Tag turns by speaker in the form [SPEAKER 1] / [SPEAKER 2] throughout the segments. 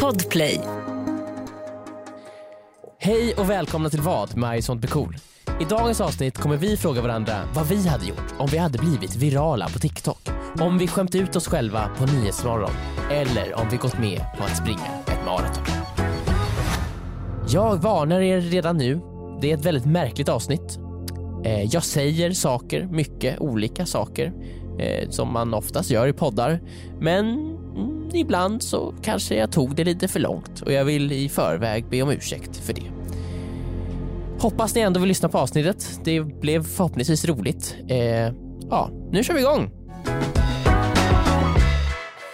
[SPEAKER 1] Podplay.
[SPEAKER 2] Hej och välkomna till vad med I sånt blir cool. I dagens avsnitt kommer vi fråga varandra vad vi hade gjort om vi hade blivit virala på TikTok. Om vi skämt ut oss själva på Nyhetsmorgon. Eller om vi gått med på att springa ett maraton. Jag varnar er redan nu. Det är ett väldigt märkligt avsnitt. Eh, Jag säger saker, mycket olika saker, eh, som man oftast gör i poddar. Men mm, ibland så kanske jag tog det lite för långt och jag vill i förväg be om ursäkt för det. Hoppas ni ändå vill lyssna på avsnittet. Det blev förhoppningsvis roligt. Eh, ja, nu kör vi igång!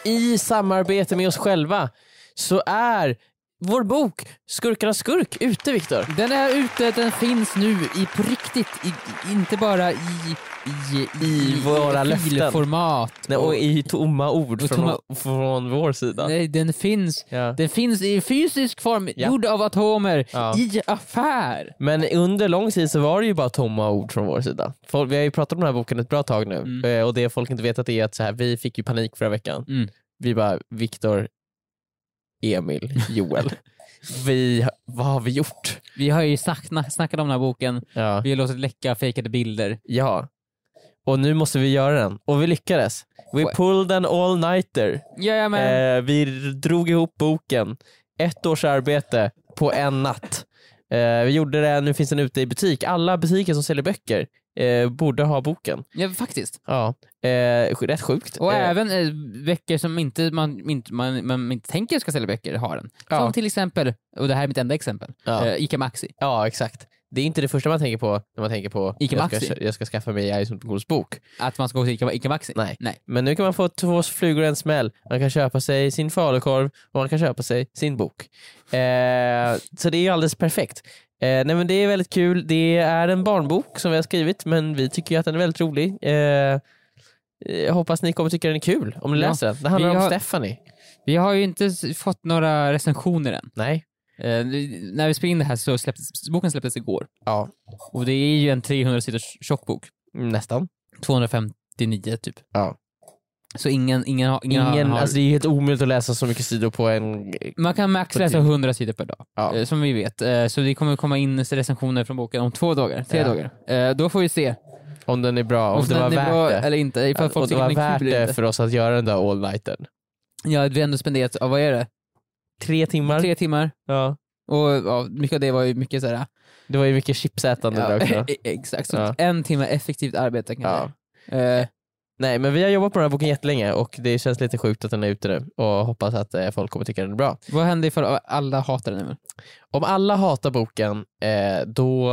[SPEAKER 2] I samarbete med oss själva så är vår bok Skurkarnas skurk ute, Viktor.
[SPEAKER 3] Den är ute, den finns nu i, på riktigt, i, inte bara i, i,
[SPEAKER 2] I våra löften.
[SPEAKER 3] filformat.
[SPEAKER 2] Nej, och i tomma ord
[SPEAKER 3] Och
[SPEAKER 2] från,
[SPEAKER 3] tomma-
[SPEAKER 2] från vår sida.
[SPEAKER 3] Nej, den finns,
[SPEAKER 2] Ja.
[SPEAKER 3] den finns i fysisk form,
[SPEAKER 2] Ja.
[SPEAKER 3] gjord av atomer,
[SPEAKER 2] Ja.
[SPEAKER 3] i affär.
[SPEAKER 2] Men under lång tid så var det ju bara tomma ord från vår sida. Folk, vi har ju pratat om den här boken ett bra tag nu
[SPEAKER 3] Mm.
[SPEAKER 2] Eh, och det folk inte vet att det är att så här, vi fick ju panik förra veckan.
[SPEAKER 3] Mm.
[SPEAKER 2] Vi bara, Viktor, Emil, Joel. vi, vad har vi gjort?
[SPEAKER 3] Vi har ju snack, snackat om den här boken,
[SPEAKER 2] Ja.
[SPEAKER 3] vi har låtit läcka fejkade bilder.
[SPEAKER 2] ja. Och nu måste vi göra den. Och vi lyckades. We pulled an all-nighter.
[SPEAKER 3] Jajamän.
[SPEAKER 2] Eh, vi drog ihop boken. Ett års arbete på en natt. Eh, vi gjorde det, nu finns den ute i butik. Alla butiker som säljer böcker eh, borde ha boken.
[SPEAKER 3] Ja, faktiskt.
[SPEAKER 2] Ja. Eh, sj- rätt sjukt.
[SPEAKER 3] Och
[SPEAKER 2] eh,
[SPEAKER 3] även eh, böcker som inte man, inte, man, man inte tänker ska sälja böcker har den.
[SPEAKER 2] Ja.
[SPEAKER 3] Som till exempel, och det här är mitt enda exempel,
[SPEAKER 2] Ja.
[SPEAKER 3] eh, Ica Maxi.
[SPEAKER 2] ja, exakt. Det är inte det första man tänker på när man tänker på
[SPEAKER 3] Ica
[SPEAKER 2] jag, ska,
[SPEAKER 3] Maxi.
[SPEAKER 2] kö- jag ska skaffa mig Ison Gols bok.
[SPEAKER 3] Att man ska gå till Ica, Ica Maxi.
[SPEAKER 2] Nej.
[SPEAKER 3] Nej.
[SPEAKER 2] Men nu kan man få två flugor i en smäll. Man kan köpa sig sin falukorv och man kan köpa sig sin bok. Eh, så det är ju alldeles perfekt. Eh, nej men det är väldigt kul. Det är en barnbok som vi har skrivit men vi tycker ju att den är väldigt rolig. Eh, jag hoppas ni kommer tycka den är kul om ni
[SPEAKER 3] Ja.
[SPEAKER 2] läser den. Det handlar
[SPEAKER 3] Vi
[SPEAKER 2] om
[SPEAKER 3] har-
[SPEAKER 2] Stephanie.
[SPEAKER 3] Vi har ju inte s- fått några recensioner än.
[SPEAKER 2] Nej.
[SPEAKER 3] Eh, nu- när vi spelade in det här så släpptes boken släpptes igår.
[SPEAKER 2] Ja,
[SPEAKER 3] Och det är ju en 300 sidors tjock bok.
[SPEAKER 2] nästan.
[SPEAKER 3] 259 typ.
[SPEAKER 2] Ja.
[SPEAKER 3] Så ingen, ingen, har- ingen,
[SPEAKER 2] Ingen,
[SPEAKER 3] har...
[SPEAKER 2] alltså det är helt omöjligt att läsa så mycket sidor på en...
[SPEAKER 3] man kan max läsa 100 sidor per dag,
[SPEAKER 2] Ja.
[SPEAKER 3] eh, som vi vet. Eh, Så det kommer komma in recensioner från boken om två dagar, tre
[SPEAKER 2] Ja.
[SPEAKER 3] dagar. Eh, Då får vi se
[SPEAKER 2] Om den är bra, om, det var
[SPEAKER 3] den är
[SPEAKER 2] värt
[SPEAKER 3] bra
[SPEAKER 2] det.
[SPEAKER 3] Eller inte, ifall
[SPEAKER 2] Om
[SPEAKER 3] folk
[SPEAKER 2] det
[SPEAKER 3] tycker
[SPEAKER 2] var
[SPEAKER 3] den är
[SPEAKER 2] värt
[SPEAKER 3] kul eller
[SPEAKER 2] det
[SPEAKER 3] inte.
[SPEAKER 2] för oss att göra den där all-nighten.
[SPEAKER 3] Ja, vi har ändå spenderat, ja, vad är det?
[SPEAKER 2] Tre timmar.
[SPEAKER 3] Tre timmar.
[SPEAKER 2] Ja.
[SPEAKER 3] Och ja, mycket av det var ju mycket såhär...
[SPEAKER 2] Det var ju mycket chipsätande där också.
[SPEAKER 3] exakt. Så
[SPEAKER 2] Ja.
[SPEAKER 3] En timme effektivt arbete kan
[SPEAKER 2] Ja.
[SPEAKER 3] ja. säga. Eh,
[SPEAKER 2] Nej men vi har jobbat på den här boken jättelänge och det känns lite sjukt att den är ute nu och hoppas att eh, folk kommer tycka den är bra.
[SPEAKER 3] vad händer ifall alla hatar den? nu?
[SPEAKER 2] Om alla hatar boken eh, då...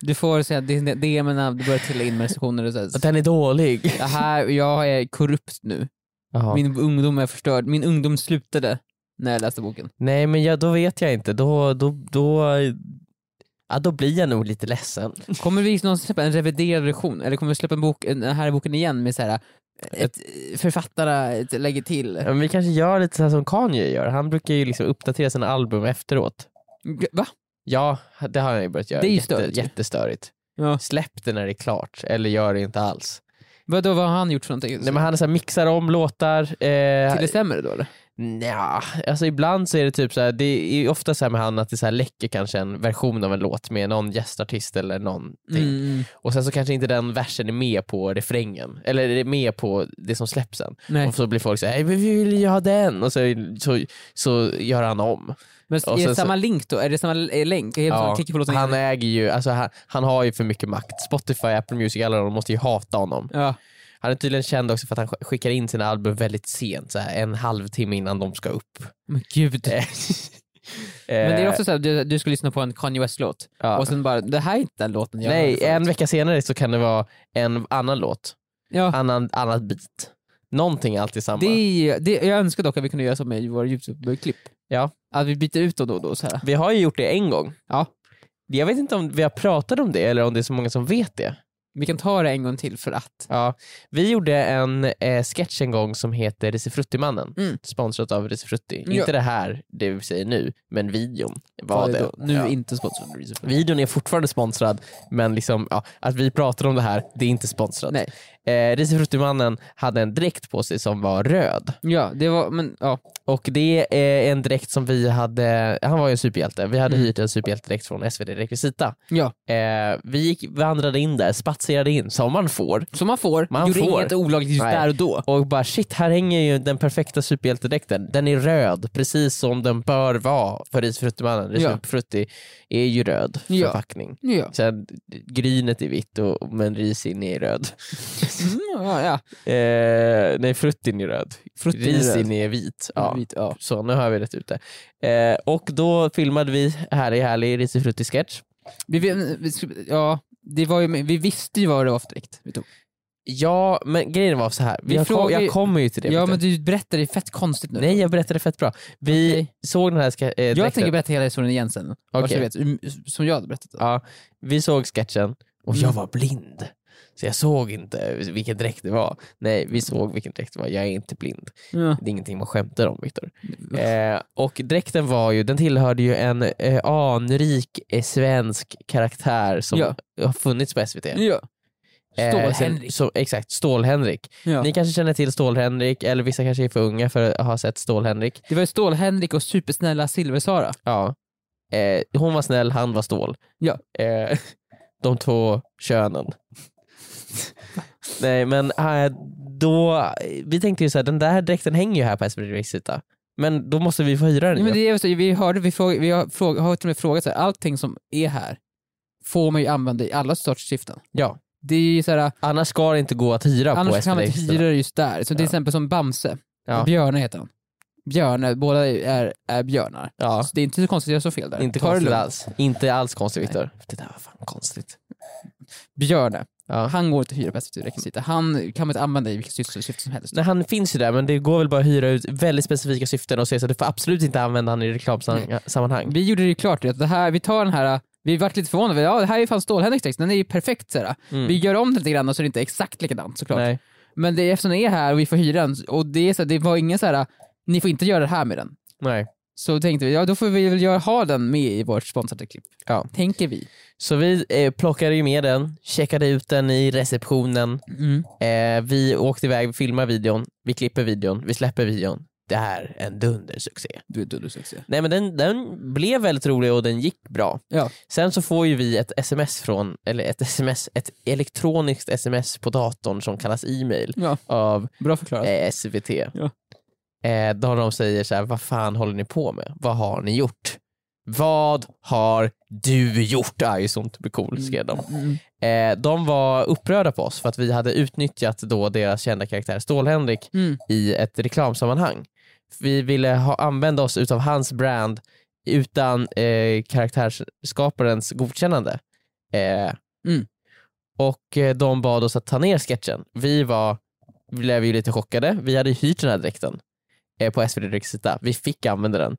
[SPEAKER 3] Du får säga DM'erna, du börjar trilla in med recensioner och
[SPEAKER 2] Att
[SPEAKER 3] såhär.
[SPEAKER 2] den är dålig.
[SPEAKER 3] Det här, jag är korrupt nu.
[SPEAKER 2] Jaha.
[SPEAKER 3] Min ungdom är förstörd. Min ungdom slutade när jag läste boken.
[SPEAKER 2] Nej men jag, då vet jag inte. Då, då, då, ja, då blir jag nog lite ledsen.
[SPEAKER 3] Kommer vi någonsin släppa en reviderad version? Eller kommer vi släppa en bok, en- den här boken igen med såhär, ett, ett författare ett, lägger till?
[SPEAKER 2] Men vi kanske gör lite så här som Kanye gör. Han brukar ju liksom uppdatera sina album efteråt.
[SPEAKER 3] Va?
[SPEAKER 2] Ja, det har han ju börjat göra.
[SPEAKER 3] Det är ju
[SPEAKER 2] Jätte-
[SPEAKER 3] störigt ju.
[SPEAKER 2] Jättestörigt.
[SPEAKER 3] Ja.
[SPEAKER 2] Släpp det när det är klart, eller gör det inte alls.
[SPEAKER 3] Vadå, vad har han gjort för någonting?
[SPEAKER 2] Nej, men han så här, mixar om låtar. Eh,
[SPEAKER 3] Till det sämre då eller?
[SPEAKER 2] Nja, alltså ibland så är det typ så här, det är ju ofta så här med han att det så här läcker kanske en version av en låt med någon gästartist eller någonting.
[SPEAKER 3] Mm.
[SPEAKER 2] Och sen så kanske inte den versen är med på refrängen, eller är med på det som släpps sen.
[SPEAKER 3] Nej.
[SPEAKER 2] Och så blir folk så här, "Hey, men vi vill ju ha den, och så, så, så gör han om.
[SPEAKER 3] Men
[SPEAKER 2] och
[SPEAKER 3] är
[SPEAKER 2] sen
[SPEAKER 3] det
[SPEAKER 2] så-
[SPEAKER 3] samma link då? Är det samma eh, länk? Är det
[SPEAKER 2] Ja,
[SPEAKER 3] som klickar på låten
[SPEAKER 2] han
[SPEAKER 3] igen?
[SPEAKER 2] äger ju, alltså han, han har ju för mycket makt. Spotify, Apple Music, alla de måste ju hata honom.
[SPEAKER 3] Ja.
[SPEAKER 2] Han är tydligen känd också för att han sk- skickar in sina album väldigt sent, så här, en halvtimme innan de ska upp.
[SPEAKER 3] Men gud.
[SPEAKER 2] Eh,
[SPEAKER 3] Men det är
[SPEAKER 2] eh,
[SPEAKER 3] också såhär, du, du ska lyssna på en Kanye West-låt,
[SPEAKER 2] ja.
[SPEAKER 3] och sen bara, det här är inte den låten jag hörde
[SPEAKER 2] Nej,
[SPEAKER 3] förut.
[SPEAKER 2] en vecka senare så kan det vara en annan låt,
[SPEAKER 3] Ja.
[SPEAKER 2] annan, annat beat. Någonting är alltid samma.
[SPEAKER 3] Det är, det, jag önskar dock att vi kunde göra så med våra YouTube-klipp.
[SPEAKER 2] Ja.
[SPEAKER 3] Att vi byter ut dem då och då. Så här.
[SPEAKER 2] Vi har ju gjort det en gång.
[SPEAKER 3] Ja.
[SPEAKER 2] Jag vet inte om vi har pratat om det eller om det är så många som vet det.
[SPEAKER 3] Vi kan ta det en gång till för att.
[SPEAKER 2] Ja. Vi gjorde en eh, sketch en gång som heter Risifrutti-mannen,
[SPEAKER 3] Mm.
[SPEAKER 2] sponsrat av Risifrutti.
[SPEAKER 3] Ja.
[SPEAKER 2] Inte det här, det vi säger nu, men videon var
[SPEAKER 3] ta
[SPEAKER 2] det.
[SPEAKER 3] det då. Nu
[SPEAKER 2] Ja.
[SPEAKER 3] inte sponsrad. Reason for-
[SPEAKER 2] Videon är fortfarande sponsrad, men liksom, ja, att vi pratar om det här, det är inte sponsrat.
[SPEAKER 3] Nej.
[SPEAKER 2] Eh, Risifruttimannen hade en dräkt på sig som var röd.
[SPEAKER 3] Ja, det var, men ja.
[SPEAKER 2] Och det är en dräkt som vi hade, han var ju en superhjälte, vi hade
[SPEAKER 3] Mm.
[SPEAKER 2] hyrt en superhjältedräkt från SvD Rekvisita.
[SPEAKER 3] ja.
[SPEAKER 2] Eh, vi gick, vandrade in där, spatserade in som man får
[SPEAKER 3] Som man får,
[SPEAKER 2] Man
[SPEAKER 3] gjorde
[SPEAKER 2] får.
[SPEAKER 3] inget olagligt just
[SPEAKER 2] Nej.
[SPEAKER 3] där och då.
[SPEAKER 2] och bara shit, här hänger ju den perfekta superhjältedräkten. Den är röd, precis som den bör vara för Risfruttimannen.
[SPEAKER 3] Ja.
[SPEAKER 2] Risfrutti är ju röd
[SPEAKER 3] Ja.
[SPEAKER 2] förpackning.
[SPEAKER 3] Ja.
[SPEAKER 2] Sen, grynet är vitt och, men risin är röd.
[SPEAKER 3] Mm, ja, ja.
[SPEAKER 2] Eh, nej, fruttin är röd.
[SPEAKER 3] Fruttin är
[SPEAKER 2] risin
[SPEAKER 3] röd. Mm.
[SPEAKER 2] är vit. Ja.
[SPEAKER 3] Vit, ja.
[SPEAKER 2] Så nu har vi rätt ut det. Eh, och då filmade vi här i härlig risifrutti-sketch.
[SPEAKER 3] Vi, vi, vi- ja, det var ju, vi visste ju vad det var för dräkt vi tog.
[SPEAKER 2] Ja, men grejen var så här.
[SPEAKER 3] Vi
[SPEAKER 2] Vi jag,
[SPEAKER 3] frågar
[SPEAKER 2] kom,
[SPEAKER 3] ju-
[SPEAKER 2] jag kommer ju till det.
[SPEAKER 3] Ja
[SPEAKER 2] Peter.
[SPEAKER 3] men du berättar det fett konstigt nu.
[SPEAKER 2] Nej, jag berättade fett bra. Vi
[SPEAKER 3] Okej.
[SPEAKER 2] såg den här ska- eh,
[SPEAKER 3] jag
[SPEAKER 2] dräkten.
[SPEAKER 3] tänker berätta hela historien igen sen. Vars
[SPEAKER 2] Okej.
[SPEAKER 3] jag vet, um, som jag hade berättat.
[SPEAKER 2] Ja, vi såg sketchen och
[SPEAKER 3] Mm.
[SPEAKER 2] jag var blind. Så jag såg inte vilken dräkt det var. Nej, vi såg vilken dräkt det var. Jag är inte blind.
[SPEAKER 3] Ja.
[SPEAKER 2] Det är ingenting man skämtar om, Viktor. Eh, och dräkten var ju, den tillhörde ju en eh, anrik eh, svensk karaktär som
[SPEAKER 3] Ja.
[SPEAKER 2] har funnits på SVT.
[SPEAKER 3] Ja.
[SPEAKER 2] Eh, sen-
[SPEAKER 3] Stål-Henrik.
[SPEAKER 2] så- Exakt, Stål-Henrik.
[SPEAKER 3] Ja.
[SPEAKER 2] Ni kanske känner till Stål-Henrik, eller vissa kanske är för unga för att ha sett Stål-Henrik.
[SPEAKER 3] Det var ju Stål-Henrik och supersnälla Silver-Sara.
[SPEAKER 2] Ja. Eh, hon var snäll, han var stål.
[SPEAKER 3] Ja.
[SPEAKER 2] Eh, de två könen. Nej men eh, då, vi tänkte ju såhär, den där dräkten hänger ju här på SVT Rexita. Men då måste vi få hyra den.
[SPEAKER 3] Nej, men det är ju så, vi hörde, vi, fråga, vi har, fråga, har till och med frågat så här, allting som är här får man ju använda i alla sorts syften.
[SPEAKER 2] Ja.
[SPEAKER 3] Det är ju så här,
[SPEAKER 2] Annars ska det inte gå att hyra på
[SPEAKER 3] annars
[SPEAKER 2] SVT
[SPEAKER 3] kan man inte
[SPEAKER 2] Rexita.
[SPEAKER 3] hyra det just där. Så till
[SPEAKER 2] Ja.
[SPEAKER 3] exempel som Bamse,
[SPEAKER 2] Ja.
[SPEAKER 3] Björne heter han. Björne, båda är, är björnar.
[SPEAKER 2] Ja.
[SPEAKER 3] Så det är inte så konstigt att jag såg fel där.
[SPEAKER 2] Inte
[SPEAKER 3] Ta det
[SPEAKER 2] konstigt
[SPEAKER 3] lugnt.
[SPEAKER 2] alls. Inte alls konstigt Viktor. Det där var fan konstigt.
[SPEAKER 3] Björne,
[SPEAKER 2] Ja.
[SPEAKER 3] han går inte att hyra på SVT-rekvisita. Han kan man inte använda i vilket syfte syfte som helst.
[SPEAKER 2] Nej, han finns ju där men det går väl bara att hyra ut väldigt specifika syften och säga så att du får absolut inte använda han i reklamsammanhang.
[SPEAKER 3] Vi gjorde det ju klart att det här, vi tar den här, vi vart lite förvånade, ja det här är ju fan Stål-Henriks text, den är ju perfekt såhär.
[SPEAKER 2] Mm.
[SPEAKER 3] Vi gör om den lite grann så är det inte exakt likadant såklart.
[SPEAKER 2] Nej.
[SPEAKER 3] Men det, är- eftersom den är här och vi får hyra den, och det, är så här, det var ingen såhär, ni får inte göra det här med den.
[SPEAKER 2] Nej.
[SPEAKER 3] Så tänkte vi, ja då får vi väl göra, ha den med i vårt sponsrade klipp.
[SPEAKER 2] Ja.
[SPEAKER 3] Tänker vi.
[SPEAKER 2] Så vi eh, plockade ju med den, checkade ut den i receptionen. Eh, vi åkte iväg, vi filmar videon, vi klipper videon, vi släpper videon. Det här är en dundersuccé.
[SPEAKER 3] Du är dundersexig.
[SPEAKER 2] Nej men den, den blev väldigt rolig och den gick bra.
[SPEAKER 3] Ja.
[SPEAKER 2] Sen så får ju vi ett sms från, eller ett sms, ett elektroniskt sms på datorn som kallas e-mail
[SPEAKER 3] Ja,
[SPEAKER 2] av
[SPEAKER 3] bra förklarat.
[SPEAKER 2] eh, SVT.
[SPEAKER 3] Ja.
[SPEAKER 2] Eh, där de säger så här, vad fan håller ni på med? Vad har ni gjort? Vad har du gjort? Det är ju sånt blir cool, skrev de.
[SPEAKER 3] Mm.
[SPEAKER 2] Eh, de var upprörda på oss för att vi hade utnyttjat då deras kända karaktär Stål-Henrik
[SPEAKER 3] Mm.
[SPEAKER 2] i ett reklamsammanhang. Vi ville ha, använda oss utav hans brand utan eh, karaktärsskaparens godkännande. Eh,
[SPEAKER 3] Mm.
[SPEAKER 2] Och eh, de bad oss att ta ner sketchen. Vi var, vi blev ju lite chockade. Vi hade ju hyrt den här dräkten eh, på SVT Rexita. Vi fick använda den.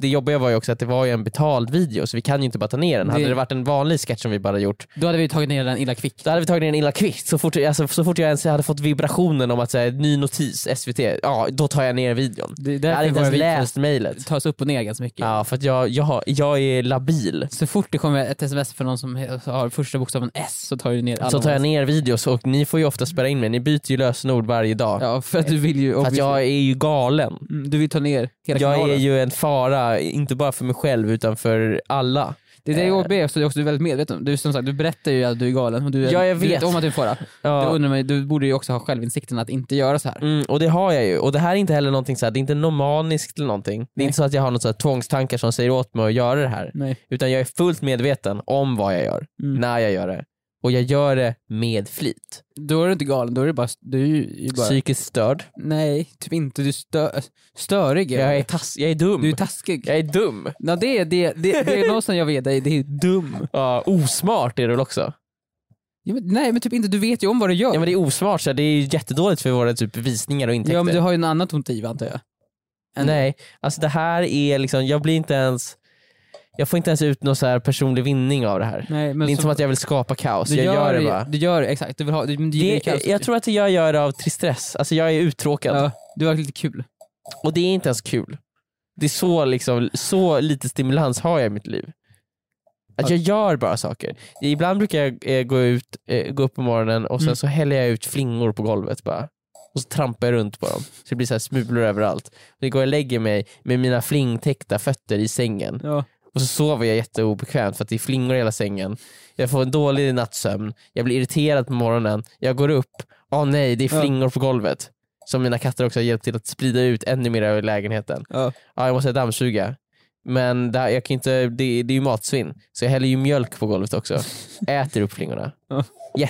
[SPEAKER 2] Det jobbiga var ju också att det var ju en betald video så vi kan ju inte bara ta ner den. Hade
[SPEAKER 3] Det-
[SPEAKER 2] det varit en vanlig sketch som vi bara gjort
[SPEAKER 3] Då hade vi tagit ner den illa kvickt.
[SPEAKER 2] då hade vi tagit ner en illa kvickt så fort, alltså, så fort jag ens hade fått vibrationen om att säga ny notis, SVT, ja då tar jag ner videon.
[SPEAKER 3] Det,
[SPEAKER 2] Jag hade inte ens
[SPEAKER 3] videos
[SPEAKER 2] läst mejlet.
[SPEAKER 3] tas upp och ner ganska mycket.
[SPEAKER 2] Ja, för att jag, jag, jag är labil.
[SPEAKER 3] Så fort det kommer ett sms från någon som he- har första bokstaven S så tar du ner alla
[SPEAKER 2] Så tar jag
[SPEAKER 3] hans-
[SPEAKER 2] ner videos och ni får ju ofta spärra in mig, ni byter ju lösenord varje dag.
[SPEAKER 3] Ja, Eh, för att du vill ju...
[SPEAKER 2] för att jag är ju galen.
[SPEAKER 3] Mm, Du vill ta ner hela
[SPEAKER 2] Jag är
[SPEAKER 3] kanalen.
[SPEAKER 2] ju en fara, inte bara för mig själv utan för alla.
[SPEAKER 3] Det är det
[SPEAKER 2] Eh.
[SPEAKER 3] jag ber, så det är också du är väldigt medveten om. Du, som sagt, du berättar ju att du är galen och du, är,
[SPEAKER 2] Ja, jag
[SPEAKER 3] du
[SPEAKER 2] vet.
[SPEAKER 3] vet om att du är en fara.
[SPEAKER 2] Ja.
[SPEAKER 3] Jag undrar mig, du borde ju också ha självinsikten att inte göra så här.
[SPEAKER 2] Mm, och det har jag ju. Och det här är inte heller någonting så här, det är inte nomaniskt eller någonting. Det är
[SPEAKER 3] Nej.
[SPEAKER 2] inte så att jag har något så här tvångstankar som säger åt mig att göra det här.
[SPEAKER 3] Nej.
[SPEAKER 2] Utan jag är fullt medveten om vad jag gör,
[SPEAKER 3] Mm.
[SPEAKER 2] när jag gör det. Och jag gör det med flit.
[SPEAKER 3] Då är du inte galen, då är du bara... Du är ju- ju bara
[SPEAKER 2] Psykiskt störd.
[SPEAKER 3] nej, typ inte. Du är stö, störig. är
[SPEAKER 2] Jag
[SPEAKER 3] du.
[SPEAKER 2] är, tass, jag är dum.
[SPEAKER 3] Du är taskig.
[SPEAKER 2] jag är dum.
[SPEAKER 3] Ja, det, är, det, det, det är någonstans jag vet dig, det är dum.
[SPEAKER 2] Ja, osmart är du väl också?
[SPEAKER 3] Ja, men, nej men typ inte, du vet ju om vad du gör.
[SPEAKER 2] Ja men det är osmart, så här, det är ju jättedåligt för våra typ, visningar och intäkter.
[SPEAKER 3] Ja, men du har ju en annat motiv antar jag. en-
[SPEAKER 2] Nej, alltså det här är liksom, jag blir inte ens, jag får inte ens ut någon så här personlig vinning av det här.
[SPEAKER 3] Nej, men
[SPEAKER 2] det är inte som att jag vill skapa kaos, jag gör, det bara.
[SPEAKER 3] Alltså, Du gör det, exakt. Du vill ha, du, men du gillar ju
[SPEAKER 2] Det,
[SPEAKER 3] kaos.
[SPEAKER 2] jag tror att jag gör det av tristess, alltså jag är uttråkad.
[SPEAKER 3] ja, Du har lite kul.
[SPEAKER 2] Och det är inte ens kul. Det är så, liksom, så lite stimulans har jag i mitt liv. Att jag gör bara saker. Ibland brukar jag eh, gå, ut, eh, gå upp på morgonen och sen
[SPEAKER 3] Mm.
[SPEAKER 2] så häller jag ut flingor på golvet bara. Och så trampar jag runt på dem. Så det blir så här smulor överallt. Så går jag och lägger mig med mina flingtäckta fötter i sängen.
[SPEAKER 3] Ja.
[SPEAKER 2] Och så sover jag jätteobekvämt för att det är flingor i hela sängen. Jag får en dålig nattsömn. Jag blir irriterad på morgonen. Jag går upp. Åh nej, det är
[SPEAKER 3] Ja.
[SPEAKER 2] flingor på golvet. Som mina katter också har hjälpt till att sprida ut ännu mer över lägenheten.
[SPEAKER 3] Ja.
[SPEAKER 2] Ja, jag måste dammsuga. Men det, här, jag kan inte, det, det är ju matsvinn. Så jag häller ju mjölk på golvet också. Äter upp flingorna.
[SPEAKER 3] Ja.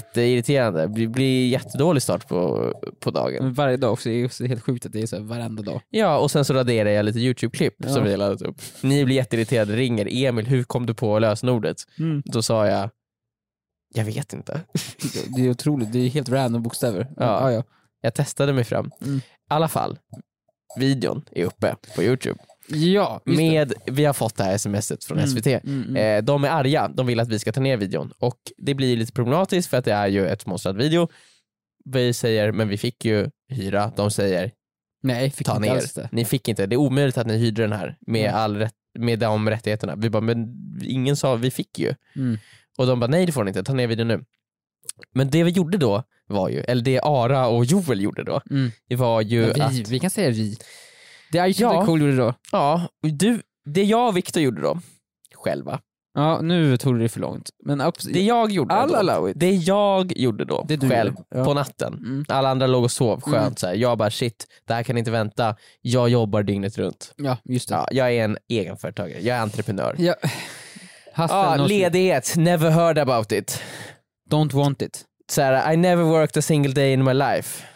[SPEAKER 2] Jätteirriterande. Det blir jättedålig start på, på dagen.
[SPEAKER 3] Men Varje dag också, det är också helt sjukt att det är så här varenda dag.
[SPEAKER 2] Ja, och sen så raderar jag lite YouTube-klipp
[SPEAKER 3] Ja.
[SPEAKER 2] som vi har laddat upp. Ni blir jätteirriterade, ringer. Emil, hur kom du på lösenordet?
[SPEAKER 3] Mm.
[SPEAKER 2] Då sa jag, jag vet inte.
[SPEAKER 3] Det- Det är otroligt, det är helt random bokstäver.
[SPEAKER 2] Ja.
[SPEAKER 3] Ja, ja.
[SPEAKER 2] Jag testade mig fram.
[SPEAKER 3] Mm.
[SPEAKER 2] I alla fall, videon är uppe på YouTube.
[SPEAKER 3] ja just det.
[SPEAKER 2] Med, vi har fått det här smset från
[SPEAKER 3] Mm.
[SPEAKER 2] SVT.
[SPEAKER 3] Mm, mm.
[SPEAKER 2] Eh, de är arga, de vill att vi ska ta ner videon. Och det blir lite problematiskt för att det är ju ett sponsrad video. Vi säger, men vi fick ju hyra. De säger,
[SPEAKER 3] Nej, fick
[SPEAKER 2] ta
[SPEAKER 3] inte
[SPEAKER 2] ner.
[SPEAKER 3] alls det.
[SPEAKER 2] Ni fick inte, det är omöjligt att ni hyrde den här med,
[SPEAKER 3] Mm.
[SPEAKER 2] all rätt, med de rättigheterna. Vi bara, men ingen sa, vi fick ju.
[SPEAKER 3] Mm.
[SPEAKER 2] Och de bara, nej det får ni inte, ta ner videon nu. Men det vi gjorde då var ju, eller det Ara och Joel gjorde då,
[SPEAKER 3] Mm.
[SPEAKER 2] det var ju
[SPEAKER 3] Ja,
[SPEAKER 2] att,
[SPEAKER 3] vi, vi kan säga vi. Det är ju
[SPEAKER 2] Ja.
[SPEAKER 3] ja. cool gjorde då.
[SPEAKER 2] ja, och du, det jag och Viktor gjorde då, själva,
[SPEAKER 3] Ja, nu tog du det för långt. Men ups,
[SPEAKER 2] det jag gjorde
[SPEAKER 3] I'll
[SPEAKER 2] då,
[SPEAKER 3] allow it.
[SPEAKER 2] det jag gjorde då,
[SPEAKER 3] Det du
[SPEAKER 2] själv,
[SPEAKER 3] gjorde. Ja.
[SPEAKER 2] på natten.
[SPEAKER 3] Mm.
[SPEAKER 2] Alla andra låg och sov skönt,
[SPEAKER 3] Mm.
[SPEAKER 2] så här. jag bara shit, det här kan inte vänta, jag jobbar dygnet runt.
[SPEAKER 3] Ja, just det.
[SPEAKER 2] Ja, jag är en egenföretagare, jag är entreprenör.
[SPEAKER 3] Ja. Hassel,
[SPEAKER 2] Ja,
[SPEAKER 3] not-
[SPEAKER 2] Ah, ledighet, never heard about it.
[SPEAKER 3] Don't want it.
[SPEAKER 2] så här, I never worked a single day in my life.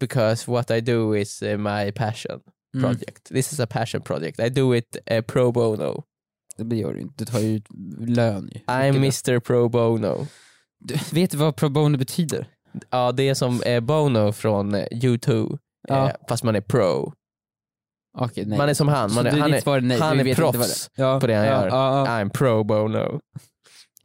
[SPEAKER 2] Because what I do is eh, my passion
[SPEAKER 3] Mm.
[SPEAKER 2] project. This is a passion project. I do it eh, pro bono.
[SPEAKER 3] Det blir gör du inte. Du tar ju ut lön ju.
[SPEAKER 2] I'm
[SPEAKER 3] Vilket-
[SPEAKER 2] Mr Pro Bono.
[SPEAKER 3] Du, vet du vad pro bono betyder?
[SPEAKER 2] Ja, det är som eh, Bono från eh, U2,
[SPEAKER 3] Ja.
[SPEAKER 2] eh, fast man är pro.
[SPEAKER 3] Okej, nej.
[SPEAKER 2] Man är som han, man
[SPEAKER 3] Så
[SPEAKER 2] är,
[SPEAKER 3] du-
[SPEAKER 2] han
[SPEAKER 3] ditt
[SPEAKER 2] är,
[SPEAKER 3] svar nej.
[SPEAKER 2] han
[SPEAKER 3] Du
[SPEAKER 2] är
[SPEAKER 3] vet inte vad
[SPEAKER 2] proffs
[SPEAKER 3] det är. ja,
[SPEAKER 2] på det han
[SPEAKER 3] ja,
[SPEAKER 2] gör.
[SPEAKER 3] Ja, ja.
[SPEAKER 2] I'm pro bono.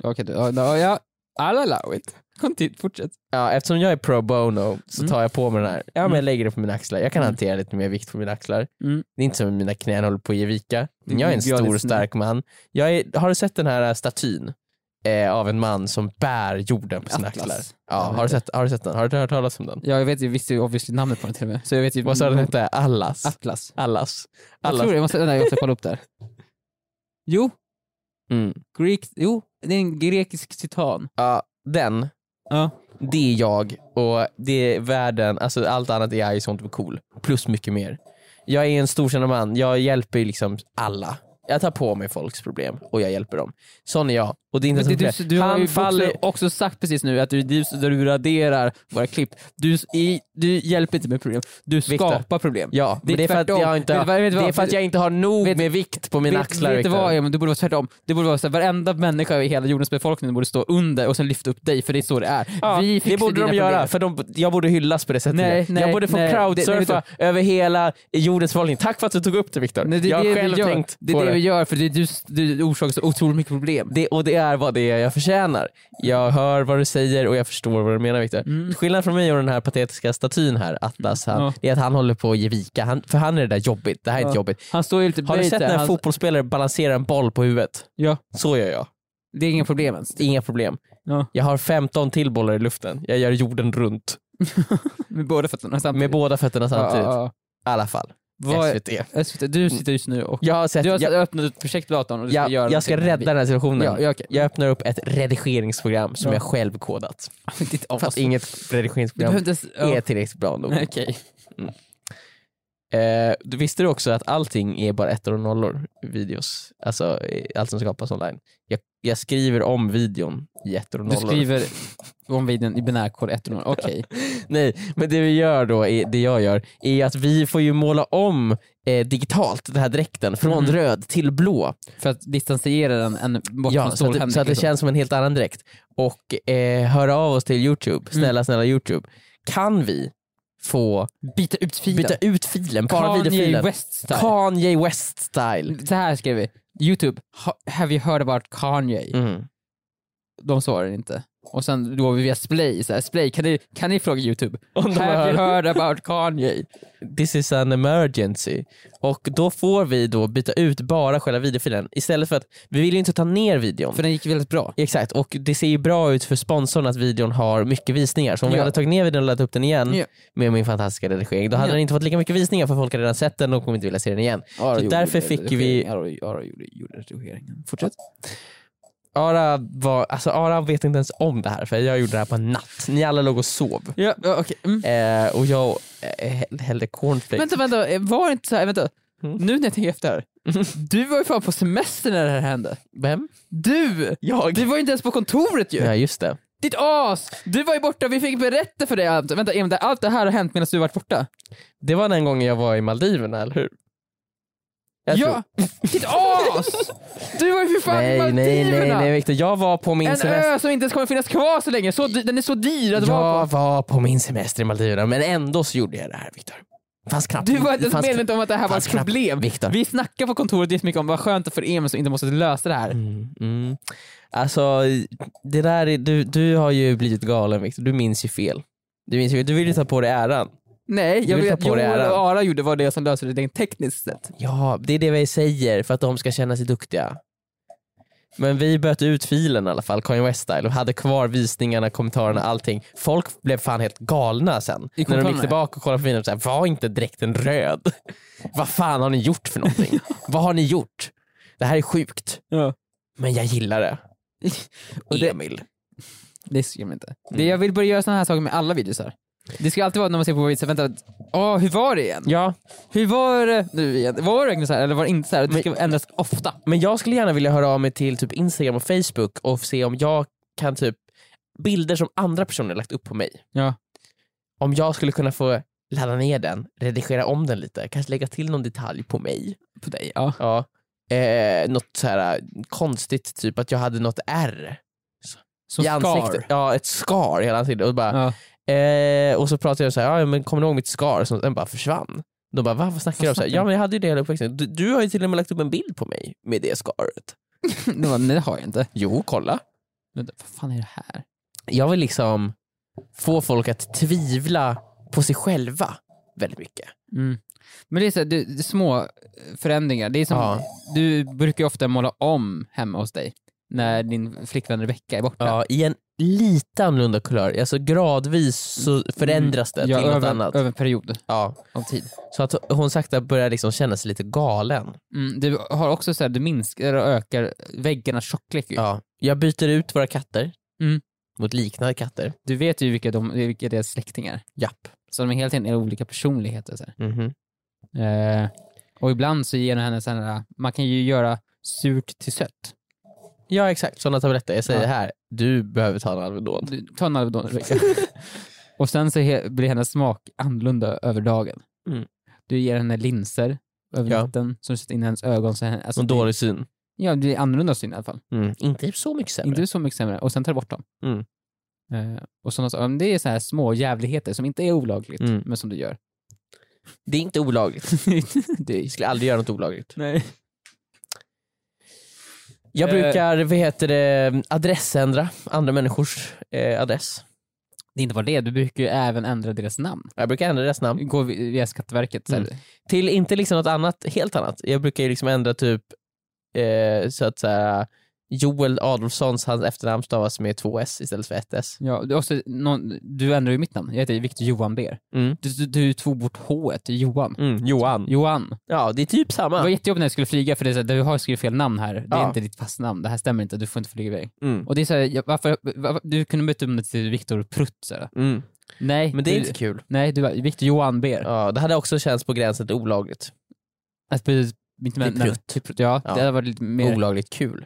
[SPEAKER 3] Okej, du- ja, ja, ja. I'll allow it. Continue, fortsätt.
[SPEAKER 2] Ja, eftersom jag är pro bono så
[SPEAKER 3] Mm.
[SPEAKER 2] tar jag på mig den här. Ja, men
[SPEAKER 3] Mm.
[SPEAKER 2] jag lägger det på mina axlar. Jag kan
[SPEAKER 3] Mm.
[SPEAKER 2] hantera lite mer vikt på mina axlar.
[SPEAKER 3] Mm.
[SPEAKER 2] Det är inte som att mina knän håller på att ge vika. Men jag är en
[SPEAKER 3] Jag är
[SPEAKER 2] stor
[SPEAKER 3] lite
[SPEAKER 2] och stark man. Jag är, har du sett den här statyn eh, av en man som bär jorden på sina
[SPEAKER 3] Atlas.
[SPEAKER 2] axlar?
[SPEAKER 3] Jag
[SPEAKER 2] Ja,
[SPEAKER 3] vet
[SPEAKER 2] har, du
[SPEAKER 3] det.
[SPEAKER 2] sett, har du sett den? Har du hört talas om den?
[SPEAKER 3] Ja, jag vet ju, visste ju obviously namnet på den till och med. Så jag vet ju...
[SPEAKER 2] Vad sa den hette? Allas.
[SPEAKER 3] Mm. Atlas.
[SPEAKER 2] Allas.
[SPEAKER 3] Jag
[SPEAKER 2] Allas.
[SPEAKER 3] tror det, jag måste, nej, jag måste kolla upp där. Jo,
[SPEAKER 2] Mm.
[SPEAKER 3] Greek, jo, det är en grekisk titan.
[SPEAKER 2] Ja, den,
[SPEAKER 3] Ja.
[SPEAKER 2] det är jag och det är världen. Alltså allt annat är jag sånt och cool. Plus mycket mer. Jag är en storkännande man. Jag hjälper ju liksom alla. Jag tar på mig folks problem och jag hjälper dem. Sån är jag. Och det är inte
[SPEAKER 3] Men det,
[SPEAKER 2] så
[SPEAKER 3] du, du har ju
[SPEAKER 2] Han
[SPEAKER 3] också-
[SPEAKER 2] faller...
[SPEAKER 3] också sagt precis nu att du, du, du raderar våra klipp. Du, i, du hjälper inte med problem, du
[SPEAKER 2] Viktor.
[SPEAKER 3] skapar problem.
[SPEAKER 2] Ja,
[SPEAKER 3] Det är
[SPEAKER 2] men det är för att
[SPEAKER 3] tvärtom.
[SPEAKER 2] jag inte
[SPEAKER 3] Vet du vad- vet du
[SPEAKER 2] det är
[SPEAKER 3] vad?
[SPEAKER 2] för att jag inte har nog
[SPEAKER 3] Vet-
[SPEAKER 2] med vikt på mina
[SPEAKER 3] vet,
[SPEAKER 2] axlar
[SPEAKER 3] vet du
[SPEAKER 2] Viktor.
[SPEAKER 3] vad Emil, det borde vara tvärtom. Det borde vara så här, varenda människa i hela jordens befolkning borde stå under och sen lyfta upp dig, för det är så det är.
[SPEAKER 2] Ja,
[SPEAKER 3] Vi fixar
[SPEAKER 2] det borde de
[SPEAKER 3] dina
[SPEAKER 2] göra,
[SPEAKER 3] problem.
[SPEAKER 2] för de, jag borde hyllas på det sättet.
[SPEAKER 3] Nej,
[SPEAKER 2] jag
[SPEAKER 3] nej,
[SPEAKER 2] borde få
[SPEAKER 3] nej. Det- det
[SPEAKER 2] crowdsurfa
[SPEAKER 3] vet
[SPEAKER 2] över hela jordens befolkning. Tack för att du tog upp det Viktor.
[SPEAKER 3] Nej, det är
[SPEAKER 2] Jag har
[SPEAKER 3] det vi
[SPEAKER 2] själv
[SPEAKER 3] gör.
[SPEAKER 2] tänkt
[SPEAKER 3] Det
[SPEAKER 2] på
[SPEAKER 3] är det
[SPEAKER 2] det.
[SPEAKER 3] vi gör, för det är du, du orsakar så otroligt mycket problem.
[SPEAKER 2] Det, och det är vad det är jag förtjänar. Jag hör vad du säger och jag förstår vad du menar Viktor.
[SPEAKER 3] Mm.
[SPEAKER 2] Skillnaden från mig och den här patetiska statyn här, Atlas, han,
[SPEAKER 3] Ja.
[SPEAKER 2] det är att han håller på att ge vika. Han, för han är det där jobbigt, det här är
[SPEAKER 3] Ja.
[SPEAKER 2] inte jobbigt.
[SPEAKER 3] Han står ju lite
[SPEAKER 2] Har du
[SPEAKER 3] böjt
[SPEAKER 2] sett
[SPEAKER 3] där.
[SPEAKER 2] när en
[SPEAKER 3] Han-
[SPEAKER 2] fotbollsspelare balanserar en boll på huvudet?
[SPEAKER 3] Ja,
[SPEAKER 2] Så gör jag.
[SPEAKER 3] det är inga problem ens.
[SPEAKER 2] Inga problem.
[SPEAKER 3] Ja.
[SPEAKER 2] Jag har 15 till bollar i luften. Jag gör jorden runt.
[SPEAKER 3] Med båda fötterna samtidigt.
[SPEAKER 2] Med båda fötterna samtidigt.
[SPEAKER 3] Ja, ja,
[SPEAKER 2] I alla fall.
[SPEAKER 3] Vad-
[SPEAKER 2] SVT.
[SPEAKER 3] ja. SVT, du sitter just nu och
[SPEAKER 2] Jag har sett,
[SPEAKER 3] Du har
[SPEAKER 2] jag,
[SPEAKER 3] öppnat ett projekt på datorn och du ska
[SPEAKER 2] jag,
[SPEAKER 3] göra
[SPEAKER 2] jag ska rädda den här situationen.
[SPEAKER 3] Ja, ja, okej.
[SPEAKER 2] Jag öppnar upp ett redigeringsprogram som
[SPEAKER 3] Ja.
[SPEAKER 2] jag själv kodat.
[SPEAKER 3] Ditt as.
[SPEAKER 2] Fast inget
[SPEAKER 3] Du
[SPEAKER 2] redigeringsprogram
[SPEAKER 3] behövde...
[SPEAKER 2] är
[SPEAKER 3] Ja.
[SPEAKER 2] tillräckligt bra nog.
[SPEAKER 3] Nej, Okej.
[SPEAKER 2] Eh, du visste du också att allting är bara ettor och nollor i videos? Alltså eh, allt som skapas online. Jag, jag skriver om videon i ettor och
[SPEAKER 3] Du
[SPEAKER 2] nollor.
[SPEAKER 3] skriver om videon i binärkod 100. Okej.
[SPEAKER 2] Nej, men det vi gör då, är, det jag gör, är att vi får ju måla om eh, digitalt den här dräkten från
[SPEAKER 3] Mhm.
[SPEAKER 2] röd till blå.
[SPEAKER 3] För att distansiera den än bort
[SPEAKER 2] Ja,
[SPEAKER 3] från
[SPEAKER 2] så, att,
[SPEAKER 3] stålhänderna,
[SPEAKER 2] så att det
[SPEAKER 3] liksom.
[SPEAKER 2] känns som en helt annan dräkt. Och eh, höra av oss till Youtube,
[SPEAKER 3] Mm.
[SPEAKER 2] snälla snälla Youtube. Kan vi få
[SPEAKER 3] Byta ut filen.
[SPEAKER 2] byta ut filen, bara
[SPEAKER 3] liksom. Kanye
[SPEAKER 2] videofilen?
[SPEAKER 3] West style.
[SPEAKER 2] Kanye West style.
[SPEAKER 3] Så här skrev vi. Youtube, ha- have you heard about Kanye?
[SPEAKER 2] Mm.
[SPEAKER 3] De svarar inte. Och sen då via Splay, så här, Splay kan, ni, kan ni fråga Youtube?
[SPEAKER 2] Om de
[SPEAKER 3] Have you
[SPEAKER 2] hör-
[SPEAKER 3] heard about Kanye?
[SPEAKER 2] This is an emergency. Och då får vi då byta ut bara själva videofilen istället för att vi vill ju inte ta ner videon.
[SPEAKER 3] För den gick väldigt bra.
[SPEAKER 2] Exakt, och det ser ju bra ut för sponsorn att videon har mycket visningar. Så om vi
[SPEAKER 3] Ja.
[SPEAKER 2] hade tagit ner videon och lagt upp den igen
[SPEAKER 3] Ja.
[SPEAKER 2] med min fantastiska redigering, då hade
[SPEAKER 3] Ja.
[SPEAKER 2] den inte fått lika mycket visningar för folk hade redan sett den och kommer inte vilja se den igen.
[SPEAKER 3] Ara gjorde
[SPEAKER 2] därför fick vi-
[SPEAKER 3] redigeringen. Ara, Ara gjorde, gjorde redigeringen. Fortsätt.
[SPEAKER 2] Ara, var, alltså Ara vet inte ens om det här för jag gjorde det här på en natt. Ni alla låg och sov.
[SPEAKER 3] Ja, ja, okej. Mm.
[SPEAKER 2] Eh, och jag eh, hällde cornflakes.
[SPEAKER 3] Vänta, vänta, eh, var det inte så här, vänta.
[SPEAKER 2] Mm.
[SPEAKER 3] Nu när jag tänker efter. Du var ju fan på semester när det här hände.
[SPEAKER 2] Vem?
[SPEAKER 3] Du!
[SPEAKER 2] Jag?
[SPEAKER 3] Du var ju inte ens på kontoret ju!
[SPEAKER 2] Ja just det.
[SPEAKER 3] Ditt as! Du var ju borta, vi fick berätta för dig allt. Vänta, Emil, det- allt det här har hänt medan du varit borta.
[SPEAKER 2] Det var den gången jag var i Maldiverna, eller hur? Jag tror-
[SPEAKER 3] ja! Ditt as! Du var ju för fan
[SPEAKER 2] Nej,
[SPEAKER 3] på
[SPEAKER 2] nej, nej,
[SPEAKER 3] Maldiverna!
[SPEAKER 2] nej Victor. Jag var på min
[SPEAKER 3] En
[SPEAKER 2] semester.
[SPEAKER 3] ö som inte ens kommer finnas kvar så länge, så, dy- den är så dyr att vara
[SPEAKER 2] Jag
[SPEAKER 3] på.
[SPEAKER 2] var på min semester i Maldiverna men ändå så gjorde jag det här Victor. Det fanns knappt.
[SPEAKER 3] Du var inte
[SPEAKER 2] det
[SPEAKER 3] ens
[SPEAKER 2] fanns
[SPEAKER 3] medveten om att det här var ett
[SPEAKER 2] fanns knappt-
[SPEAKER 3] problem.
[SPEAKER 2] Victor.
[SPEAKER 3] Vi snackar på kontoret jättemycket om vad skönt för Emil som inte måste lösa det här.
[SPEAKER 2] Mm, mm. Alltså, det där är, du, du har ju blivit galen Victor. Du minns ju fel. Du, minns ju, du vill ju ta på dig äran.
[SPEAKER 3] Nej,
[SPEAKER 2] Du
[SPEAKER 3] jag
[SPEAKER 2] vill
[SPEAKER 3] vet
[SPEAKER 2] ta på dig
[SPEAKER 3] Joel
[SPEAKER 2] äran.
[SPEAKER 3] och Ara gjorde var det som löste det rent tekniskt sett.
[SPEAKER 2] Ja, det är det vi säger för att de ska känna sig duktiga. Men vi böt ut filen i alla fall, Kanye West-style, och hade kvar visningarna, kommentarerna, allting. Folk blev fan helt galna sen. När de
[SPEAKER 3] kommentarerna,
[SPEAKER 2] gick
[SPEAKER 3] ja.
[SPEAKER 2] tillbaka och kollade på filen, och så här, var inte dräkten röd? Vad fan har ni gjort för någonting? Vad har ni gjort? Det här är sjukt,
[SPEAKER 3] Ja.
[SPEAKER 2] men jag gillar det.
[SPEAKER 3] Och det-
[SPEAKER 2] Emil.
[SPEAKER 3] Det ser man inte. Det,
[SPEAKER 2] Mm.
[SPEAKER 3] jag vill börja göra sådana här saker med alla videosar. Det ska alltid vara när man ser på vår video, så vänta, åh hur var det igen?
[SPEAKER 2] Ja,
[SPEAKER 3] Hur var det nu igen? Var det verkligen så här eller var det inte så här? Det ska ändras ofta.
[SPEAKER 2] men jag skulle gärna vilja höra av mig till typ Instagram och Facebook och se om jag kan typ bilder som andra personer lagt upp på mig.
[SPEAKER 3] Ja.
[SPEAKER 2] om jag skulle kunna få ladda ner den, redigera om den lite, kanske lägga till någon detalj på mig.
[SPEAKER 3] På dig, ja.
[SPEAKER 2] Ja. Eh, något så här konstigt, typ att jag hade något R
[SPEAKER 3] Som
[SPEAKER 2] i ansiktet. Ja, ett skar hela tiden. Och, bara,
[SPEAKER 3] Ja.
[SPEAKER 2] eh, och så pratade jag så här, ja, men kommer du ihåg mitt skar? Så den bara försvann. De bara, Va, vad snackar du om? Så här,
[SPEAKER 3] snackar du
[SPEAKER 2] ja
[SPEAKER 3] om?
[SPEAKER 2] men jag hade ju det hela uppväxten. Du, du har ju till och med lagt upp en bild på mig med det skaret.
[SPEAKER 3] Det var, nej det har jag inte.
[SPEAKER 2] Jo, kolla.
[SPEAKER 3] Vänta, vad fan är det här?
[SPEAKER 2] Jag vill liksom få folk att tvivla på sig själva väldigt mycket.
[SPEAKER 3] Mm. Men det är, så här, du, det är små förändringar. Det är som,
[SPEAKER 2] Ja.
[SPEAKER 3] Du brukar ju ofta måla om hemma hos dig när din flickvän Rebecca är borta.
[SPEAKER 2] Ja, i en lite annorlunda kulör. Alltså gradvis så förändras det
[SPEAKER 3] Mm. Ja,
[SPEAKER 2] till något
[SPEAKER 3] över,
[SPEAKER 2] annat.
[SPEAKER 3] över en period
[SPEAKER 2] Ja.
[SPEAKER 3] av tid.
[SPEAKER 2] Så att hon sakta börjar liksom känna sig lite galen.
[SPEAKER 3] Mm, du har också så här, du minskar och ökar väggarnas tjocklek. ju.
[SPEAKER 2] Ja. Jag byter ut våra katter
[SPEAKER 3] Mm.
[SPEAKER 2] mot liknande katter.
[SPEAKER 3] Du vet ju vilka, de, vilka deras släktingar
[SPEAKER 2] Japp.
[SPEAKER 3] Så de är hela tiden är olika personligheter. Så här. Eh, och ibland så ger den henne sådana här, man kan ju göra surt till sött.
[SPEAKER 2] Ja exakt, sådana tabletter. Jag säger
[SPEAKER 3] Ja.
[SPEAKER 2] här, du behöver ta en Alvedon.
[SPEAKER 3] Du, ta en Alvedon Rebecca. Och sen så he, blir hennes smak annorlunda över dagen.
[SPEAKER 2] Mm.
[SPEAKER 3] Du ger henne linser över
[SPEAKER 2] Ja.
[SPEAKER 3] natten som du sätter in i hennes ögon. Så henne, alltså,
[SPEAKER 2] Som dålig syn.
[SPEAKER 3] det- Ja, det är annorlunda syn i alla fall.
[SPEAKER 2] Mm. Inte så mycket sämre.
[SPEAKER 3] Inte så mycket sämre. Och sen tar du bort dem.
[SPEAKER 2] Mm.
[SPEAKER 3] Eh, och sådana, så- men det är så här små jävligheter som inte är olagligt,
[SPEAKER 2] Mm.
[SPEAKER 3] men som du gör.
[SPEAKER 2] Det är inte olagligt.
[SPEAKER 3] det
[SPEAKER 2] Vi skulle aldrig göra något olagligt.
[SPEAKER 3] Nej.
[SPEAKER 2] Jag
[SPEAKER 3] Eh.
[SPEAKER 2] brukar, vad heter det, adressändra andra människors eh, adress.
[SPEAKER 3] Det är inte bara det, du brukar ju även ändra deras namn.
[SPEAKER 2] Jag brukar ändra deras namn.
[SPEAKER 3] Gå vi- via Skatteverket. Så
[SPEAKER 2] Mm.
[SPEAKER 3] här.
[SPEAKER 2] Till inte liksom något annat, helt annat. Jag brukar ju liksom ändra typ eh, så att säga Joel Adolfssons, hans efternamn stavas med två s istället för ett s.
[SPEAKER 3] Ja, du, också, någon, du ändrar ju mitt namn. Jag heter Victor Johan Ber.
[SPEAKER 2] Mm.
[SPEAKER 3] Du, du, du tog bort H till Johan.
[SPEAKER 2] Johan.
[SPEAKER 3] Johan.
[SPEAKER 2] Ja, det är typ
[SPEAKER 3] Det var
[SPEAKER 2] samma.
[SPEAKER 3] jättejobbigt när jag skulle flyga för det är så här, du har skrivit fel namn här. Det är
[SPEAKER 2] Ja.
[SPEAKER 3] inte ditt fastnamn. Det här stämmer inte. Du får inte flyga iväg.
[SPEAKER 2] Mm.
[SPEAKER 3] Och det är så här, jag- varför, varför, du kunde byta om det till Viktor Prutt. Så här.
[SPEAKER 2] Mm.
[SPEAKER 3] Nej,
[SPEAKER 2] Men det är
[SPEAKER 3] du,
[SPEAKER 2] inte kul.
[SPEAKER 3] Nej, du var Victor Johan Ber.
[SPEAKER 2] Ja, det hade också känts på gränsen till olagligt.
[SPEAKER 3] Att byta Alltså, mitt namn-
[SPEAKER 2] Till Prutt.
[SPEAKER 3] till Prutt. Ja,
[SPEAKER 2] Ja.
[SPEAKER 3] det hade varit lite mer...
[SPEAKER 2] Olagligt kul.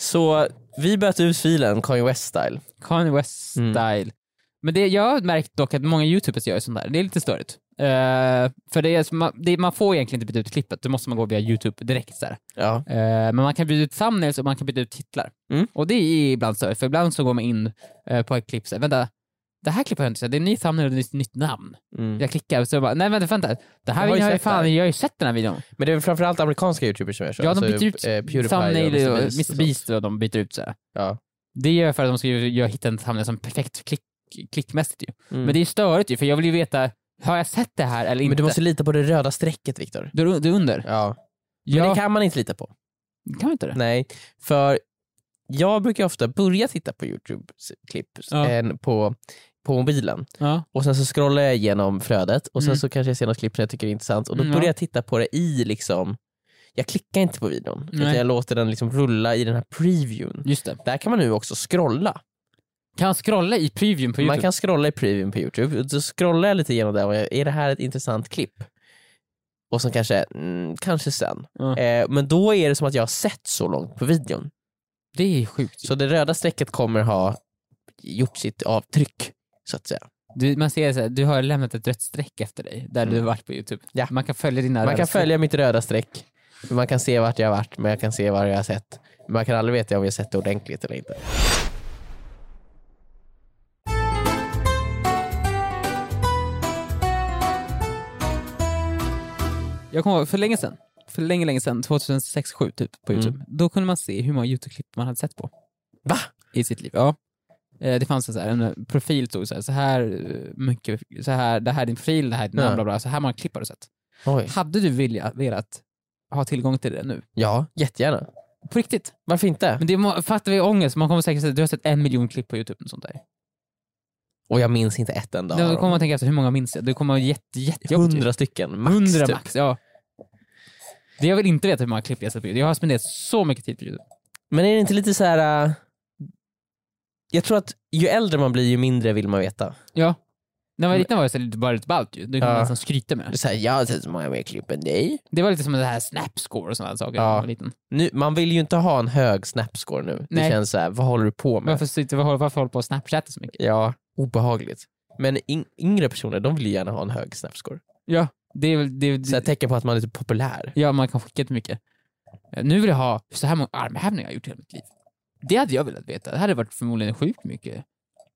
[SPEAKER 2] Så vi böt ut filen Kanye West-style.
[SPEAKER 3] Kanye West
[SPEAKER 2] Mm.
[SPEAKER 3] style. Men det, jag har märkt dock att många youtubers gör sånt där. Det är lite störigt. Eh, för det är, som- man, det, man får egentligen inte byta ut klippet, då måste man gå via youtube direkt. Så här.
[SPEAKER 2] Ja.
[SPEAKER 3] Eh, men man kan byta ut thumbnails och man kan byta ut titlar.
[SPEAKER 2] Mm.
[SPEAKER 3] Och det är ibland störigt, för ibland så går man in eh, på ett klipp och vänta, det här klippet har jag inte sett, det är en ny thumbnail och ett nytt namn.
[SPEAKER 2] Mm.
[SPEAKER 3] Jag klickar och så bara, nej vänta, vänta. Det
[SPEAKER 2] har
[SPEAKER 3] här
[SPEAKER 2] ju
[SPEAKER 3] videon har jag
[SPEAKER 2] sett det här.
[SPEAKER 3] fan, jag har ju sett den här videon.
[SPEAKER 2] Men det är väl framförallt amerikanska youtubers som gör så?
[SPEAKER 3] Ja, de
[SPEAKER 2] Alltså,
[SPEAKER 3] byter ut
[SPEAKER 2] eh, Pewdiepie
[SPEAKER 3] thumbnail och
[SPEAKER 2] och
[SPEAKER 3] Mr.
[SPEAKER 2] sånt.
[SPEAKER 3] Beast och de byter ut så här.
[SPEAKER 2] Ja.
[SPEAKER 3] Det gör jag för att de ska ju jag hitta en thumbnail som perfekt klick, klickmässigt ju.
[SPEAKER 2] Mm.
[SPEAKER 3] Men det är ju störigt ju, för jag vill ju veta, har jag sett det här eller inte?
[SPEAKER 2] Men du måste lita på det röda strecket Viktor.
[SPEAKER 3] du, du under?
[SPEAKER 2] Ja. Men
[SPEAKER 3] Ja,
[SPEAKER 2] det kan man inte lita på.
[SPEAKER 3] kan... kan vi inte det?
[SPEAKER 2] Nej, för jag brukar ofta börja titta på Youtube-klipp
[SPEAKER 3] Ja.
[SPEAKER 2] eh, på, på mobilen
[SPEAKER 3] Ja.
[SPEAKER 2] och sen så scrollar jag igenom flödet och sen
[SPEAKER 3] Mm.
[SPEAKER 2] så kanske jag ser något klipp som jag tycker är intressant och då
[SPEAKER 3] Mm,
[SPEAKER 2] börjar
[SPEAKER 3] ja.
[SPEAKER 2] jag titta på det i liksom jag klickar inte på videon utan
[SPEAKER 3] Nej.
[SPEAKER 2] jag låter den liksom rulla i den här previewn.
[SPEAKER 3] Just det.
[SPEAKER 2] Där kan man nu också scrolla.
[SPEAKER 3] Kan jag scrolla i previewn på
[SPEAKER 2] Man
[SPEAKER 3] YouTube?
[SPEAKER 2] kan scrolla i previewn på Youtube. Och Så scrollar jag lite igenom det och jag, är det här ett intressant klipp? Och sen kanske, mm, kanske sen.
[SPEAKER 3] Ja.
[SPEAKER 2] Eh, men då är det som att jag har sett så långt på videon.
[SPEAKER 3] Det är sjukt.
[SPEAKER 2] Så det röda strecket kommer ha gjort sitt avtryck, så att säga.
[SPEAKER 3] Du, man ser så här, du har lämnat ett rött streck efter dig där
[SPEAKER 2] Mm.
[SPEAKER 3] du har varit på YouTube.
[SPEAKER 2] Ja.
[SPEAKER 3] Man kan följa dina
[SPEAKER 2] Man
[SPEAKER 3] röda
[SPEAKER 2] kan
[SPEAKER 3] streck.
[SPEAKER 2] följa mitt röda streck, man kan se vart jag har varit, men jag kan se vad jag har sett. Men man kan aldrig veta om jag har sett det ordentligt eller inte.
[SPEAKER 3] Jag kommer ihåg, för länge sedan, för länge, länge sedan, 2006-2007 typ på
[SPEAKER 2] Mm.
[SPEAKER 3] YouTube, då kunde man se hur många YouTube-klipp man hade sett på.
[SPEAKER 2] Va?
[SPEAKER 3] I sitt liv, ja. Eh, Det fanns en, så här, en profil, stod så här, så här eh, mycket, så här, det här är din profil, det här är din
[SPEAKER 2] Ja.
[SPEAKER 3] namn, bla, bla, så här många klipp har du sett.
[SPEAKER 2] Oj.
[SPEAKER 3] Hade du vilja, velat ha tillgång till det nu?
[SPEAKER 2] Ja, jättegärna.
[SPEAKER 3] På riktigt?
[SPEAKER 2] Varför inte?
[SPEAKER 3] Men det må- fattar vi ångest, man kommer säkert säga att du har sett en miljon klipp på YouTube och sånt där.
[SPEAKER 2] Och jag minns inte ett enda
[SPEAKER 3] Då
[SPEAKER 2] av
[SPEAKER 3] kommer
[SPEAKER 2] dem.
[SPEAKER 3] man tänka efter, hur många minns jag? Du kommer ha jätte, jättejobbigt. ju.
[SPEAKER 2] Hundra stycken, max.
[SPEAKER 3] Hundra
[SPEAKER 2] typ.
[SPEAKER 3] max, ja. Det jag vill inte veta hur många klipp jag sett på YouTube. Jag har spenderat så mycket tid på YouTube.
[SPEAKER 2] Men är det inte lite så här... äh, Jag tror att ju äldre man blir ju mindre vill man veta.
[SPEAKER 3] Ja. När jag var liten var jag så lite bara lite ballt ju. Det kunde
[SPEAKER 2] Ja.
[SPEAKER 3] man nästan skryta med.
[SPEAKER 2] Det är så här, jag har sett så många mer klipp än dig.
[SPEAKER 3] Det var lite som det här snapscore och sådana saker
[SPEAKER 2] Ja.
[SPEAKER 3] när jag var liten.
[SPEAKER 2] Nu, man vill ju inte ha en hög snapscore nu. Det
[SPEAKER 3] Nej.
[SPEAKER 2] känns så här, vad håller du på med?
[SPEAKER 3] Varför, sitter- varför, varför håller på och snapchatta så mycket?
[SPEAKER 2] Ja, obehagligt. Men yng- yngre personer de vill ju gärna ha en hög snapscore.
[SPEAKER 3] Ja. Det är väl... Det, är-
[SPEAKER 2] Så ett tecken på att man är typ populär.
[SPEAKER 3] ja, man kan skicka inte mycket. Eh, Nu vill jag ha så här många armhävningar jag har gjort i hela mitt liv. Det hade jag velat veta. Det hade varit förmodligen sjukt mycket.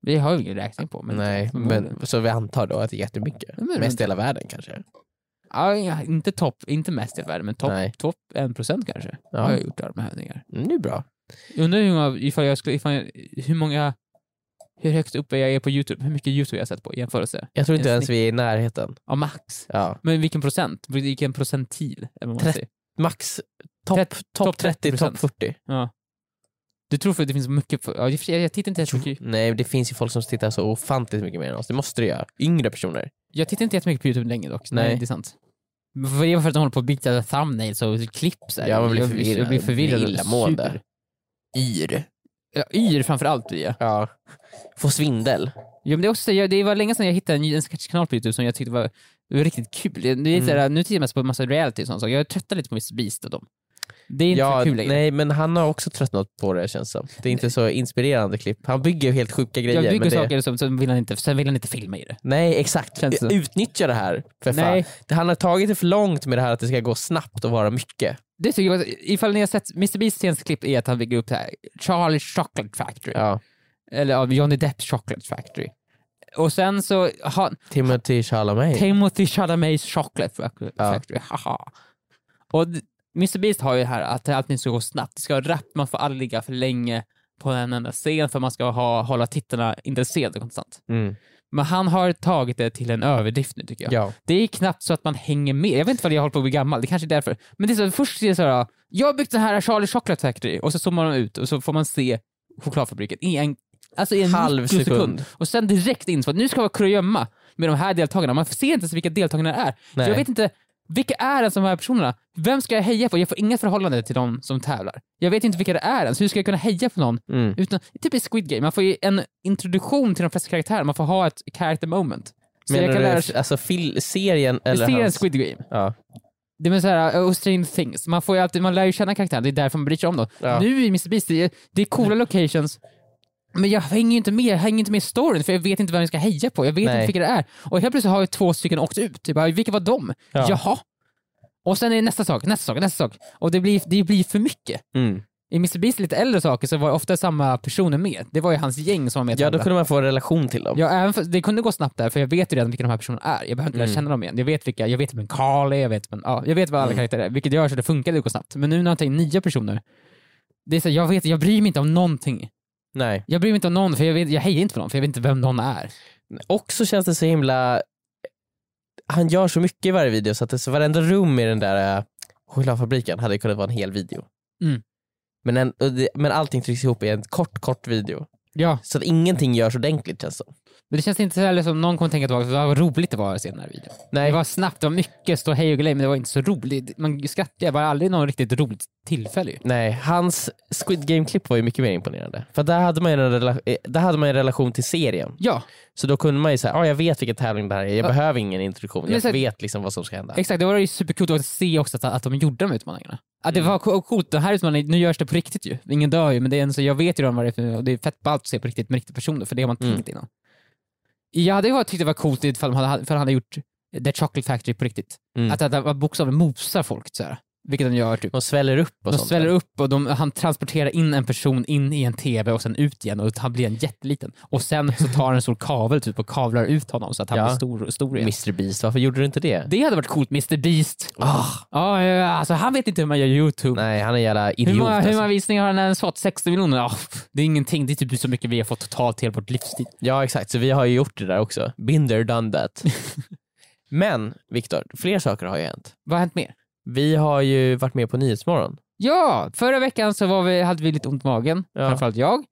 [SPEAKER 3] Vi har ju ingen räkning på. Men
[SPEAKER 2] Nej,
[SPEAKER 3] förmodligen.
[SPEAKER 2] men, så vi antar då att det är jättemycket.
[SPEAKER 3] Mm. Men-
[SPEAKER 2] Mest i hela världen kanske.
[SPEAKER 3] Ja, ja, inte topp, inte mest i världen, men topp
[SPEAKER 2] Nej.
[SPEAKER 3] top 1% kanske.
[SPEAKER 2] Ja.
[SPEAKER 3] Har jag gjort armhävningar.
[SPEAKER 2] Mm, det är bra.
[SPEAKER 3] Jag undrar hur många, ifall jag skulle, ifall jag, hur många, hur högt uppe jag är på YouTube, hur mycket YouTube jag har sett på i jämförelse.
[SPEAKER 2] Jag tror inte
[SPEAKER 3] En
[SPEAKER 2] ens
[SPEAKER 3] snitt.
[SPEAKER 2] vi är i närheten.
[SPEAKER 3] Ja, max.
[SPEAKER 2] Ja.
[SPEAKER 3] Men vilken procent? Vilken procentil? Eller vad man
[SPEAKER 2] Trett-
[SPEAKER 3] säger.
[SPEAKER 2] Max, topp
[SPEAKER 3] Trett-
[SPEAKER 2] top
[SPEAKER 3] topp
[SPEAKER 2] 30, topp
[SPEAKER 3] 30%.
[SPEAKER 2] 40.
[SPEAKER 3] Du tror för att det finns mycket, för, ja, i och för sig, jag tittar inte jättemycket,
[SPEAKER 2] Nej, men det finns ju folk som tittar så ofantligt mycket mer än oss. Det måste det göra. Yngre personer.
[SPEAKER 3] jag tittar inte jättemycket på YouTube längre dock.
[SPEAKER 2] Nej.
[SPEAKER 3] Nej. det är sant. Men För det var för att de håller på att byta thumbnails och klipp så här.
[SPEAKER 2] Ja, man blir
[SPEAKER 3] jag,
[SPEAKER 2] förvirrad.
[SPEAKER 3] Jag blir förvirrad. och
[SPEAKER 2] Blir illamående.
[SPEAKER 3] sur.
[SPEAKER 2] Yr.
[SPEAKER 3] Ja, yr framförallt blir jag.
[SPEAKER 2] Ja. Får svindel.
[SPEAKER 3] Ja, men det, är också, jag- det var länge sedan jag hittade en, ny- en sketchkanal på YouTube som jag tyckte var, det var riktigt kul. Det är
[SPEAKER 2] Mm.
[SPEAKER 3] mm. såhär, nu tittar jag mest på en massa reality och sånt. så Jag tröttnar lite på Mr Beast och dem. Det är inte
[SPEAKER 2] ja,
[SPEAKER 3] så kul längre.
[SPEAKER 2] Nej, men han har också tröttnat på det känns det som. Det är inte så inspirerande klipp. Han bygger ju helt sjuka grejer.
[SPEAKER 3] Jag
[SPEAKER 2] men
[SPEAKER 3] bygger
[SPEAKER 2] det...
[SPEAKER 3] saker som sen vill, han inte, sen vill han inte filma i det.
[SPEAKER 2] Nej, exakt.
[SPEAKER 3] Känns det.
[SPEAKER 2] Utnyttja det här. För
[SPEAKER 3] Nej.
[SPEAKER 2] fan. Det- Han har tagit det för långt med det här att det ska gå snabbt och vara mycket.
[SPEAKER 3] Det tycker jag, var- ifall ni har sett, Mr Beasts senaste klipp är att han bygger upp det här Charlie Chocolate Factory.
[SPEAKER 2] Ja.
[SPEAKER 3] Eller ja, Johnny Depps Chocolate Factory. Och sen så, har
[SPEAKER 2] Timothy Chalamet.
[SPEAKER 3] Timothy Chalamets Chocolate Fac-
[SPEAKER 2] Ja.
[SPEAKER 3] Factory, haha. Och d- Mr Beast har ju det här att allting ska gå snabbt, det ska vara rappt, man får aldrig ligga för länge på en enda scen för man ska ha, hålla tittarna intresserade konstant.
[SPEAKER 2] mm.
[SPEAKER 3] Men han har tagit det till en överdrift nu tycker jag.
[SPEAKER 2] ja.
[SPEAKER 3] Det är knappt så att man hänger med. Jag vet inte vad jag håller på att bli gammal, det kanske är därför. Men det är så, först är det så här, jag har byggt den här Charlie Chocolate Factory och så zoomar man ut och så får man se chokladfabriken i en, alltså i en
[SPEAKER 2] Halv
[SPEAKER 3] mikrosekund.
[SPEAKER 2] sekund.
[SPEAKER 3] Och sen direkt in så att nu ska vi vara gömma med de här deltagarna. Man ser inte ens vilka deltagarna är.
[SPEAKER 2] Nej.
[SPEAKER 3] Så jag vet inte, vilka är ens de här personerna? Vem ska jag heja på? Jag får inget förhållande till de som tävlar. Jag vet inte vilka det är ens. Hur ska jag kunna heja på någon?
[SPEAKER 2] Mm.
[SPEAKER 3] Utan, typ i Squid Game, man får ju en introduktion till de flesta karaktärer. Man får ha ett character moment. Så
[SPEAKER 2] Menar
[SPEAKER 3] jag kan
[SPEAKER 2] du
[SPEAKER 3] lära
[SPEAKER 2] alltså, fil- serien eller
[SPEAKER 3] serien
[SPEAKER 2] hans...
[SPEAKER 3] Squid Game.
[SPEAKER 2] Ja.
[SPEAKER 3] Det är så här, uh, och Strange Things. Man, får ju alltid, man lär ju känna karaktären, det är därför man bryr sig om dem.
[SPEAKER 2] Ja.
[SPEAKER 3] Nu i Mr Beast, det är, det är coola locations, men jag hänger ju inte med, jag hänger inte med i storyn för jag vet inte vem jag ska heja på, jag vet
[SPEAKER 2] Nej.
[SPEAKER 3] inte vilka det är. Och helt plötsligt har ju två stycken åkt ut, typ, vilka var de?
[SPEAKER 2] Ja.
[SPEAKER 3] Jaha. Och sen är det nästa sak, nästa sak, nästa sak. Och det blir, det blir för mycket.
[SPEAKER 2] Mm.
[SPEAKER 3] I Mr Beast lite äldre saker så var det ofta samma personer med. Det var ju hans gäng som var med.
[SPEAKER 2] Ja, då
[SPEAKER 3] tävla.
[SPEAKER 2] kunde man få en relation till dem.
[SPEAKER 3] Ja, även för, det kunde gå snabbt där, för jag vet ju redan vilka de här personerna är. Jag behöver inte lära
[SPEAKER 2] Mm.
[SPEAKER 3] känna dem igen. Jag vet vilka, jag vet vem Carl är, jag vet, vem, ja, jag vet vad alla karaktärer är, vilket gör så det funkar att gå snabbt. Men nu när jag tar in nya personer, det är så, här, jag, vet, jag bryr mig inte om någonting.
[SPEAKER 2] Nej.
[SPEAKER 3] Jag bryr mig inte om någon, för jag, vet, jag hejar inte på någon, för jag vet inte vem någon är.
[SPEAKER 2] Och så känns det så himla... Han gör så mycket i varje video så att det, så varenda rum i den där eh, chokladfabriken hade kunnat vara en hel video.
[SPEAKER 3] Mm.
[SPEAKER 2] Men, en, och det, men allting trycks ihop i en kort, kort video.
[SPEAKER 3] Ja,
[SPEAKER 2] Så att ingenting görs ordentligt känns det som.
[SPEAKER 3] men det känns inte så heller som någon kommer tänka tillbaka, så, "Ah, vad roligt det var att se den här videon.
[SPEAKER 2] Nej.
[SPEAKER 3] Det var snabbt, det var mycket stå hej och glej, men det var inte så roligt. Man skrattade, det var aldrig någon riktigt roligt tillfälle ju.
[SPEAKER 2] Nej, hans Squid Game-klipp var ju mycket mer imponerande. För där hade man ju en, rela- eh, där hade man ju en relation till serien.
[SPEAKER 3] Ja,
[SPEAKER 2] Så då kunde man ju säga, ja jag vet vilken tävling det här är, jag
[SPEAKER 3] Ja.
[SPEAKER 2] behöver ingen introduktion,
[SPEAKER 3] Men
[SPEAKER 2] jag
[SPEAKER 3] så-
[SPEAKER 2] vet liksom vad som ska hända.
[SPEAKER 3] Exakt, det var ju supercoolt att se också att, att de gjorde de utmaningarna. Att det
[SPEAKER 2] Mm.
[SPEAKER 3] var co- coolt, den här utmaningen, nu görs det på riktigt ju. Ingen dör ju, men det är en, så jag vet ju redan vad det är för, och det är fett ballt att se på riktigt med riktiga personer, för det har man
[SPEAKER 2] Mm.
[SPEAKER 3] tänkt innan. Jag hade ju tyckt det var coolt ifall de hade, ifall han hade gjort The Chocolate Factory på riktigt.
[SPEAKER 2] Mm.
[SPEAKER 3] Att, att, att bokstavligen mosar folk så här. vilket de gör typ.
[SPEAKER 2] De sväller upp och
[SPEAKER 3] De
[SPEAKER 2] sånt.
[SPEAKER 3] sväller
[SPEAKER 2] där.
[SPEAKER 3] upp och de, han transporterar in en person in i en TV och sen ut igen och han blir en jätteliten. Och sen så tar han en stor kavel typ och kavlar ut honom så att han
[SPEAKER 2] Ja.
[SPEAKER 3] blir stor, stor igen.
[SPEAKER 2] Mr Beast, varför gjorde du inte det?
[SPEAKER 3] Det hade varit coolt, Mr Beast.
[SPEAKER 2] Ah,
[SPEAKER 3] Ja, ja, ja, alltså han vet inte hur man gör YouTube.
[SPEAKER 2] nej, han är en jävla idiot.
[SPEAKER 3] hur, många, hur
[SPEAKER 2] alltså.
[SPEAKER 3] många visningar har han ens fått? 60 miljoner? Ja, pff, det är ingenting. Det är typ så mycket vi har fått totalt hela vårt livstid.
[SPEAKER 2] Ja exakt, så vi har ju gjort det där också. Been there, done that. Men Viktor, fler saker har ju hänt.
[SPEAKER 3] Vad har hänt mer?
[SPEAKER 2] Vi har ju varit med på Nyhetsmorgon.
[SPEAKER 3] Ja, förra veckan så var vi, hade vi lite ont i magen,
[SPEAKER 2] Ja.
[SPEAKER 3] framförallt jag,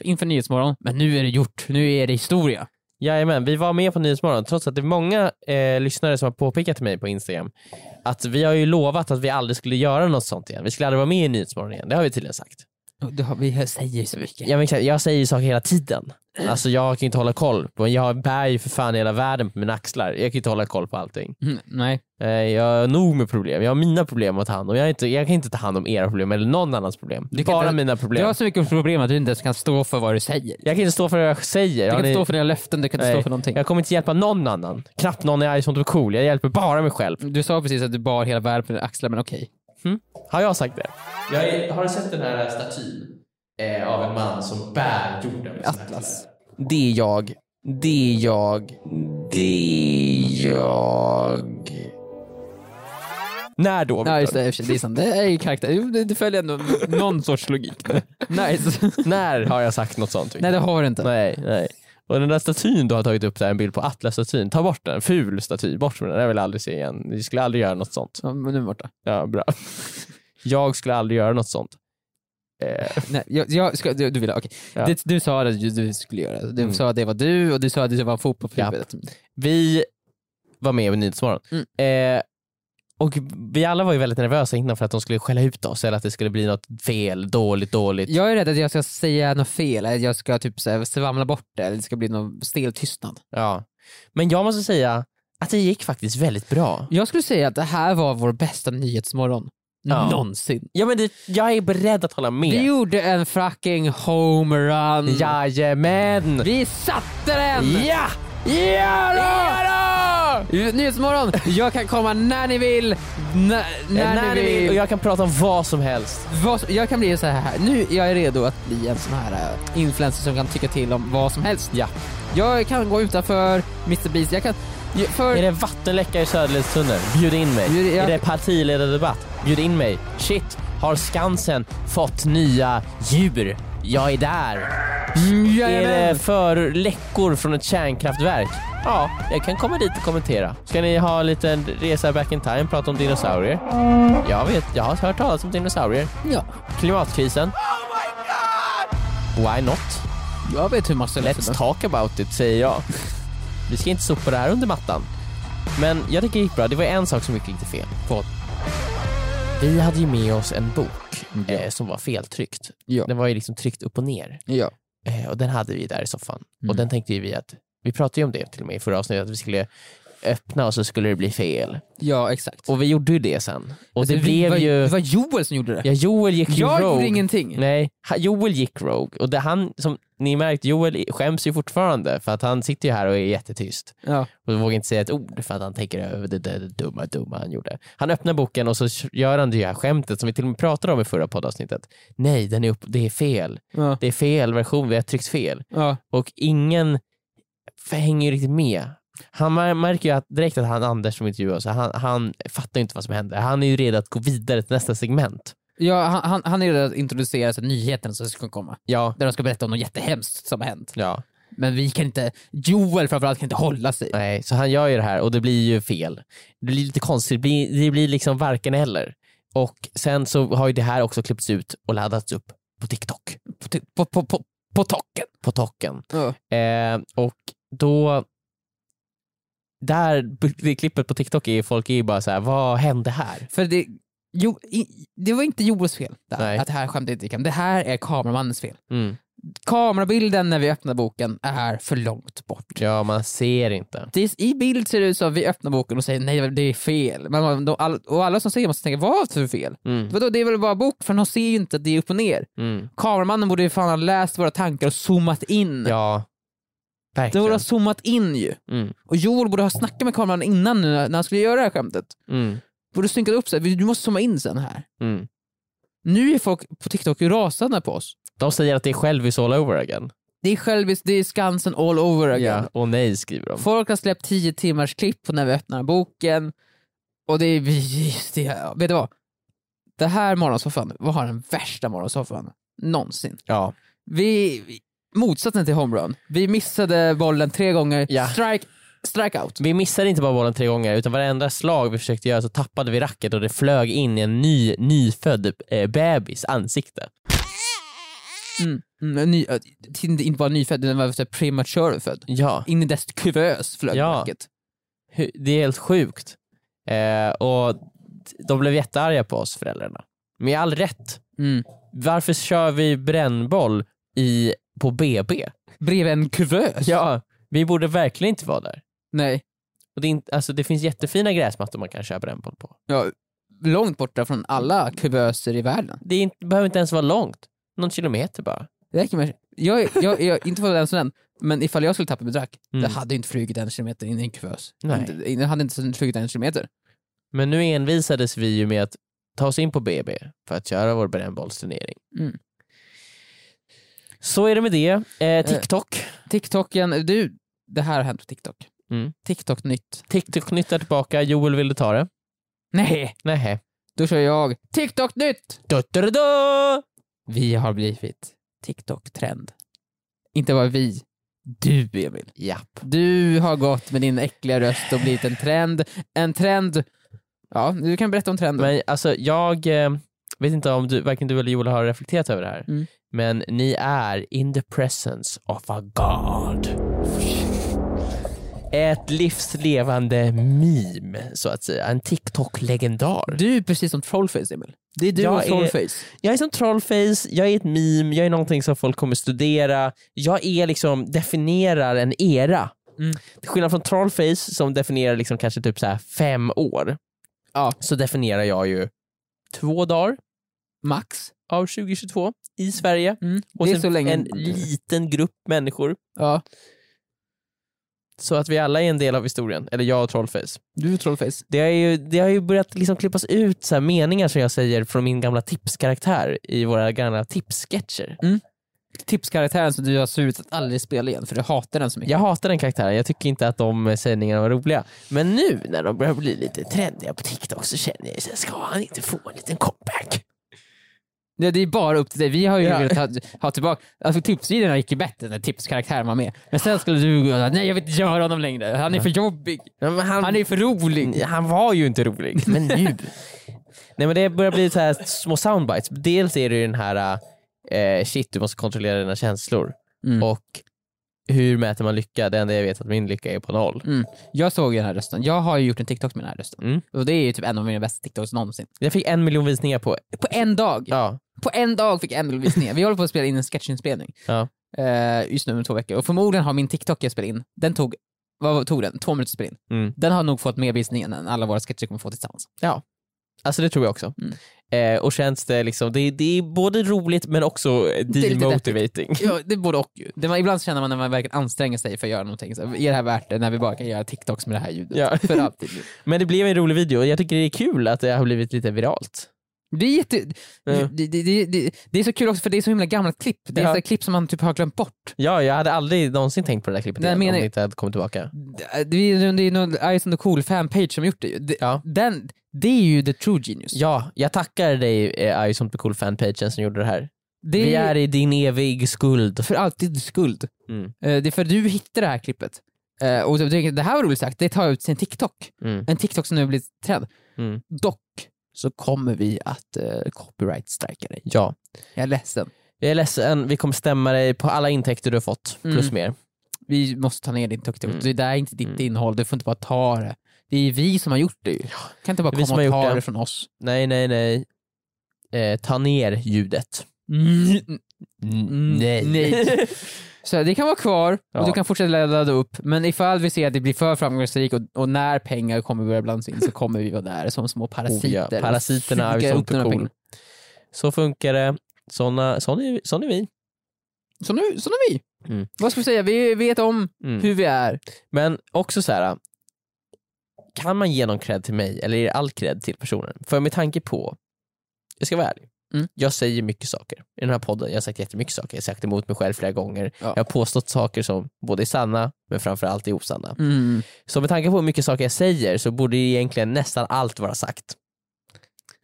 [SPEAKER 3] inför Nyhetsmorgon. Men nu är det gjort. Nu är det historia.
[SPEAKER 2] Jajamän, vi var med på Nyhetsmorgon trots att det är många eh, lyssnare som har påpekat till mig på Instagram att vi har ju lovat att vi aldrig skulle göra något sånt igen. Vi skulle aldrig vara med i Nyhetsmorgon igen, det har vi tydligen sagt.
[SPEAKER 3] Och Det har, vi säger så mycket.
[SPEAKER 2] Jag, exakt, jag säger ju saker hela tiden. Alltså jag kan ju inte hålla koll. På, jag bär ju för fan hela världen på mina axlar. Jag kan ju inte hålla koll på allting.
[SPEAKER 3] Mm, nej.
[SPEAKER 2] Eh, Jag har nog med problem. Jag har mina problem att ta hand om. Jag, är inte, jag kan inte ta hand om era problem eller någon annans problem.
[SPEAKER 3] Du kan
[SPEAKER 2] Bara
[SPEAKER 3] inte-
[SPEAKER 2] mina
[SPEAKER 3] Du
[SPEAKER 2] problem.
[SPEAKER 3] har så mycket problem att du inte ens kan stå för vad du säger.
[SPEAKER 2] Jag kan inte stå för vad jag säger.
[SPEAKER 3] Du
[SPEAKER 2] Har
[SPEAKER 3] kan
[SPEAKER 2] ni-
[SPEAKER 3] inte stå för dina löften, du kan inte
[SPEAKER 2] Nej.
[SPEAKER 3] stå för någonting.
[SPEAKER 2] Jag kommer inte hjälpa någon annan. Knappt någon i Ison cool. Jag hjälper bara mig själv.
[SPEAKER 3] Du sa precis att du bar hela världen på dina axlar, men okej.
[SPEAKER 2] Har jag sagt det? har du sett den här eh, statyn Eh, av en man som bär jorden?
[SPEAKER 3] Atlas.
[SPEAKER 2] Det är jag. Det är jag. Det är jag. När då?
[SPEAKER 3] Ja,
[SPEAKER 2] Viktor?
[SPEAKER 3] just det. i och för sig, Det är sant. Det är ju karaktär. Jo, Det det följer ändå någon sorts logik. Nice.
[SPEAKER 2] När har jag sagt något sånt? Viktor?
[SPEAKER 3] Nej, det har du inte.
[SPEAKER 2] Nej, nej. Och den där statyn du har tagit upp där, en bild på Atlas-statyn, ta bort den. Ful staty, bort med den. Jag vill aldrig se igen. Vi skulle aldrig göra något sånt.
[SPEAKER 3] Ja, men nu är den borta.
[SPEAKER 2] Ja, bra. Jag skulle aldrig göra något sånt. Eh,
[SPEAKER 3] Nej, jag, jag ska, du, du ville, okej.
[SPEAKER 2] Ja.
[SPEAKER 3] Det- Du, sa att du, du skulle göra det. Du
[SPEAKER 2] Mm.
[SPEAKER 3] sa att det var du och du sa att det var en fotboll på
[SPEAKER 2] Japp.
[SPEAKER 3] huvudet.
[SPEAKER 2] vi var med i Nyhetsmorgon. Eh, och vi alla var ju väldigt nervösa innan för att de skulle skälla ut oss eller att det skulle bli något fel, dåligt, dåligt.
[SPEAKER 3] Jag är rädd att jag ska säga något fel, eller jag ska typ så här, svamla bort det, eller det ska bli någon stel tystnad.
[SPEAKER 2] Ja. Men jag måste säga att det gick faktiskt väldigt bra.
[SPEAKER 3] Jag skulle säga att det här var vår bästa nyhetsmorgon
[SPEAKER 2] Ja.
[SPEAKER 3] någonsin.
[SPEAKER 2] Ja, men det, jag är beredd att hålla
[SPEAKER 3] Vi
[SPEAKER 2] med.
[SPEAKER 3] gjorde en fucking homerun.
[SPEAKER 2] Jajamän!
[SPEAKER 3] Vi satte den!
[SPEAKER 2] Ja!
[SPEAKER 3] Ja då! Nyhetsmorgon, jag kan komma när ni vill, när, när,
[SPEAKER 2] när ni vill. Och jag kan prata om vad som helst.
[SPEAKER 3] Vad som- jag kan bli så här, nu jag är redo att bli en sån här eh, influencer som kan tycka till om vad som helst.
[SPEAKER 2] Ja.
[SPEAKER 3] Jag kan gå utanför Mr Beast, jag kan... ju- För,
[SPEAKER 2] Är det vattenläcka i Söderledstunneln? Bjud in mig.
[SPEAKER 3] Bjud- jag-
[SPEAKER 2] Är det partiledardebatt? Bjud in mig. Shit, har Skansen fått nya djur? Jag är där.
[SPEAKER 3] Mm,
[SPEAKER 2] Är det
[SPEAKER 3] jajamän.
[SPEAKER 2] för läckor från ett kärnkraftverk? Ja, jag kan komma dit och kommentera. Ska ni ha en liten resa back in time, prata om dinosaurier? Jag vet, jag har hört talas om dinosaurier.
[SPEAKER 3] Ja,
[SPEAKER 2] Klimatkrisen? Why not?
[SPEAKER 3] jag vet hur man ska lösa
[SPEAKER 2] Let's
[SPEAKER 3] det.
[SPEAKER 2] talk about it, säger jag. Vi ska inte sopa det här under mattan. Men jag tycker det gick bra. Det var en sak som gick lite fel. Vad? Vi hade ju med oss en bok
[SPEAKER 3] Mm, Ja.
[SPEAKER 2] eh, som var feltryckt.
[SPEAKER 3] Ja.
[SPEAKER 2] Den var ju liksom tryckt upp och ner.
[SPEAKER 3] Ja.
[SPEAKER 2] Eh, och den hade vi där i soffan.
[SPEAKER 3] Mm.
[SPEAKER 2] Och den tänkte ju vi att, vi pratade ju om det till och med i förra avsnittet, att vi skulle öppna och så skulle det bli fel.
[SPEAKER 3] ja, exakt.
[SPEAKER 2] Och vi gjorde ju det sen. Och det
[SPEAKER 3] Alltså, vi-
[SPEAKER 2] blev
[SPEAKER 3] var,
[SPEAKER 2] ju...
[SPEAKER 3] Det var Joel som gjorde det.
[SPEAKER 2] Ja, Joel gick ju
[SPEAKER 3] jag
[SPEAKER 2] rogue.
[SPEAKER 3] gjorde ingenting.
[SPEAKER 2] Nej, ha- Joel gick rogue. Och det han som ni märkt, Joel skäms ju fortfarande för att han sitter ju här och är jättetyst
[SPEAKER 3] Ja.
[SPEAKER 2] och vågar inte säga ett ord för att han tänker över det där dumma, dumma han gjorde. Han öppnar boken och så gör han det här skämtet som vi till och med pratade om i förra poddavsnittet. Nej, den är upp, det är fel.
[SPEAKER 3] Ja.
[SPEAKER 2] Det är fel version, vi har tryckt fel.
[SPEAKER 3] Ja.
[SPEAKER 2] Och ingen f- hänger ju riktigt med. Han mär- märker ju att direkt att han Anders som intervjuar oss, han, han fattar ju inte vad som händer. Han är ju redo att gå vidare till nästa segment.
[SPEAKER 3] Ja, han, han, han är redo att introducera alltså, nyheten som ska komma.
[SPEAKER 2] Ja.
[SPEAKER 3] Där de ska berätta om något jättehemskt som har hänt.
[SPEAKER 2] Ja,
[SPEAKER 3] Men vi kan inte, Joel framförallt kan inte hålla sig.
[SPEAKER 2] nej, så han gör ju det här och det blir ju fel. Det blir lite konstigt, det blir, det blir liksom varken eller. Och sen så har ju det här också klippts ut och laddats upp på TikTok.
[SPEAKER 3] På, på, på, på, på tocken.
[SPEAKER 2] På Tocken.
[SPEAKER 3] Ja.
[SPEAKER 2] Eh, och då... Där, det klippet på TikTok är folk är ju bara så här, vad hände här?
[SPEAKER 3] För det, jo, i, det var inte Joels fel det här,
[SPEAKER 2] Nej.
[SPEAKER 3] att det här skämtet inte gick hem. Det här är kameramannens fel.
[SPEAKER 2] Mm.
[SPEAKER 3] Kamerabilden när vi öppnar boken är för långt bort.
[SPEAKER 2] Ja, man ser inte.
[SPEAKER 3] Det är, I bild ser det ut som att vi öppnar boken och säger nej, det är fel. Men man, de, all, och alla som ser måste tänka, vad för fel?
[SPEAKER 2] Mm.
[SPEAKER 3] Vadå, det är väl bara bok? För de ser ju inte att det är upp och ner.
[SPEAKER 2] Mm.
[SPEAKER 3] Kameramannen borde ju fan ha läst våra tankar och zoomat in.
[SPEAKER 2] Ja,
[SPEAKER 3] de borde
[SPEAKER 2] verkligen.
[SPEAKER 3] ha zoomat in ju.
[SPEAKER 2] Mm.
[SPEAKER 3] Och Joel borde ha snackat med kameramannen innan nu när han skulle göra det här skämtet.
[SPEAKER 2] Mm.
[SPEAKER 3] Borde synkat upp sig. Du måste zooma in sen här.
[SPEAKER 2] Mm.
[SPEAKER 3] Nu är folk på TikTok ju rasande på oss.
[SPEAKER 2] De säger att det är självis all over again.
[SPEAKER 3] Det är självis, det är Skansen all over again.
[SPEAKER 2] Ja. Och nej, skriver de.
[SPEAKER 3] Folk har släppt 10 timmars klipp på när vi öppnar boken. Och det är... Det är vet du vad? Det här morgonsoffan var den värsta morgonsoffan någonsin.
[SPEAKER 2] Ja.
[SPEAKER 3] Vi... vi- Motsatsen till homerun. Vi missade bollen tre gånger.
[SPEAKER 2] Ja.
[SPEAKER 3] Strike, strikeout.
[SPEAKER 2] Vi missade inte bara bollen tre gånger, utan varenda slag vi försökte göra så tappade vi racket och det flög in i en ny, nyfödd eh, bebis ansikte.
[SPEAKER 3] Mm. Mm, ny, äh, inte inte bara nyfödd, den var så här premature född.
[SPEAKER 2] Ja,
[SPEAKER 3] In i dess kuvös flög
[SPEAKER 2] Ja.
[SPEAKER 3] racket.
[SPEAKER 2] hu- det är helt sjukt. Eh, och de blev jättearga på oss föräldrarna. Med all rätt.
[SPEAKER 3] Mm.
[SPEAKER 2] Varför kör vi brännboll i, på BB?
[SPEAKER 3] Bredvid en kuvös?
[SPEAKER 2] Ja, vi borde verkligen inte vara där.
[SPEAKER 3] Nej.
[SPEAKER 2] Och det, är inte, alltså, det finns jättefina gräsmattor man kan köra brännboll på.
[SPEAKER 3] Ja, långt borta från alla kuvöser i världen.
[SPEAKER 2] Det är inte, behöver inte ens vara långt. Någon kilometer bara.
[SPEAKER 3] Det räcker med... Jag är jag, jag, inte för den som den, men ifall jag skulle tappa mitt rack,
[SPEAKER 2] Mm.
[SPEAKER 3] det hade inte flugit en kilometer in i en kuvös.
[SPEAKER 2] Nej.
[SPEAKER 3] Inte- Det hade inte flugit en kilometer.
[SPEAKER 2] Men nu envisades vi ju med att ta oss in på BB för att köra vår brännbollsturnering.
[SPEAKER 3] Mm.
[SPEAKER 2] Så är det med det. Eh, TikTok.
[SPEAKER 3] TikToken, du, det här har hänt på TikTok.
[SPEAKER 2] Mm.
[SPEAKER 3] TikTok-nytt.
[SPEAKER 2] TikTok-nytt är tillbaka. Joel ville ta det.
[SPEAKER 3] Nej,
[SPEAKER 2] Nähä.
[SPEAKER 3] då kör jag TikTok-nytt!
[SPEAKER 2] Du, du, du, du.
[SPEAKER 3] Vi har blivit TikTok-trend. Inte bara vi, du Emil.
[SPEAKER 2] Japp.
[SPEAKER 3] Du har gått med din äckliga röst och blivit en trend. En trend... Ja, du kan berätta om trenden.
[SPEAKER 2] Men alltså jag eh, vet inte om du, varken du eller Joel har reflekterat över det här.
[SPEAKER 3] Mm.
[SPEAKER 2] Men ni är in the presence of a God. Ett livslevande meme, så att säga. En TikTok-legendar.
[SPEAKER 3] Du är precis som Trollface Emil. Det är du
[SPEAKER 2] Jag
[SPEAKER 3] och
[SPEAKER 2] är-
[SPEAKER 3] Trollface.
[SPEAKER 2] Jag är som trollface, jag är ett meme, jag är någonting som folk kommer studera. Jag är liksom, definierar en era.
[SPEAKER 3] Mm.
[SPEAKER 2] Till skillnad från trollface som definierar liksom kanske typ så här fem år,
[SPEAKER 3] Ja.
[SPEAKER 2] så definierar jag ju två dagar
[SPEAKER 3] Max.
[SPEAKER 2] av 2022 i Sverige.
[SPEAKER 3] det är
[SPEAKER 2] Mm. sen
[SPEAKER 3] så länge.
[SPEAKER 2] en liten grupp människor.
[SPEAKER 3] Ja,
[SPEAKER 2] Så att vi alla är en del av historien, eller jag och trollface.
[SPEAKER 3] du är Trollface.
[SPEAKER 2] Det har ju, det har ju börjat liksom klippas ut så här meningar som jag säger från min gamla tipskaraktär i våra gamla tipssketcher.
[SPEAKER 3] Tipskaraktären som du har surt att aldrig spela igen för du hatar den så mycket.
[SPEAKER 2] Jag hatar den karaktären, jag tycker inte att de eh, sägningarna var roliga. Men nu när de börjar bli lite trendiga på TikTok så känner jag så här, ska han inte få en liten comeback?
[SPEAKER 3] Ja. Det är bara upp till dig. Vi har ju
[SPEAKER 2] Ja.
[SPEAKER 3] velat ha, ha tillbaka... Alltså tipsvideorna gick ju bättre när tipskaraktären var med. Men sen skulle du gå nej jag vill inte göra honom längre. Han är för jobbig.
[SPEAKER 2] Ja, men han,
[SPEAKER 3] Han är för rolig.
[SPEAKER 2] han var ju inte rolig, men nu. Nej men det börjar bli så här små soundbites. Dels är det ju den här, eh, shit du måste kontrollera dina känslor.
[SPEAKER 3] Mm.
[SPEAKER 2] Och hur mäter man lycka? Det enda jag vet är att min lycka är på noll.
[SPEAKER 3] Mm. Jag såg ju den här rösten. Jag har ju gjort en TikTok med den här rösten.
[SPEAKER 2] Mm.
[SPEAKER 3] Och det är ju typ en av mina bästa TikToks någonsin.
[SPEAKER 2] Jag fick en miljon visningar på,
[SPEAKER 3] På en dag!
[SPEAKER 2] ja,
[SPEAKER 3] På en dag fick jag en visningar. Vi håller på att spela in en sketchinspelning.
[SPEAKER 2] Ja.
[SPEAKER 3] Eh, just nu om två veckor. Och förmodligen har min TikTok jag spelade in, den tog, vad tog den? Två minuter att spela in.
[SPEAKER 2] Mm.
[SPEAKER 3] Den har nog fått mer visningar än alla våra sketcher kommer få tillsammans.
[SPEAKER 2] Ja. Alltså det tror jag också.
[SPEAKER 3] Mm.
[SPEAKER 2] Eh, och känns det liksom, det, det är både roligt men också eh,
[SPEAKER 3] Det är lite
[SPEAKER 2] demotivating.
[SPEAKER 3] Ja, det är både och. ju. Det man, ibland så känner man när man verkligen anstränger sig för att göra någonting, så här, är det här värt det när vi bara kan göra TikToks med det här ljudet?
[SPEAKER 2] Ja.
[SPEAKER 3] För alltid.
[SPEAKER 2] Men det blev en rolig video och jag tycker det är kul att det har blivit lite viralt.
[SPEAKER 3] Det är, jätte...
[SPEAKER 2] Ja.
[SPEAKER 3] det, det, det, det, det är så kul också för det är så himla gamla klipp. Det är
[SPEAKER 2] Ja.
[SPEAKER 3] så här klipp som man typ har glömt bort.
[SPEAKER 2] Ja, jag hade aldrig någonsin tänkt på det där klippet
[SPEAKER 3] Nej,
[SPEAKER 2] igen,
[SPEAKER 3] men
[SPEAKER 2] om
[SPEAKER 3] jag-
[SPEAKER 2] det inte hade kommit tillbaka.
[SPEAKER 3] Det det är ju någon Ice and the Cool fanpage som gjort det. ju. det
[SPEAKER 2] Ja.
[SPEAKER 3] Den, det är ju the true genius.
[SPEAKER 2] Ja, jag tackar dig eh, Ice on the cool fanpagen som gjorde det här.
[SPEAKER 3] Det
[SPEAKER 2] Vi är i din evig skuld.
[SPEAKER 3] för alltid skuld.
[SPEAKER 2] Mm.
[SPEAKER 3] Eh, Det är för du hittade det här klippet. Eh, Och du tänker, det här var roligt sagt, det tar jag ut till en TikTok.
[SPEAKER 2] Mm.
[SPEAKER 3] En TikTok som nu blir trend.
[SPEAKER 2] Mm.
[SPEAKER 3] Dock så kommer vi att eh, copyright-strika dig.
[SPEAKER 2] Ja.
[SPEAKER 3] Jag är ledsen.
[SPEAKER 2] Jag är ledsen, vi kommer stämma dig på alla intäkter du har fått, plus
[SPEAKER 3] Mm.
[SPEAKER 2] mer.
[SPEAKER 3] Vi måste ta ner din TikTok.
[SPEAKER 2] Mm.
[SPEAKER 3] Det där är inte ditt
[SPEAKER 2] Mm.
[SPEAKER 3] innehåll, du får inte bara ta det. Det är vi som har gjort det ju. Kan inte bara
[SPEAKER 2] Det är vi som
[SPEAKER 3] komma
[SPEAKER 2] har
[SPEAKER 3] och
[SPEAKER 2] gjort
[SPEAKER 3] ta det.
[SPEAKER 2] det.
[SPEAKER 3] från oss.
[SPEAKER 2] Nej, nej, nej. Eh, ta ner ljudet.
[SPEAKER 3] Mm, nej. Så det kan vara kvar och
[SPEAKER 2] Ja.
[SPEAKER 3] du kan fortsätta ladda upp. Men ifall vi ser att det blir för framgångsrikt och, och när pengar kommer börja blandas in så kommer vi vara där som små
[SPEAKER 2] Oh,
[SPEAKER 3] parasiter.
[SPEAKER 2] ja. Parasiterna är
[SPEAKER 3] Suga
[SPEAKER 2] ju
[SPEAKER 3] upp
[SPEAKER 2] sånt
[SPEAKER 3] de här
[SPEAKER 2] cool.
[SPEAKER 3] pengarna.
[SPEAKER 2] Så funkar det. Såna, sån, är, sån är vi.
[SPEAKER 3] Så nu, så nu är vi.
[SPEAKER 2] Mm.
[SPEAKER 3] Vad ska vi säga? Vi vet om
[SPEAKER 2] Mm.
[SPEAKER 3] hur vi är.
[SPEAKER 2] Men också så här. kan man ge någon cred till mig eller är det all cred till personen? För med tanke på, jag ska vara ärlig,
[SPEAKER 3] Mm.
[SPEAKER 2] jag säger mycket saker i den här podden. Jag har sagt jättemycket saker, jag har sagt emot mig själv flera gånger.
[SPEAKER 3] Ja.
[SPEAKER 2] Jag har påstått saker som både är sanna men framförallt är osanna. Så med tanke på hur mycket saker jag säger så borde ju egentligen nästan allt vara sagt.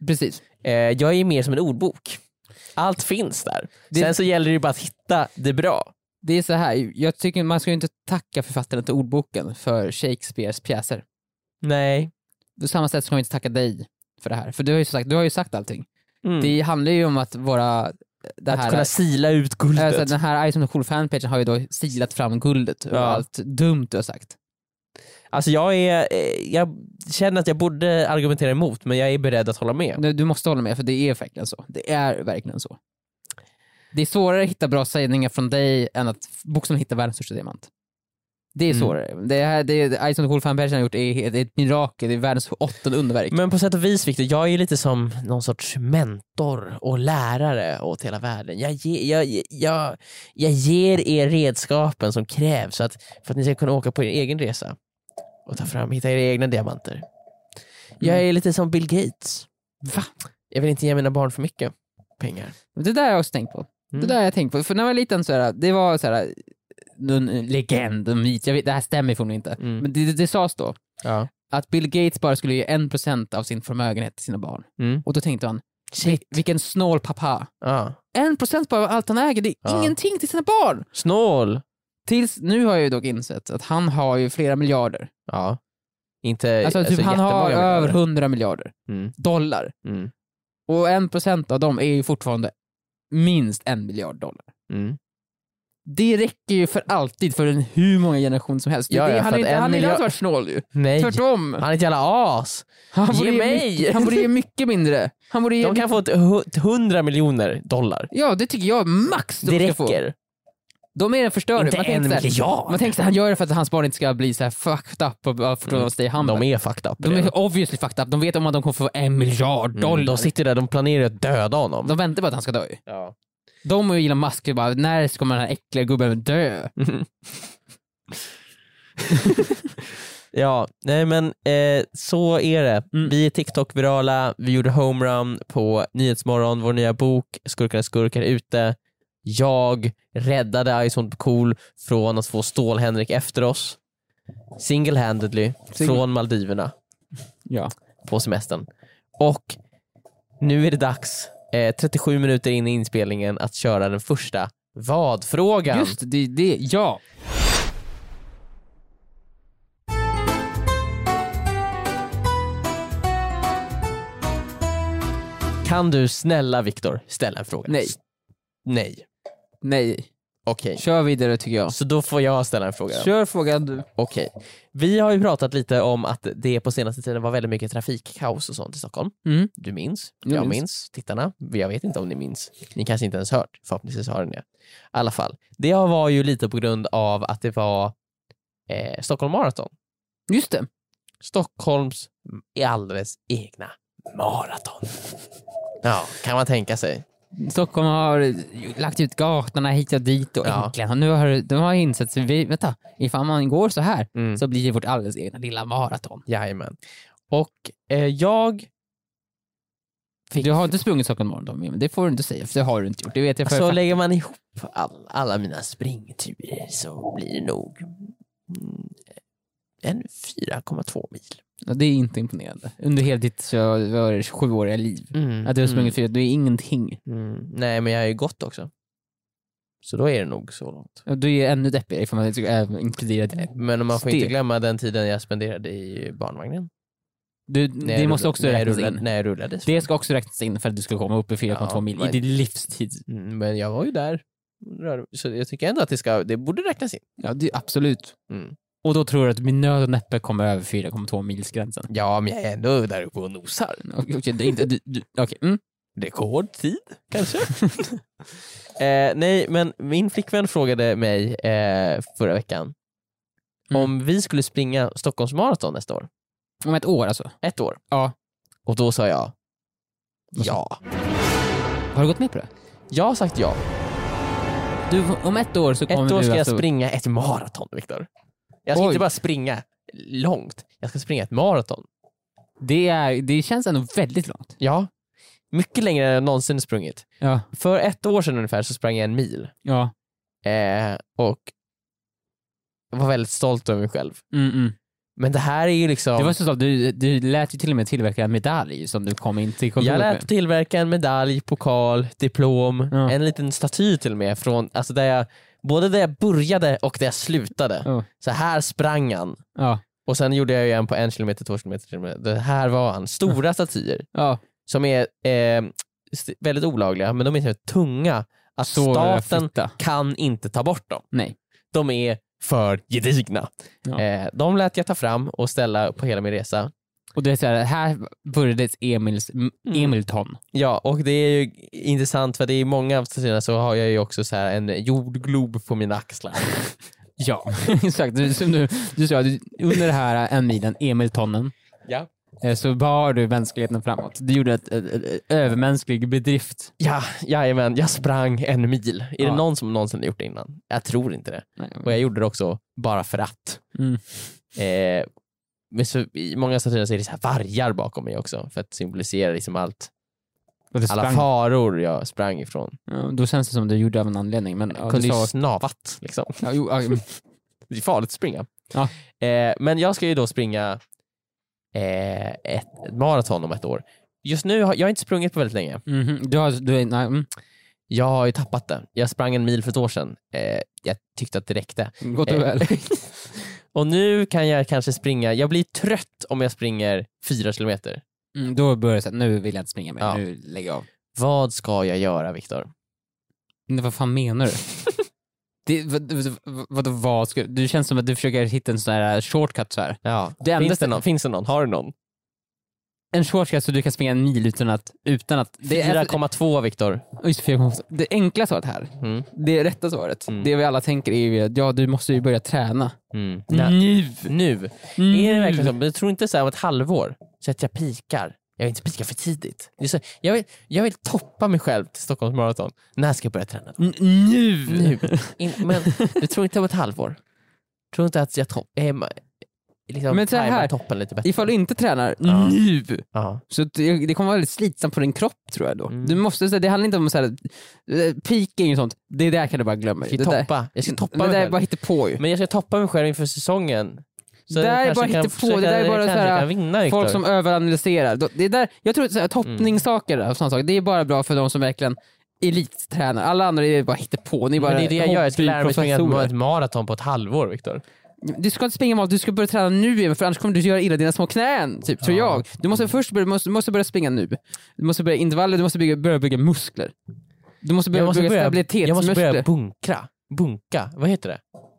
[SPEAKER 3] Precis.
[SPEAKER 2] Eh, jag är mer som en ordbok. Allt finns där.
[SPEAKER 3] Det-
[SPEAKER 2] Sen så gäller det ju bara att hitta det bra.
[SPEAKER 3] Det är så här, jag tycker man ska ju inte tacka författaren till ordboken för Shakespeares pjäser.
[SPEAKER 2] Nej.
[SPEAKER 3] På samma sätt ska man inte tacka dig för det här. För du har ju sagt, du har ju sagt allting.
[SPEAKER 2] Mm.
[SPEAKER 3] Det handlar ju om att vara... Det
[SPEAKER 2] att
[SPEAKER 3] här,
[SPEAKER 2] kunna sila ut guldet.
[SPEAKER 3] Alltså, den här Ice on the Cool fanpagen har ju då silat fram guldet och
[SPEAKER 2] Ja.
[SPEAKER 3] allt dumt du har sagt.
[SPEAKER 2] Alltså jag, är, eh, jag känner att jag borde argumentera emot men jag är beredd att hålla med.
[SPEAKER 3] Nu, du måste hålla med, för det är verkligen så. Det är verkligen så. Det är svårare att hitta bra sägningar från dig än att bokstavligen hitta världens största diamant. Det är
[SPEAKER 2] Mm.
[SPEAKER 3] svårare. Det här det Ice on the Cool fanpagen har gjort är, det är ett mirakel, det är världens åttonde underverk.
[SPEAKER 2] Men på sätt och vis Victor, jag är lite som någon sorts mentor och lärare åt hela världen. Jag, ge, jag, jag, jag ger er redskapen som krävs för att, för att ni ska kunna åka på er egen resa och ta fram, hitta era egna diamanter. Jag
[SPEAKER 3] Mm.
[SPEAKER 2] är lite som Bill Gates.
[SPEAKER 3] Va?
[SPEAKER 2] Jag vill inte ge mina barn för mycket pengar.
[SPEAKER 3] Det där har jag också tänkt på.
[SPEAKER 2] Mm.
[SPEAKER 3] Det där har jag tänkt på. För när jag var liten så här, det var så här, någon legend, en myt, jag vet, det här stämmer förmodligen inte.
[SPEAKER 2] Mm.
[SPEAKER 3] Men det, det, det sades då
[SPEAKER 2] Ja.
[SPEAKER 3] att Bill Gates bara skulle ge 1% av sin förmögenhet till sina barn.
[SPEAKER 2] Mm.
[SPEAKER 3] Och då tänkte han, "Vil- vilken snål pappa.
[SPEAKER 2] Ja.
[SPEAKER 3] 1% bara av allt han äger, det är
[SPEAKER 2] Ja.
[SPEAKER 3] ingenting till sina barn.
[SPEAKER 2] Snål!
[SPEAKER 3] Tills nu har jag ju dock insett att han har ju flera miljarder.
[SPEAKER 2] Ja. Inte
[SPEAKER 3] Alltså, typ han har
[SPEAKER 2] jättemånga
[SPEAKER 3] över
[SPEAKER 2] miljarder.
[SPEAKER 3] 100 miljarder
[SPEAKER 2] Mm.
[SPEAKER 3] dollar.
[SPEAKER 2] Mm.
[SPEAKER 3] Och 1% av dem är ju fortfarande minst en miljard dollar.
[SPEAKER 2] Mm.
[SPEAKER 3] det räcker ju för alltid för en hur många generationer som helst.
[SPEAKER 2] Ja,
[SPEAKER 3] det,
[SPEAKER 2] ja,
[SPEAKER 3] han är
[SPEAKER 2] för att
[SPEAKER 3] inte,
[SPEAKER 2] en
[SPEAKER 3] han är inte
[SPEAKER 2] miljard-
[SPEAKER 3] alls varit snål ju.
[SPEAKER 2] Nej,
[SPEAKER 3] Tvärtom.
[SPEAKER 2] han är ett jävla as.
[SPEAKER 3] Han
[SPEAKER 2] Ge
[SPEAKER 3] borde ge
[SPEAKER 2] mig!
[SPEAKER 3] mycket- Han borde ge mycket mindre. Han borde ge
[SPEAKER 2] De kan få ett hu- ett 100 miljoner dollar.
[SPEAKER 3] Ja, det tycker jag är max de
[SPEAKER 2] Det
[SPEAKER 3] ska få.
[SPEAKER 2] räcker.
[SPEAKER 3] De är den förstörda.
[SPEAKER 2] Inte
[SPEAKER 3] Man tänker
[SPEAKER 2] en
[SPEAKER 3] så här-
[SPEAKER 2] miljard.
[SPEAKER 3] Man tänker att han gör det för att hans barn inte ska bli så här fucked up och bara förstå sig i handen.
[SPEAKER 2] Mm. De är fucked up.
[SPEAKER 3] De
[SPEAKER 2] redan.
[SPEAKER 3] är obviously fucked up. De vet om att de kommer få en miljard dollar.
[SPEAKER 2] Mm, de sitter där, de planerar att döda honom.
[SPEAKER 3] De väntar bara att han ska dö ju.
[SPEAKER 2] Ja.
[SPEAKER 3] De och Elon Musk är bara, när ska man den här äckliga gubben dö?
[SPEAKER 2] ja, nej men eh, så är det.
[SPEAKER 3] Mm.
[SPEAKER 2] Vi är TikTok-virala, vi gjorde homerun på Nyhetsmorgon, vår nya bok Skurkarna skurkar är ute. Jag räddade Ison Cool från att få Stål-Henrik efter oss. Single-handedly
[SPEAKER 3] Single-
[SPEAKER 2] från Maldiverna.
[SPEAKER 3] Ja.
[SPEAKER 2] på semestern. Och nu är det dags, eh, 37 minuter in i inspelningen, att köra den första vad-frågan.
[SPEAKER 3] Just det, det, är det, ja.
[SPEAKER 2] Kan du snälla Viktor ställa en fråga?
[SPEAKER 3] Nej.
[SPEAKER 2] Nej.
[SPEAKER 3] Nej.
[SPEAKER 2] Okej.
[SPEAKER 3] Kör vidare tycker jag.
[SPEAKER 2] Så då får jag ställa en fråga. då.
[SPEAKER 3] Kör frågan du.
[SPEAKER 2] Okej. Vi har ju pratat lite om att det på senaste tiden var väldigt mycket trafikkaos och sånt i Stockholm.
[SPEAKER 3] Mm.
[SPEAKER 2] Du minns,
[SPEAKER 3] Jag
[SPEAKER 2] jag,
[SPEAKER 3] minns.
[SPEAKER 2] minns. tittarna. Jag vet inte om ni minns. Ni kanske inte ens hört, förhoppningsvis har ni det. I alla fall, det var ju lite på grund av att det var eh, Stockholm Marathon.
[SPEAKER 3] Just det.
[SPEAKER 2] Stockholms alldeles egna Maraton. Ja, kan man tänka sig.
[SPEAKER 3] Stockholm har lagt ut gatorna hit och dit och
[SPEAKER 2] Ja.
[SPEAKER 3] äntligen. Och nu har de har insett att vi, vänta, ifall man går så här
[SPEAKER 2] Mm.
[SPEAKER 3] så blir det vårt alldeles egna lilla maraton.
[SPEAKER 2] Jajamän. Och eh, jag...
[SPEAKER 3] Du har inte sprungit Stockholm Marathon, men det får du inte säga för det har du inte gjort. Det vet jag för
[SPEAKER 2] Så
[SPEAKER 3] fan.
[SPEAKER 2] Alltså, lägger man ihop all, alla mina springturer så blir det nog mm, en 4,2 mil.
[SPEAKER 3] Ja, Det är inte imponerande. Under hela ditt så, var det 27-åriga liv. Att du har sprungit fyra, det är ingenting.
[SPEAKER 2] Mm. Nej, men jag har ju gått också. Så då är det nog så långt.
[SPEAKER 3] Och Du är ännu deppigare ifall man inte ska även inkludera det.
[SPEAKER 2] Men man får
[SPEAKER 3] Steg.
[SPEAKER 2] inte glömma den tiden jag spenderade i barnvagnen.
[SPEAKER 3] Du,
[SPEAKER 2] När jag
[SPEAKER 3] Mm, det måste
[SPEAKER 2] rullade-
[SPEAKER 3] också
[SPEAKER 2] när jag
[SPEAKER 3] räknas
[SPEAKER 2] rullade-
[SPEAKER 3] in.
[SPEAKER 2] När jag rullades.
[SPEAKER 3] Det ska också räknas in för att du ska komma upp i 4,2
[SPEAKER 2] Ja,
[SPEAKER 3] mil i
[SPEAKER 2] men-
[SPEAKER 3] din livstid.
[SPEAKER 2] Mm, men jag var ju där. Rör- Så jag tycker ändå att det, ska, det borde räknas in.
[SPEAKER 3] Ja, det, absolut.
[SPEAKER 2] Mm.
[SPEAKER 3] Och då tror du att min nöd och näppe kommer över 4,2 milsgränsen.
[SPEAKER 2] Ja, men jag är ändå där uppe och nosar.
[SPEAKER 3] Okej, Mm, okej, det är inte... Du, du, okej, mm.
[SPEAKER 2] Rekordtid, kanske? eh, nej, men min flickvän frågade mig eh, förra veckan
[SPEAKER 3] Mm.
[SPEAKER 2] om vi skulle springa Stockholmsmaraton nästa år.
[SPEAKER 3] Om ett år alltså.
[SPEAKER 2] Ett år.
[SPEAKER 3] Ja.
[SPEAKER 2] Och då sa jag
[SPEAKER 3] Vad sa
[SPEAKER 2] ja.
[SPEAKER 3] Har du gått med på det?
[SPEAKER 2] Jag har sagt ja.
[SPEAKER 3] Du, om ett år så
[SPEAKER 2] Ett
[SPEAKER 3] kommer
[SPEAKER 2] år ska
[SPEAKER 3] du
[SPEAKER 2] jag
[SPEAKER 3] alltså...
[SPEAKER 2] springa ett maraton, Viktor. Jag ska
[SPEAKER 3] Oj.
[SPEAKER 2] inte bara springa långt, jag ska springa ett maraton.
[SPEAKER 3] Det, är, det känns ändå väldigt långt.
[SPEAKER 2] Ja. Mycket längre än jag någonsin sprungit.
[SPEAKER 3] Ja.
[SPEAKER 2] För ett år sedan ungefär så sprang jag en mil.
[SPEAKER 3] Ja.
[SPEAKER 2] Eh, och var väldigt stolt över mig själv.
[SPEAKER 3] Mm, mm.
[SPEAKER 2] Men det här är ju liksom...
[SPEAKER 3] Det var så att du, du lät ju till och med tillverka en medalj som du kom in till kontoret
[SPEAKER 2] jag
[SPEAKER 3] med.
[SPEAKER 2] lät tillverka en medalj, pokal, diplom,
[SPEAKER 3] Ja.
[SPEAKER 2] en liten staty till och med. Från, alltså där jag, både där jag började och där jag slutade.
[SPEAKER 3] Ja.
[SPEAKER 2] Så här sprang han.
[SPEAKER 3] Ja.
[SPEAKER 2] Och sen gjorde jag ju en på en kilometer, två kilometer, tre kilometer. Det här var han. Stora statyer
[SPEAKER 3] ja.
[SPEAKER 2] som är eh, st- väldigt olagliga, men de är så tunga att
[SPEAKER 3] Så
[SPEAKER 2] staten
[SPEAKER 3] fitta.
[SPEAKER 2] kan inte ta bort dem.
[SPEAKER 3] Nej.
[SPEAKER 2] De är för gedigna.
[SPEAKER 3] Ja.
[SPEAKER 2] Eh, de lät jag ta fram och ställa på hela min resa.
[SPEAKER 3] Och det är så här, här började ett Emils, m- Emilton.
[SPEAKER 2] Ja, och det är ju intressant för det är många av statyerna så har jag ju också så här en jordglob på mina axlar.
[SPEAKER 3] Ja, exakt. Du, som du, du sa, du, under det här en milen, Emiltonnen,
[SPEAKER 2] ja.
[SPEAKER 3] eh, så bar du mänskligheten framåt. Du gjorde ett, ett, ett, ett övermänsklig bedrift.
[SPEAKER 2] Ja, jajamän, jag sprang en mil. Är
[SPEAKER 3] Ja.
[SPEAKER 2] det någon som någonsin har gjort det innan? Jag tror inte det.
[SPEAKER 3] Nej,
[SPEAKER 2] Och jag gjorde det också bara för att.
[SPEAKER 3] Mm.
[SPEAKER 2] Eh, men så, I många statyer så är det så här vargar bakom mig också för att symbolisera liksom allt,
[SPEAKER 3] och du
[SPEAKER 2] alla
[SPEAKER 3] sprang.
[SPEAKER 2] faror jag sprang ifrån.
[SPEAKER 3] Ja, Då känns det som du gjorde av en anledning. Men, ja,
[SPEAKER 2] Jag
[SPEAKER 3] du
[SPEAKER 2] kunde ju
[SPEAKER 3] sa,
[SPEAKER 2] snavat liksom.
[SPEAKER 3] ja, jo, ja, mm.
[SPEAKER 2] Det är farligt att springa.
[SPEAKER 3] Ja.
[SPEAKER 2] Eh, men jag ska ju då springa eh, ett, ett maraton om ett år. Just nu har jag har inte sprungit på väldigt länge.
[SPEAKER 3] Mhm. du har, du, är- nej, mm.
[SPEAKER 2] Jag har ju tappat det. Jag sprang en mil för ett år sedan. Eh, jag tyckte att det räckte.
[SPEAKER 3] gott och
[SPEAKER 2] Eh,
[SPEAKER 3] väl.
[SPEAKER 2] och nu kan jag kanske springa, jag blir trött om jag springer fyra kilometer.
[SPEAKER 3] Mm, då börjar jag säga, nu vill jag inte springa mer,
[SPEAKER 2] Ja.
[SPEAKER 3] nu lägger jag av.
[SPEAKER 2] Vad ska jag göra Viktor?
[SPEAKER 3] Men vad fan menar du? det, vad, vad, vad, vad ska, du känns som att du försöker hitta en sån här äh, shortcut så här.
[SPEAKER 2] Ja.
[SPEAKER 3] Det enda
[SPEAKER 2] Finns, det
[SPEAKER 3] stället-
[SPEAKER 2] någon? Finns det någon? Har du någon?
[SPEAKER 3] En shortcut så du kan springa en mil utan att... Utan att det, är,
[SPEAKER 2] 4,2 Viktor.
[SPEAKER 3] Oj, 4,8. det enkla svaret här,
[SPEAKER 2] Mm.
[SPEAKER 3] det rätta svaret,
[SPEAKER 2] Mm.
[SPEAKER 3] det vi alla tänker är ju att ja, du måste ju börja träna.
[SPEAKER 2] Mm.
[SPEAKER 3] Nu!
[SPEAKER 2] Nu.
[SPEAKER 3] Mm.
[SPEAKER 2] Är det verkligen så? Men Jag tror inte så här om ett halvår så att jag pikar. Jag vill inte pika för tidigt. Det är så, jag, vill, jag vill toppa mig själv till Stockholms maraton. När ska jag börja träna? Då?
[SPEAKER 3] N- Nu!
[SPEAKER 2] Nu. In, men jag tror inte om ett halvår. Jag tror inte att jag topp, eh, ma- liksom,
[SPEAKER 3] Men så här-
[SPEAKER 2] tajmar toppen lite bättre.
[SPEAKER 3] Ifall du inte tränar
[SPEAKER 2] Ja.
[SPEAKER 3] nu,
[SPEAKER 2] Ja.
[SPEAKER 3] så det, det kommer vara väldigt slitsamt på din kropp tror jag då.
[SPEAKER 2] Mm.
[SPEAKER 3] Du måste, så här, det handlar inte om så här, eh, peaking och sånt, det där kan du bara glömma.
[SPEAKER 2] Jag ska
[SPEAKER 3] Det där-
[SPEAKER 2] toppa, jag ska
[SPEAKER 3] det
[SPEAKER 2] toppa mig
[SPEAKER 3] där är
[SPEAKER 2] själv.
[SPEAKER 3] bara på ju.
[SPEAKER 2] Men jag ska toppa mig själv inför säsongen.
[SPEAKER 3] Det där
[SPEAKER 2] jag
[SPEAKER 3] är
[SPEAKER 2] kanske
[SPEAKER 3] bara
[SPEAKER 2] kan-
[SPEAKER 3] hittepå,
[SPEAKER 2] så
[SPEAKER 3] det där är
[SPEAKER 2] jag
[SPEAKER 3] bara
[SPEAKER 2] kanske
[SPEAKER 3] så här,
[SPEAKER 2] kan vinna, Viktor.
[SPEAKER 3] Folk som överanalyserar. Då- Det är där, jag tror att så här,
[SPEAKER 2] Mm.
[SPEAKER 3] toppningssaker och sådana saker, det är bara bra för de som verkligen elittränar. Alla andra är bara på. Ni är bara
[SPEAKER 2] Men det är det jag gör, jag ska lära mig springa
[SPEAKER 3] hobbyprofessorer.
[SPEAKER 2] ett maraton på ett halvår Viktor.
[SPEAKER 3] Du ska inte springa maraton, du ska börja träna nu igen för annars kommer du göra illa dina små knän, typ, tror
[SPEAKER 2] Ja.
[SPEAKER 3] jag. Du måste först börja, måste, måste börja springa nu. Du måste börja intervaller, du måste bygga, börja bygga muskler. Du måste börja
[SPEAKER 2] Jag måste
[SPEAKER 3] bygga
[SPEAKER 2] börja-
[SPEAKER 3] stabilitetsmuskler.
[SPEAKER 2] Jag måste börja bunkra. Bunka, vad heter det?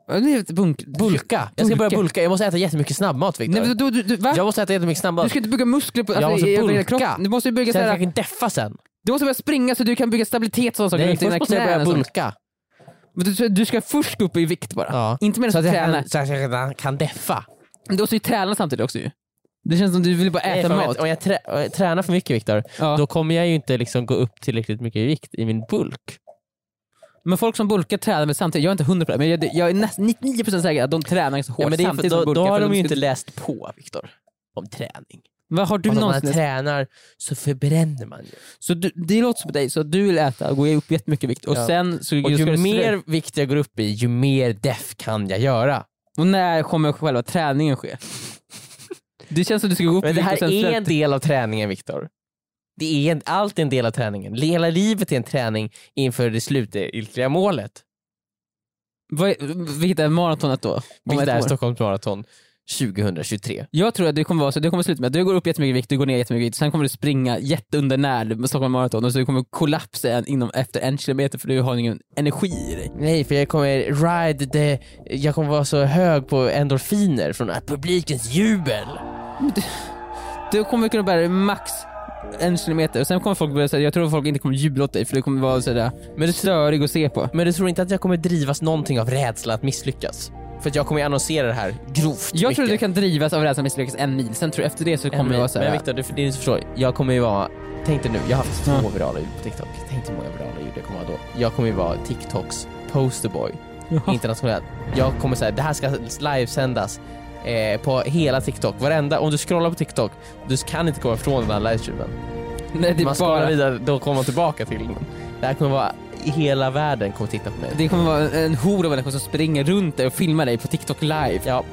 [SPEAKER 3] Ja, det är ett bunk...
[SPEAKER 2] Bulka. Jag ska
[SPEAKER 3] Bulka.
[SPEAKER 2] börja bulka. Jag måste äta jättemycket snabbmat
[SPEAKER 3] Nej,
[SPEAKER 2] Viktor.
[SPEAKER 3] men du, du, du, va?
[SPEAKER 2] Jag måste äta jättemycket
[SPEAKER 3] Du
[SPEAKER 2] snabbmat.
[SPEAKER 3] ska inte bygga muskler på,
[SPEAKER 2] Jag
[SPEAKER 3] alltså,
[SPEAKER 2] måste
[SPEAKER 3] i, i, hela
[SPEAKER 2] bulka.
[SPEAKER 3] kroppen. Du måste bygga
[SPEAKER 2] Så jag
[SPEAKER 3] såhär,
[SPEAKER 2] kan deffa sen.
[SPEAKER 3] du måste börja springa så du kan bygga stabilitet och sådana saker.
[SPEAKER 2] Nej,
[SPEAKER 3] runt dina
[SPEAKER 2] först måste jag
[SPEAKER 3] knän
[SPEAKER 2] börja
[SPEAKER 3] och sånt.
[SPEAKER 2] bulka.
[SPEAKER 3] Men du, du ska först upp i vikt bara.
[SPEAKER 2] Ja.
[SPEAKER 3] Inte medan
[SPEAKER 2] Så
[SPEAKER 3] du
[SPEAKER 2] att jag
[SPEAKER 3] tränar.
[SPEAKER 2] kan, så att jag kan- kan deffa.
[SPEAKER 3] Du måste ju träna samtidigt också ju. Det känns som du vill bara
[SPEAKER 2] Nej,
[SPEAKER 3] äta
[SPEAKER 2] fan,
[SPEAKER 3] mat.
[SPEAKER 2] Om jag, trä, om jag tränar för mycket Viktor,
[SPEAKER 3] Ja.
[SPEAKER 2] då kommer jag ju inte liksom gå upp tillräckligt mycket i vikt i min bulk.
[SPEAKER 3] Men folk som bulkar tränar väl samtidigt? Jag är inte 100% men jag, jag är nästan 99% säker att de tränar så hårt
[SPEAKER 2] Ja, men det är för,
[SPEAKER 3] samtidigt
[SPEAKER 2] då,
[SPEAKER 3] som bulkar.
[SPEAKER 2] då har
[SPEAKER 3] för
[SPEAKER 2] de ju
[SPEAKER 3] ska-
[SPEAKER 2] inte läst på Viktor, om träning.
[SPEAKER 3] Vad har du
[SPEAKER 2] Alltså, om man
[SPEAKER 3] någonsin...
[SPEAKER 2] tränar så förbränner man ju.
[SPEAKER 3] Så du, det låter som på dig, så att du vill äta och gå upp jättemycket vikt och
[SPEAKER 2] Ja.
[SPEAKER 3] sen så...
[SPEAKER 2] Och
[SPEAKER 3] ska
[SPEAKER 2] ju
[SPEAKER 3] du-
[SPEAKER 2] mer vikt jag går upp i, ju mer deff kan jag göra.
[SPEAKER 3] Och när kommer själva träningen ske? Det känns som du ska gå upp i
[SPEAKER 2] Men det
[SPEAKER 3] vikt och
[SPEAKER 2] här
[SPEAKER 3] sen
[SPEAKER 2] är
[SPEAKER 3] släppa-
[SPEAKER 2] en del av träningen Viktor. Det är en, allt är en del av träningen. Hela livet är en träning inför det slutgiltiga målet.
[SPEAKER 3] Vad är- Vilket är maratonet då? Om
[SPEAKER 2] Vilket
[SPEAKER 3] ett
[SPEAKER 2] är
[SPEAKER 3] år?
[SPEAKER 2] Stockholms maraton 2023.
[SPEAKER 3] Jag tror att det kommer vara så, det kommer sluta med att du går upp jättemycket vikt, du går ner jättemycket vikt, sen kommer du springa jätteundernärd med Stockholm Marathon och så kommer du kollapsa en- inom, efter en kilometer för du har ingen energi i dig.
[SPEAKER 2] Nej, för jag kommer ride the, Jag kommer vara så hög på endorfiner från den här publikens jubel.
[SPEAKER 3] Du kommer kunna bära dig max en kilometer och sen kommer folk börja säga, jag tror att folk inte kommer jubla åt dig för du kommer vara sådär, men du är störig att se på.
[SPEAKER 2] Men du tror inte att jag kommer drivas någonting av rädsla att misslyckas? För att jag kommer ju annonsera det här grovt
[SPEAKER 3] Jag tror att du
[SPEAKER 2] mycket.
[SPEAKER 3] kan drivas av rädslan att misslyckas en mil, sen tror jag efter det så kommer det vara
[SPEAKER 2] Men
[SPEAKER 3] såhär,
[SPEAKER 2] Viktor, du, för din förstår, jag kommer ju vara... Tänk dig nu, jag har haft två
[SPEAKER 3] Ja.
[SPEAKER 2] virala ljud på TikTok. Tänk dig hur många virala ljud jag kommer ha då. Jag kommer ju vara TikToks posterboy
[SPEAKER 3] Jaha.
[SPEAKER 2] internationellt. Jag kommer säga, det här ska livesändas eh, på hela TikTok. Varenda, om du scrollar på TikTok, du kan inte komma ifrån den här livestreamen.
[SPEAKER 3] nej det
[SPEAKER 2] man
[SPEAKER 3] är
[SPEAKER 2] scrollar
[SPEAKER 3] bara
[SPEAKER 2] vidare, då kommer man tillbaka till den. Det här kommer vara, hela världen kommer titta på mig.
[SPEAKER 3] det kommer vara en hora av människor som springer runt dig och filmar dig på TikTok live.
[SPEAKER 2] Ja.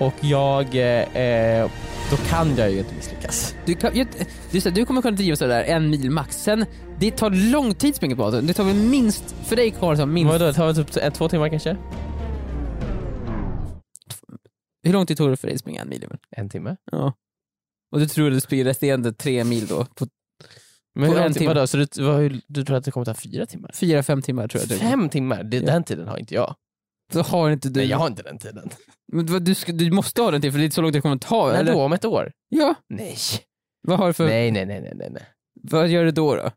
[SPEAKER 2] Och jag, eh, eh, då kan jag ju inte misslyckas.
[SPEAKER 3] Du, kan, jag, det är så här, du kommer kunna driva sådär en mil max, sen det tar lång tid springa på maraton. Det tar väl minst, för dig Karl, så minst,
[SPEAKER 2] Vadå, det tar väl typ en, två timmar kanske?
[SPEAKER 3] hur lång tid tog det för dig att springa en mil? Emil?
[SPEAKER 2] En timme?
[SPEAKER 3] Ja. Och du tror att du springer resterande tre mil då? På
[SPEAKER 2] Men
[SPEAKER 3] På
[SPEAKER 2] hur
[SPEAKER 3] en
[SPEAKER 2] lång tid-
[SPEAKER 3] timme.
[SPEAKER 2] Vadå, så du, vad, du tror att det kommer ta fyra timmar?
[SPEAKER 3] fyra, fem timmar tror jag det
[SPEAKER 2] Fem timmar? Det, Den tiden har inte jag.
[SPEAKER 3] Då har inte du...
[SPEAKER 2] Nej, jag har inte den tiden.
[SPEAKER 3] Men vad, du, ska- du måste ha den till för det är så långt det kommer att ta.
[SPEAKER 2] När
[SPEAKER 3] eller?
[SPEAKER 2] då? Om ett år?
[SPEAKER 3] Ja.
[SPEAKER 2] Nej.
[SPEAKER 3] Vad, har du för,
[SPEAKER 2] Nej, nej, nej, nej, nej, nej.
[SPEAKER 3] vad gör du då? då?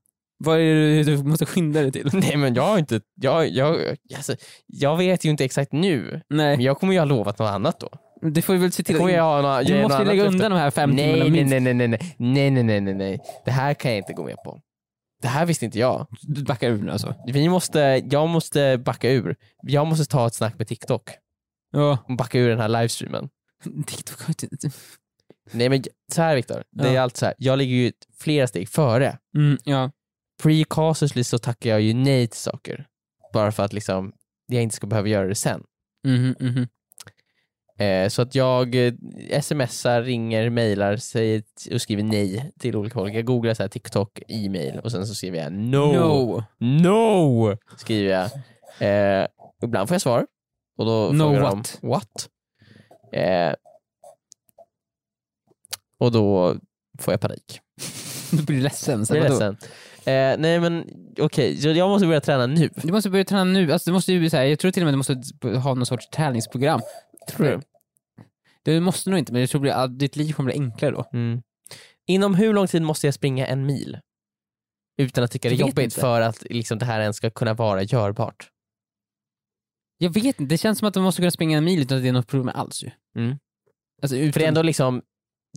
[SPEAKER 3] Vad är det du måste skynda dig till?
[SPEAKER 2] Nej, men jag har inte... Jag, jag, alltså, jag vet ju inte exakt nu. Men
[SPEAKER 3] Nej,
[SPEAKER 2] jag kommer ju ha lovat något annat då.
[SPEAKER 3] men det får vi väl se till.
[SPEAKER 2] Kommer jag ha några, ge
[SPEAKER 3] Du måste
[SPEAKER 2] något
[SPEAKER 3] ju lägga
[SPEAKER 2] annat löfte?
[SPEAKER 3] undan de här fem timmarna
[SPEAKER 2] nej, nej,
[SPEAKER 3] minst.
[SPEAKER 2] nej, nej, nej, nej, nej, nej, nej, nej, nej. Det här kan jag inte gå med på. Det här visste inte jag.
[SPEAKER 3] Du backar ur nu alltså.
[SPEAKER 2] Vi måste, jag måste backa ur. Jag måste ta ett snack med TikTok
[SPEAKER 3] Ja.
[SPEAKER 2] och backa ur den här livestreamen.
[SPEAKER 3] TikTok har inte...
[SPEAKER 2] Nej men så här Viktor, det är
[SPEAKER 3] Ja.
[SPEAKER 2] allt så här. jag ligger ju flera steg före.
[SPEAKER 3] Mm, ja.
[SPEAKER 2] Pre-casusly så tackar jag ju nej till saker. Bara för att liksom, jag inte ska behöva göra det sen.
[SPEAKER 3] Mhm, mhm.
[SPEAKER 2] Eh, så att jag eh, smsar, ringer, mejlar säger t- och skriver nej till olika folk. Jag googlar så här TikTok, e-mail och sen så skriver jag no.
[SPEAKER 3] No.
[SPEAKER 2] No! Skriver jag. Eh, ibland får jag svar. Och då
[SPEAKER 3] No
[SPEAKER 2] frågar
[SPEAKER 3] what?
[SPEAKER 2] de what? Eh, och då får jag panik.
[SPEAKER 3] Du blir ledsen. Så
[SPEAKER 2] Jag är
[SPEAKER 3] vadå?
[SPEAKER 2] ledsen. Eh, nej men okej, så jag måste börja träna nu.
[SPEAKER 3] Du måste börja träna nu. Alltså, du måste ju, bli så här, jag tror till och med du måste ha någon sorts träningsprogram. Tror
[SPEAKER 2] du?
[SPEAKER 3] Du måste nog inte, men jag tror att ditt liv kommer bli enklare då.
[SPEAKER 2] Mm. Inom hur lång tid måste jag springa en mil? Utan att tycka det är
[SPEAKER 3] Jag vet
[SPEAKER 2] jobbigt
[SPEAKER 3] inte.
[SPEAKER 2] för att liksom, det här ens ska kunna vara görbart.
[SPEAKER 3] Jag vet inte, det känns som att du måste kunna springa en mil utan att det är något problem alls ju.
[SPEAKER 2] Mm.
[SPEAKER 3] Alltså, utan,
[SPEAKER 2] För det är ändå liksom,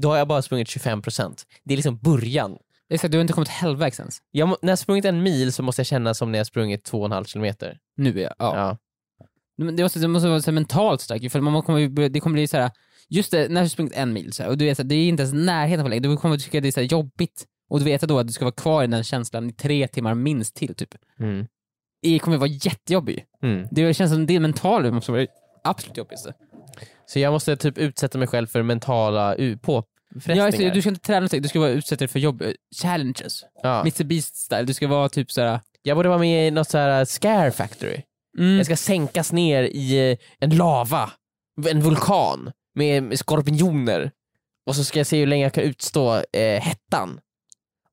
[SPEAKER 2] då har jag bara sprungit 25%. Det är liksom början.
[SPEAKER 3] Exakt, du har inte kommit halvvägs ens.
[SPEAKER 2] Jag må, när jag sprungit en mil så måste jag känna som när jag sprungit 2,5 kilometer.
[SPEAKER 3] Nu är jag, ja.
[SPEAKER 2] Ja.
[SPEAKER 3] Men det, måste, det måste vara så här mentalt starkt ju, för man kommer, ju börja- det kommer bli så här. just det, när du sprungit en mil så här, och du vet att det är inte ens närheten på längre, du kommer tycka det är så här jobbigt. Och du vet då att du ska vara kvar i den känslan i tre timmar minst till typ.
[SPEAKER 2] Mm.
[SPEAKER 3] Det kommer vara jättejobbig.
[SPEAKER 2] Mm.
[SPEAKER 3] Det känns som det mentala måste vara det absolut jobbigaste.
[SPEAKER 2] Så jag måste typ utsätta mig själv för mentala u-
[SPEAKER 3] Ja, alltså,
[SPEAKER 2] påfrestningar.
[SPEAKER 3] du ska inte träna någonting, du ska vara utsätt dig för jobb, eh, challenges.
[SPEAKER 2] Ja.
[SPEAKER 3] Mr Beast style, du ska vara typ såhär...
[SPEAKER 2] Jag borde vara med i något så här scare factory.
[SPEAKER 3] Mm,
[SPEAKER 2] Jag ska sänkas ner i eh, en lava, en vulkan med med skorpioner. Och så ska jag se hur länge jag kan utstå eh, hettan.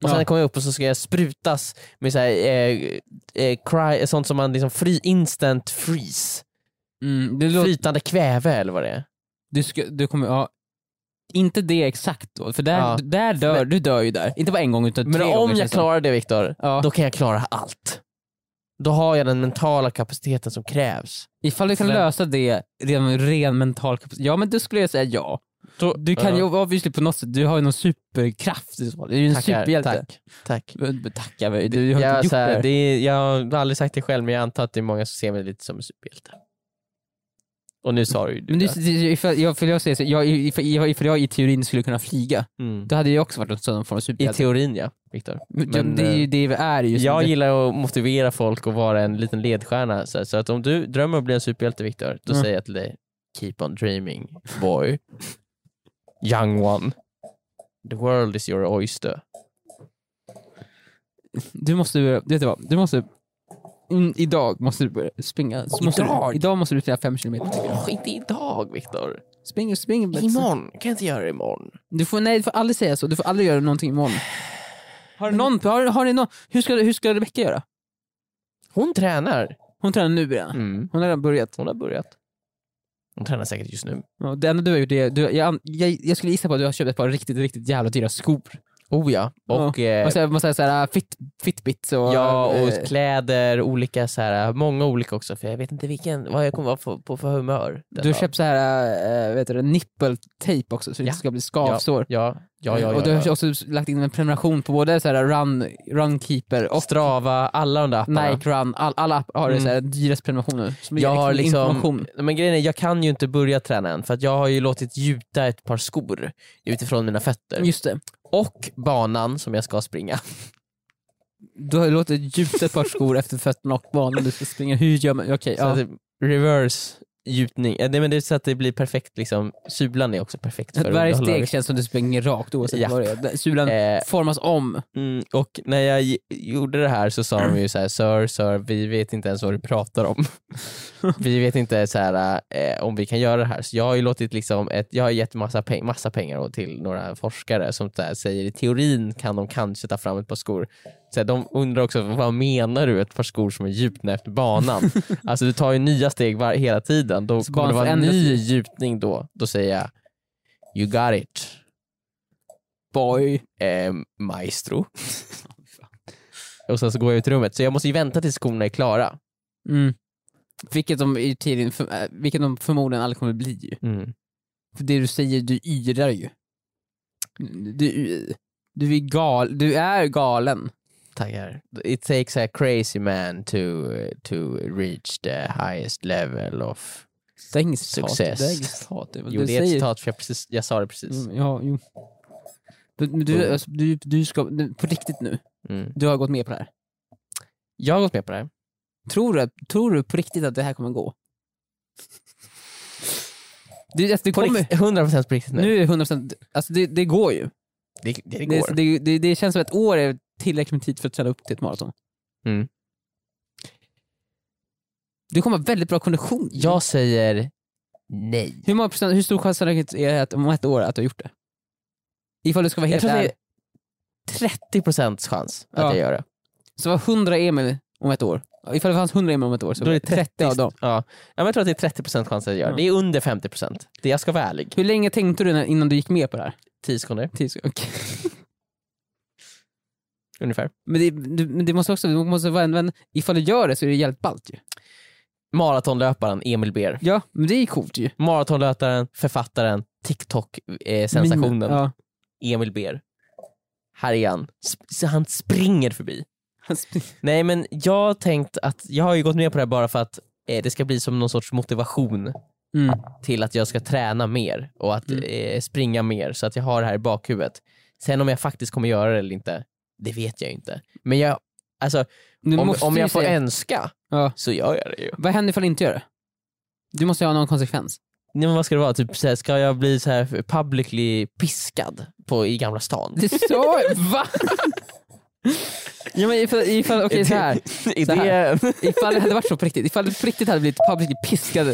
[SPEAKER 2] Och sen
[SPEAKER 3] Ja.
[SPEAKER 2] kommer jag upp och så ska jag sprutas med så här, eh, eh, cry, sånt som man liksom fry, instant freeze.
[SPEAKER 3] mm, det låter,
[SPEAKER 2] Flytande kväve eller vad det är.
[SPEAKER 3] du, ska, du kommer, ja, inte det exakt då, för där,
[SPEAKER 2] Ja.
[SPEAKER 3] där dör, du dör ju där. Inte bara en gång utan
[SPEAKER 2] Men
[SPEAKER 3] tre gånger.
[SPEAKER 2] om jag
[SPEAKER 3] känns det
[SPEAKER 2] klarar det Viktor,
[SPEAKER 3] som. ja.
[SPEAKER 2] då kan jag klara allt. Då har jag den mentala kapaciteten som krävs.
[SPEAKER 3] Ifall du kan
[SPEAKER 2] Sen-
[SPEAKER 3] lösa det redan med ren mental kapacitet, ja men då skulle jag säga ja.
[SPEAKER 2] Då-
[SPEAKER 3] Du kan ju
[SPEAKER 2] Ja.
[SPEAKER 3] obviously på något sätt, du har ju någon superkraft i så fall. Du är ju en
[SPEAKER 2] Tackar,
[SPEAKER 3] superhjälte.
[SPEAKER 2] Tack. tack.
[SPEAKER 3] Tack. Tackar, men du har inte
[SPEAKER 2] Jag,
[SPEAKER 3] gjort
[SPEAKER 2] så här,
[SPEAKER 3] det.
[SPEAKER 2] det är, jag har aldrig sagt det själv, men jag antar att det är många som ser mig lite som en superhjälte. Och nu sa du ju
[SPEAKER 3] Men
[SPEAKER 2] det.
[SPEAKER 3] du, du- ifall jag, ifall jag, säger så, jag, ifall, jag, ifall jag i teorin skulle kunna flyga,
[SPEAKER 2] Mm.
[SPEAKER 3] då hade jag också varit en sån form av
[SPEAKER 2] I
[SPEAKER 3] superhjälte.
[SPEAKER 2] teorin ja, Viktor.
[SPEAKER 3] Men,
[SPEAKER 2] men, eh,
[SPEAKER 3] det är ju det vi är just
[SPEAKER 2] Jag
[SPEAKER 3] nu.
[SPEAKER 2] gillar att motivera folk och vara en liten ledstjärna. Så, så att om du drömmer om att bli en superhjälte Viktor, då
[SPEAKER 3] Mm.
[SPEAKER 2] säger jag till dig Keep on dreaming boy. Young one. The world is your oyster.
[SPEAKER 3] Du måste, börja- vet du vad? Du måste, mm, idag måste du börja springa. Så måste
[SPEAKER 2] Idag?
[SPEAKER 3] Du, idag måste du springa fem kilometer.
[SPEAKER 2] Åh, inte idag Viktor.
[SPEAKER 3] Spring, spring. Betsy.
[SPEAKER 2] Imorgon. Kan jag inte göra det imorgon?
[SPEAKER 3] Du får, nej, du får aldrig säga så. Du får aldrig göra någonting imorgon. Har du någon, har, har ni någon, hur, ska, hur ska Rebecca göra?
[SPEAKER 2] Hon tränar.
[SPEAKER 3] Hon tränar nu redan.
[SPEAKER 2] Mm.
[SPEAKER 3] Hon har redan börjat.
[SPEAKER 2] Hon har börjat. Hon tränar säkert just nu.
[SPEAKER 3] Ja, Det enda du har gjort är, du, jag, jag, jag skulle gissa på att du har köpt ett par riktigt, riktigt jävla dyra skor.
[SPEAKER 2] Oh ja. Och, eh,
[SPEAKER 3] Och så, man säger såhär, fit, fitbits och...
[SPEAKER 2] ja,
[SPEAKER 3] eh,
[SPEAKER 2] och kläder, olika så här, många olika också för jag vet inte vilken, vad jag kommer vara på, på för humör. den
[SPEAKER 3] du har
[SPEAKER 2] dagen.
[SPEAKER 3] köpt såhär, äh, vet du det, nippeltejp också så det
[SPEAKER 2] Ja.
[SPEAKER 3] inte ska bli skavsår.
[SPEAKER 2] Ja, ja, ja.
[SPEAKER 3] och du
[SPEAKER 2] ja,
[SPEAKER 3] har
[SPEAKER 2] ja.
[SPEAKER 3] också lagt in en prenumeration på både såhär run, runkeeper och
[SPEAKER 2] Strava, alla de där apparna.
[SPEAKER 3] Nike Run, all, alla appar har
[SPEAKER 2] Mm.
[SPEAKER 3] mm. såhär dyrast prenumerationer. Som
[SPEAKER 2] Jag
[SPEAKER 3] ger
[SPEAKER 2] har liksom-
[SPEAKER 3] information.
[SPEAKER 2] Nej, Men grejen är, jag kan ju inte börja träna än för att jag har ju låtit gjuta ett par skor utifrån mina fötter.
[SPEAKER 3] Just det.
[SPEAKER 2] Och banan som jag ska springa.
[SPEAKER 3] Du har låtit gjuta ett par skor efter fötterna och banan du ska springa. Hur gör man? Okej,
[SPEAKER 2] Så att
[SPEAKER 3] ja.
[SPEAKER 2] det, reverse gjutning. Eh, Nej men det är så att det blir perfekt liksom, sulan är också perfekt för
[SPEAKER 3] Varje steg
[SPEAKER 2] underhållare.
[SPEAKER 3] känns som du springer rakt oavsett
[SPEAKER 2] Ja.
[SPEAKER 3] vad det är. Sulan
[SPEAKER 2] Eh,
[SPEAKER 3] formas om.
[SPEAKER 2] mm, och när jag gi- gjorde det här så sa de ju så här: Sir, sir, vi vet inte ens vad du pratar om. vi vet inte så här, eh, om vi kan göra det här. Så jag har ju låtit liksom ett, jag har gett massa, peng, massa pengar då till några forskare som så här, säger i teorin kan de kanske ta fram ett par skor. Så här, de undrar också vad menar du ett par skor som är gjutna efter banan? alltså du tar ju nya steg var, hela tiden. Då
[SPEAKER 3] Så
[SPEAKER 2] kommer det
[SPEAKER 3] banan
[SPEAKER 2] vara en
[SPEAKER 3] förändras
[SPEAKER 2] ny gjutning då. Då säger jag You got it
[SPEAKER 3] Boy.
[SPEAKER 2] eh, maestro. och sen så går jag ut i rummet. Så jag måste ju vänta tills skorna är klara.
[SPEAKER 3] Mm. Vilket, de i tiden, för, äh, vilket de förmodligen aldrig kommer bli ju. För det du säger, du yrar ju. Du, du, är, gal, du är galen.
[SPEAKER 2] Tackar. It takes a crazy man to, to reach the highest level of...
[SPEAKER 3] Stäng citat.
[SPEAKER 2] Success.
[SPEAKER 3] Det är inget citat. Det är vad
[SPEAKER 2] Jo
[SPEAKER 3] du
[SPEAKER 2] det är ett
[SPEAKER 3] säger.
[SPEAKER 2] citat för jag, precis, jag sa det precis.
[SPEAKER 3] Mm, Ja, jo. Men- men Du,
[SPEAKER 2] Mm.
[SPEAKER 3] alltså, du, du ska, du- på riktigt nu,
[SPEAKER 2] Mm.
[SPEAKER 3] du har gått med på det här.
[SPEAKER 2] Jag har gått med på det här.
[SPEAKER 3] Tror du, tror du på riktigt att det här kommer gå? Du, alltså, du
[SPEAKER 2] På
[SPEAKER 3] kommer,
[SPEAKER 2] rikt- 100% på riktigt nu.
[SPEAKER 3] nu är det 100%, alltså det, det går ju.
[SPEAKER 2] Det, det, det
[SPEAKER 3] Det,
[SPEAKER 2] går.
[SPEAKER 3] det, det, det känns som ett år är tillräckligt med tid för att träna upp till ett maraton.
[SPEAKER 2] Mm.
[SPEAKER 3] Du kommer ha väldigt bra kondition.
[SPEAKER 2] Jag säger nej.
[SPEAKER 3] Hur, många procent, hur stor sannolikhet är det att om ett år att du har gjort det? Ifall du ska vara
[SPEAKER 2] Jag
[SPEAKER 3] helt
[SPEAKER 2] tror
[SPEAKER 3] ärlig.
[SPEAKER 2] det är 30% chans att
[SPEAKER 3] Ja.
[SPEAKER 2] jag gör det.
[SPEAKER 3] Så var 100 Emil om ett år. Ifall det fanns 100 Emil om ett år så
[SPEAKER 2] Då är det
[SPEAKER 3] 30, av dem.
[SPEAKER 2] Ja. Ja, men jag tror att det är 30% chans att jag gör det. Det är under 50%. Det jag ska vara ärlig.
[SPEAKER 3] Hur länge tänkte du när- innan du gick med på det här?
[SPEAKER 2] 10 sekunder
[SPEAKER 3] Tills- okej.
[SPEAKER 2] ungefär.
[SPEAKER 3] Men, det, du, men det måste också, du måste vara en vän. Ifall du gör det så är det jävligt ballt ju.
[SPEAKER 2] Maratonlöparen Emil Ber.
[SPEAKER 3] Ja, men det är coolt ju.
[SPEAKER 2] maratonlöparen, författaren, TikTok-sensationen
[SPEAKER 3] Min- Ja.
[SPEAKER 2] Emil Ber. Här är han. Sp- så han springer förbi.
[SPEAKER 3] Han sp-
[SPEAKER 2] Nej men jag har tänkt att, jag har ju gått med på det här bara för att eh, det ska bli som någon sorts motivation
[SPEAKER 3] Mm.
[SPEAKER 2] till att jag ska träna mer och att
[SPEAKER 3] Mm.
[SPEAKER 2] eh, springa mer så att jag har det här i bakhuvudet. Sen om jag faktiskt kommer göra det eller inte, det vet jag ju inte. Men jag, alltså,
[SPEAKER 3] Du
[SPEAKER 2] om,
[SPEAKER 3] måste
[SPEAKER 2] om
[SPEAKER 3] ju
[SPEAKER 2] jag får
[SPEAKER 3] säga-
[SPEAKER 2] önska
[SPEAKER 3] Ja.
[SPEAKER 2] så gör jag det ju.
[SPEAKER 3] Vad händer ifall du inte gör det? Du måste ju ha någon konsekvens.
[SPEAKER 2] Nej, men vad ska det vara? Typ, så här, ska jag bli så här publicly piskad på, i Gamla stan?
[SPEAKER 3] Det sa Va? ja, men ifall, ifall, okej, så här.
[SPEAKER 2] Är
[SPEAKER 3] Så
[SPEAKER 2] det-
[SPEAKER 3] Ifall det hade varit så på riktigt, ifall du på riktigt hade blivit publicly piskad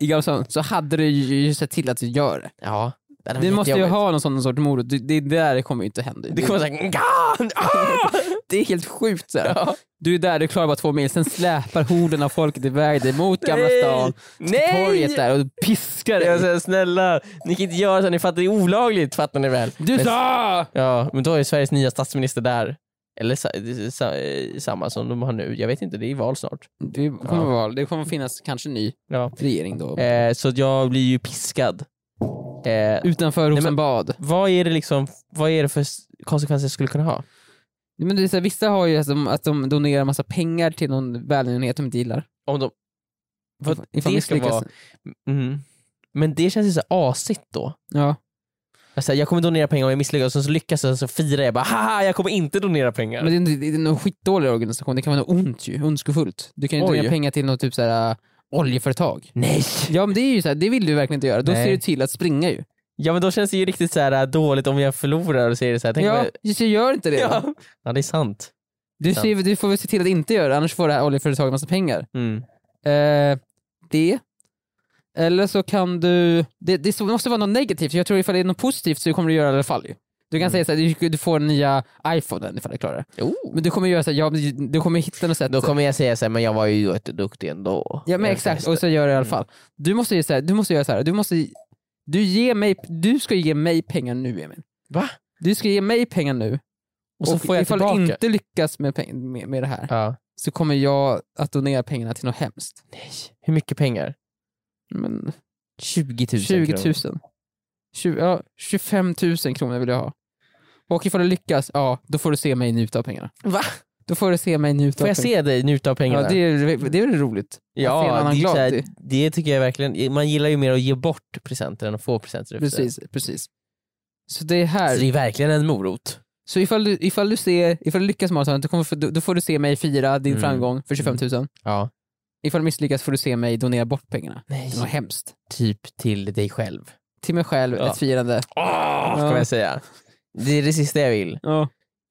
[SPEAKER 3] i Gamla stan, så hade du ju ju sett till att du gör det.
[SPEAKER 2] Ja, det hade
[SPEAKER 3] Du
[SPEAKER 2] varit
[SPEAKER 3] måste ju
[SPEAKER 2] jättejobbigt.
[SPEAKER 3] ha någon sån sorts morot, det, det där kommer ju inte hända.
[SPEAKER 2] Det kommer såhär, "Gan! Ah!"
[SPEAKER 3] Det är helt sjukt. Så här. Du är där, du klarar bara två mil, sen släpar horden av folket iväg dig mot Gamla
[SPEAKER 2] Nej!
[SPEAKER 3] stan, till
[SPEAKER 2] Nej!
[SPEAKER 3] torget där och piskar
[SPEAKER 2] Jag
[SPEAKER 3] dig.
[SPEAKER 2] säger snälla, ni kan inte göra så, här, ni fattar, det är olagligt fattar ni väl?
[SPEAKER 3] Du
[SPEAKER 2] men,
[SPEAKER 3] sa!
[SPEAKER 2] ja, men då är Sveriges nya statsminister där. Eller sa, sa, eh, samma som de har nu, jag vet inte, det är val snart.
[SPEAKER 3] Det kommer, vara, det kommer finnas kanske en ny
[SPEAKER 2] Ja.
[SPEAKER 3] regering då.
[SPEAKER 2] Eh, så att jag blir ju piskad Eh,
[SPEAKER 3] Utanför
[SPEAKER 2] men-
[SPEAKER 3] Rosenbad.
[SPEAKER 2] vad, är det liksom, vad är det för s- konsekvenser det skulle kunna ha?
[SPEAKER 3] Nej, Men det är så här, vissa har ju att de, att de donerar massa pengar till någon välgörenhet de inte gillar.
[SPEAKER 2] Om de, vad,
[SPEAKER 3] Ifall
[SPEAKER 2] det ska
[SPEAKER 3] misslyckas-
[SPEAKER 2] vara, mm. Men det känns ju så här asigt då.
[SPEAKER 3] Ja.
[SPEAKER 2] Alltså, jag kommer donera pengar om jag misslyckas och sen så lyckas jag och så firar jag bara haha jag kommer inte donera pengar.
[SPEAKER 3] Men det är, en- det är en skitdålig organisation, det kan vara något ont ju, ondskefullt. Du kan ju
[SPEAKER 2] Oj.
[SPEAKER 3] donera pengar till något typ så här, äh, oljeföretag.
[SPEAKER 2] Nej!
[SPEAKER 3] Ja men det är ju så här, det vill du verkligen inte göra, då
[SPEAKER 2] Nej.
[SPEAKER 3] ser du till att springa ju.
[SPEAKER 2] Ja men då känns det ju riktigt så här äh, dåligt om jag förlorar och säger det så här. Tänk
[SPEAKER 3] ja,
[SPEAKER 2] vad-
[SPEAKER 3] just det, gör inte det. då.
[SPEAKER 2] ja. ja det är sant.
[SPEAKER 3] Du,
[SPEAKER 2] sant.
[SPEAKER 3] ser, du får väl se till att inte göra det, annars får det här oljeföretaget massa pengar.
[SPEAKER 2] Mm.
[SPEAKER 3] Eh, det. Eller så kan du... Det, det måste vara något negativt, jag tror ifall det är något positivt så kommer du göra det i alla fall. ju. Du kan
[SPEAKER 2] Mm.
[SPEAKER 3] säga såhär, du, du får en nya iPhone ifall du klarar det. Men du kommer göra såhär, ja, men du kommer hitta något sätt.
[SPEAKER 2] Då kommer jag säga så här, men jag var ju jätteduktig ändå.
[SPEAKER 3] ja men exakt, och så gör du
[SPEAKER 2] Mm.
[SPEAKER 3] i alla fall. Du måste ju säga, du måste göra såhär, du måste... Du, ger mig, du ska ge mig pengar nu Emil.
[SPEAKER 2] Va?
[SPEAKER 3] Du ska ge mig pengar nu,
[SPEAKER 2] Och så får jag
[SPEAKER 3] ifall
[SPEAKER 2] tillbaka.
[SPEAKER 3] du inte lyckas med, peng- med, med det här
[SPEAKER 2] Ja.
[SPEAKER 3] så kommer jag att donera pengarna till något hemskt.
[SPEAKER 2] Nej. Hur mycket pengar?
[SPEAKER 3] Men
[SPEAKER 2] 20 000
[SPEAKER 3] 20
[SPEAKER 2] kronor.
[SPEAKER 3] 000. 20, ja, 25 000 kronor vill jag ha. Och ifall du lyckas, ja, då får du se mig njuta av pengarna.
[SPEAKER 2] Va?
[SPEAKER 3] Då får du se mig njuta
[SPEAKER 2] Får
[SPEAKER 3] av
[SPEAKER 2] jag
[SPEAKER 3] pengarna.
[SPEAKER 2] se dig njuta av pengarna?
[SPEAKER 3] Ja, det är, det är väl roligt?
[SPEAKER 2] Ja,
[SPEAKER 3] att se en annan
[SPEAKER 2] det, är
[SPEAKER 3] glad.
[SPEAKER 2] så här,
[SPEAKER 3] Det-
[SPEAKER 2] det tycker jag verkligen. Man gillar ju mer att ge bort presenter än att få presenter. efter.
[SPEAKER 3] Precis, precis. Så det är
[SPEAKER 2] Så det
[SPEAKER 3] här.
[SPEAKER 2] är verkligen en morot.
[SPEAKER 3] Så ifall du, ifall du, ser, ifall du lyckas med maratonet, då, kommer- då- då får du se mig fira din
[SPEAKER 2] Mm.
[SPEAKER 3] framgång för 25 000.
[SPEAKER 2] Ja.
[SPEAKER 3] Ifall du misslyckas får du se mig donera bort pengarna.
[SPEAKER 2] Nej.
[SPEAKER 3] Det var hemskt.
[SPEAKER 2] Typ till dig själv.
[SPEAKER 3] Till mig själv,
[SPEAKER 2] Ja.
[SPEAKER 3] ett firande.
[SPEAKER 2] Åh,
[SPEAKER 3] Ah! Ja.
[SPEAKER 2] Ska jag säga. Det är det sista jag vill.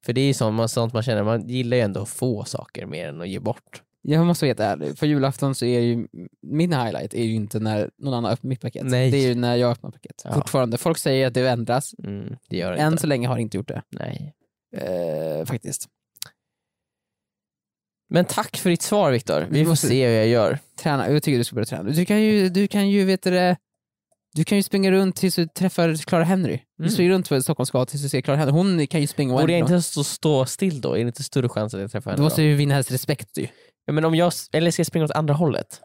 [SPEAKER 2] För det är ju sånt man, sånt man känner, man gillar ju ändå att få saker mer än att ge bort.
[SPEAKER 3] Jag måste vara helt ärlig, för julafton så är ju min highlight är ju inte när någon annan öppnar mitt paket.
[SPEAKER 2] Nej.
[SPEAKER 3] Det är ju när jag öppnar paket.
[SPEAKER 2] Ja.
[SPEAKER 3] Fortfarande. Folk säger att det ändras.
[SPEAKER 2] Mm, det gör det
[SPEAKER 3] Än
[SPEAKER 2] inte.
[SPEAKER 3] så länge har det inte gjort det.
[SPEAKER 2] Nej.
[SPEAKER 3] Eh, faktiskt.
[SPEAKER 2] Men tack för ditt svar Viktor. Vi
[SPEAKER 3] Vi
[SPEAKER 2] får
[SPEAKER 3] måste-
[SPEAKER 2] se hur jag gör.
[SPEAKER 3] Träna. Jag tycker du ska börja träna. Du kan ju, du kan ju, vet du det, du kan ju springa runt tills du träffar Clara Henry. Du
[SPEAKER 2] Mm.
[SPEAKER 3] springer runt på Stockholms gata tills du ser Clara Henry. Hon kan ju springa
[SPEAKER 2] Borde jag
[SPEAKER 3] oändligt.
[SPEAKER 2] inte stå, stå still då? Är det inte större chans att jag träffar henne
[SPEAKER 3] Du måste
[SPEAKER 2] då?
[SPEAKER 3] ju vinna hennes respekt ju.
[SPEAKER 2] Ja, Men om jag, s- eller ska jag springa åt andra hållet?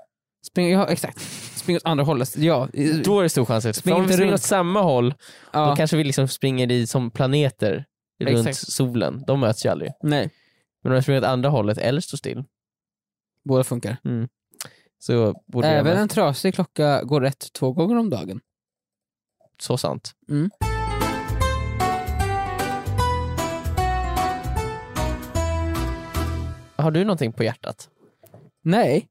[SPEAKER 3] Springa, ja exakt. Spring åt andra hållet. Ja. i-
[SPEAKER 2] Då är det stor chans. att-
[SPEAKER 3] Spring
[SPEAKER 2] För om vi
[SPEAKER 3] inte
[SPEAKER 2] springer
[SPEAKER 3] runt.
[SPEAKER 2] åt samma håll,
[SPEAKER 3] ja.
[SPEAKER 2] då kanske vi liksom springer i som planeter runt
[SPEAKER 3] Exakt.
[SPEAKER 2] solen. De möts ju aldrig.
[SPEAKER 3] Nej.
[SPEAKER 2] Men om jag springer åt andra hållet eller står still mm,
[SPEAKER 3] Båda funkar.
[SPEAKER 2] så borde jag...
[SPEAKER 3] Även en trasig klocka går rätt två gånger om dagen.
[SPEAKER 2] Så sant.
[SPEAKER 3] Mm.
[SPEAKER 2] Har du någonting på hjärtat?
[SPEAKER 3] Nej.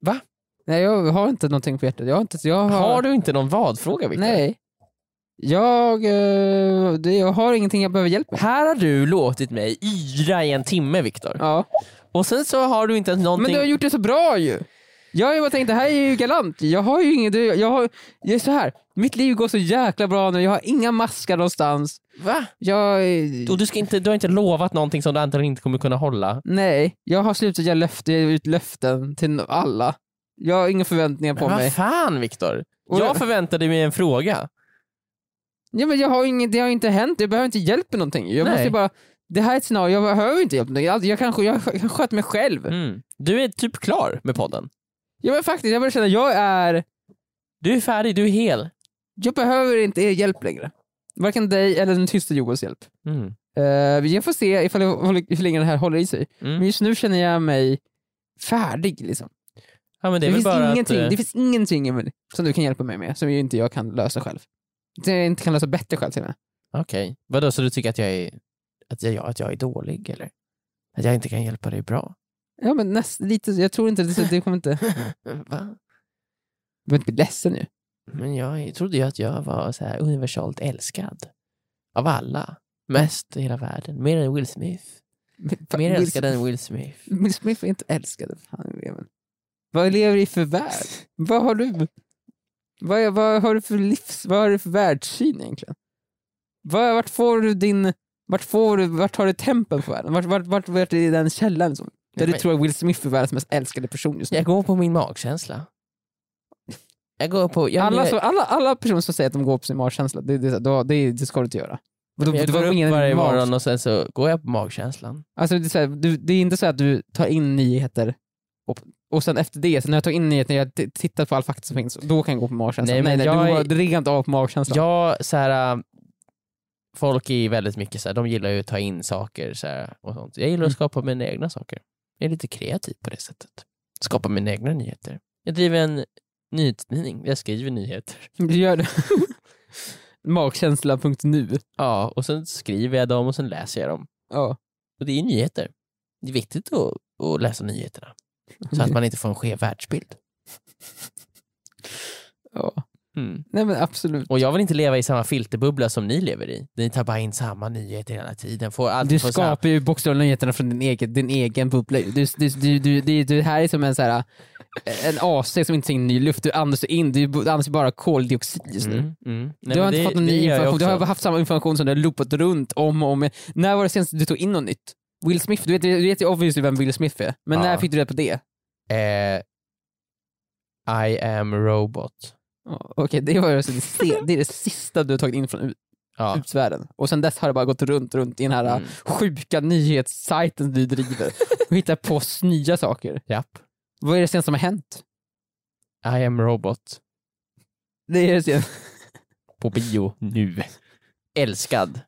[SPEAKER 2] Va?
[SPEAKER 3] Nej, jag har inte någonting på hjärtat. Jag har inte... Jag har...
[SPEAKER 2] Har du inte någon vad-fråga Victor?
[SPEAKER 3] Nej. Jag, eh, det, jag har ingenting jag behöver hjälp med.
[SPEAKER 2] Här har du låtit mig yra i en timme Viktor.
[SPEAKER 3] Ja.
[SPEAKER 2] Och sen så har du inte ens någonting...
[SPEAKER 3] Men du har gjort det så bra ju! Jag har ju bara tänkt, det här är ju galant. Jag har ju inget... du- Jag har... Jag är så här. Mitt liv går så jäkla bra nu. Jag har inga maskar någonstans.
[SPEAKER 2] Va?
[SPEAKER 3] Jag...
[SPEAKER 2] Och du, ska inte, du har inte lovat någonting som du antagligen inte kommer kunna hålla.
[SPEAKER 3] Nej, jag har slutat ge löften, ge ut löften till alla. Jag har inga förväntningar på
[SPEAKER 2] Men vad
[SPEAKER 3] mig.
[SPEAKER 2] fan Viktor?
[SPEAKER 3] Och-
[SPEAKER 2] Jag förväntade mig en fråga.
[SPEAKER 3] Ja, men jag har inget, det har inte hänt, jag behöver inte hjälp med någonting. Jag
[SPEAKER 2] Nej.
[SPEAKER 3] måste ju bara, det här är ett scenario, jag behöver inte hjälp med någonting. Alltså, Jag kanske jag, sk- jag sköt mig själv.
[SPEAKER 2] Mm. Du är typ klar med podden.
[SPEAKER 3] Ja, men faktiskt, jag börjar känna, jag är,
[SPEAKER 2] Du är färdig, du är hel.
[SPEAKER 3] jag behöver inte er hjälp längre. Varken dig eller den tysta Joels hjälp.
[SPEAKER 2] Mm.
[SPEAKER 3] Eh, jag får se ifall jag, håller- hur länge det här håller i sig.
[SPEAKER 2] Mm.
[SPEAKER 3] Men just nu känner jag mig färdig. Liksom.
[SPEAKER 2] Ja, men
[SPEAKER 3] Det,
[SPEAKER 2] det är väl
[SPEAKER 3] finns
[SPEAKER 2] bara
[SPEAKER 3] ingenting,
[SPEAKER 2] att, eh,
[SPEAKER 3] det finns ingenting Emil, som du kan hjälpa mig med, som ju inte jag kan lösa själv. Som jag inte kan lösa bättre själv till och med.
[SPEAKER 2] Okej, vadå så du tycker att jag, är, att, jag, att jag är dålig eller? Att jag inte kan hjälpa dig bra?
[SPEAKER 3] Ja, men näst, lite, jag tror inte, det, det kommer inte... Du
[SPEAKER 2] Va?
[SPEAKER 3] behöver inte bli ledsen nu.
[SPEAKER 2] Men jag trodde ju att jag var så här universalt älskad. Av alla. Mest i hela världen. Mer än Will Smith. Mer
[SPEAKER 3] Will-
[SPEAKER 2] älskad än Will Smith.
[SPEAKER 3] Will Smith är inte älskad. Fan, Emil. vad lever du i för värld? Vad har du? Vad, är- vad har du för livs... Vad har du för världssyn egentligen? Vad, vart får du din... Vart, får du, vart har du tempen på världen? Vart, vart, vart, vart är den källan? Liksom? Där du
[SPEAKER 2] Men-
[SPEAKER 3] tror att Will Smith är världens mest älskade person just nu.
[SPEAKER 2] Jag går på min magkänsla. Jag går på... Jag,
[SPEAKER 3] Alla,
[SPEAKER 2] jag,
[SPEAKER 3] som, alla, alla personer som säger att de går på sin magkänsla, det, det, är så här, då- det, det ska du inte göra. Vadå,
[SPEAKER 2] jag
[SPEAKER 3] det
[SPEAKER 2] går
[SPEAKER 3] var ingen
[SPEAKER 2] upp varje
[SPEAKER 3] mag-
[SPEAKER 2] morgon och sen så går jag på magkänslan.
[SPEAKER 3] Alltså, det, är så här, du, det är inte så att du tar in nyheter och och sen efter det, sen när jag tog in nyheten, jag t- tittat på all fakta som finns, då kan jag gå på magkänslan. Nej,
[SPEAKER 2] Nej,
[SPEAKER 3] nej,
[SPEAKER 2] men
[SPEAKER 3] du
[SPEAKER 2] jag
[SPEAKER 3] har
[SPEAKER 2] är-
[SPEAKER 3] rent av på magkänslan.
[SPEAKER 2] Ja, så här, äh, folk är ju väldigt mycket så här, de gillar ju att ta in saker så här, och sånt. Jag gillar att
[SPEAKER 3] Mm.
[SPEAKER 2] skapa mina egna saker. Jag är lite kreativ på det sättet. Skapa mina egna nyheter. Jag driver en nyhetstidning, jag skriver nyheter.
[SPEAKER 3] Du gör det. Magkänsla.nu.
[SPEAKER 2] Ja, och sen skriver jag dem och sen läser jag dem.
[SPEAKER 3] Ja.
[SPEAKER 2] Och det är ju nyheter. Det är viktigt att, att läsa nyheterna. Så att man inte får en skev världsbild.
[SPEAKER 3] ja.
[SPEAKER 2] Mm.
[SPEAKER 3] Nej men absolut.
[SPEAKER 2] Och jag vill inte leva i samma filterbubbla som ni lever i. Ni tar bara in samma nyheter hela tiden. Får alltid
[SPEAKER 3] Du
[SPEAKER 2] få så här-
[SPEAKER 3] skapar ju bokstavligen nyheterna från din egen, din egen bubbla. ju. Du, du, du, du, du, du här är som en, så här, en AC som inte tar in ny luft. Du andas ju in, du bo- andas ju bara koldioxid just nu.
[SPEAKER 2] Mm, mm. Nej,
[SPEAKER 3] du har
[SPEAKER 2] men
[SPEAKER 3] inte
[SPEAKER 2] det-
[SPEAKER 3] fått någon
[SPEAKER 2] det
[SPEAKER 3] ny
[SPEAKER 2] gör jag
[SPEAKER 3] information, du har
[SPEAKER 2] också.
[SPEAKER 3] bara haft samma information som du har loopat runt om och om. igen. När var det senast du tog in något nytt? Will Smith, du vet, du vet ju obviously vem Will Smith är, men
[SPEAKER 2] Ja.
[SPEAKER 3] när fick du reda på det?
[SPEAKER 2] Eh, I am robot.
[SPEAKER 3] Ja, Okej, det, var ju alltså det, se- det är det sista du har tagit in från ut-
[SPEAKER 2] Ja.
[SPEAKER 3] utvärlden. Och sen dess har det bara gått runt, runt i den här äh,
[SPEAKER 2] Mm.
[SPEAKER 3] sjuka nyhetssajten du driver och hittar på s- nya saker.
[SPEAKER 2] Japp.
[SPEAKER 3] Vad är det senaste som har hänt?
[SPEAKER 2] I am robot.
[SPEAKER 3] Det är det senaste.
[SPEAKER 2] På bio nu. Älskad.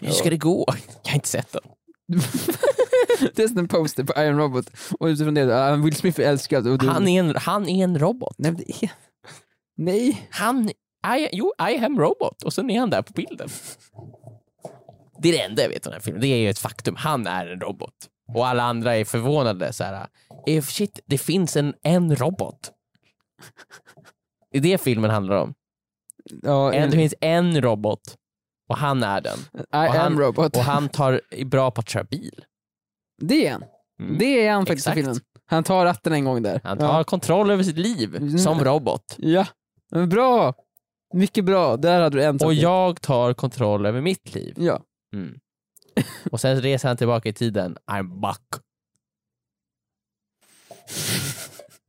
[SPEAKER 2] Hur ska
[SPEAKER 3] Ja.
[SPEAKER 2] det gå? Jag har inte sett den.
[SPEAKER 3] det är som en poster på Iron Robot och utifrån det, ah, Will Smith är älskad. Och du...
[SPEAKER 2] Han är en, han är en robot.
[SPEAKER 3] Nej, men det är... Nej.
[SPEAKER 2] Han... I, jo, I am robot. Och sen är han där på bilden. Det är det enda jag vet om den här filmen. Det är ju ett faktum. Han är en robot. Och alla andra är förvånade. Så här, eh, shit, det finns en, en robot. Det är det filmen handlar om.
[SPEAKER 3] Ja,
[SPEAKER 2] En,
[SPEAKER 3] en,
[SPEAKER 2] det finns en robot och han är den.
[SPEAKER 3] I
[SPEAKER 2] och han-
[SPEAKER 3] am robot.
[SPEAKER 2] Och han tar, är bra på att köra bil.
[SPEAKER 3] Det är han.
[SPEAKER 2] Mm.
[SPEAKER 3] Det är han faktiskt i
[SPEAKER 2] Exakt.
[SPEAKER 3] filmen. Han tar ratten en gång där.
[SPEAKER 2] Han tar kontroll över sitt liv
[SPEAKER 3] Mm.
[SPEAKER 2] som robot.
[SPEAKER 3] Ja. ja. Men bra! Mycket bra. Där hade du en sak.
[SPEAKER 2] Och jag tar kontroll över mitt liv.
[SPEAKER 3] Ja.
[SPEAKER 2] Mm. Och sen reser han tillbaka i tiden. I'm back.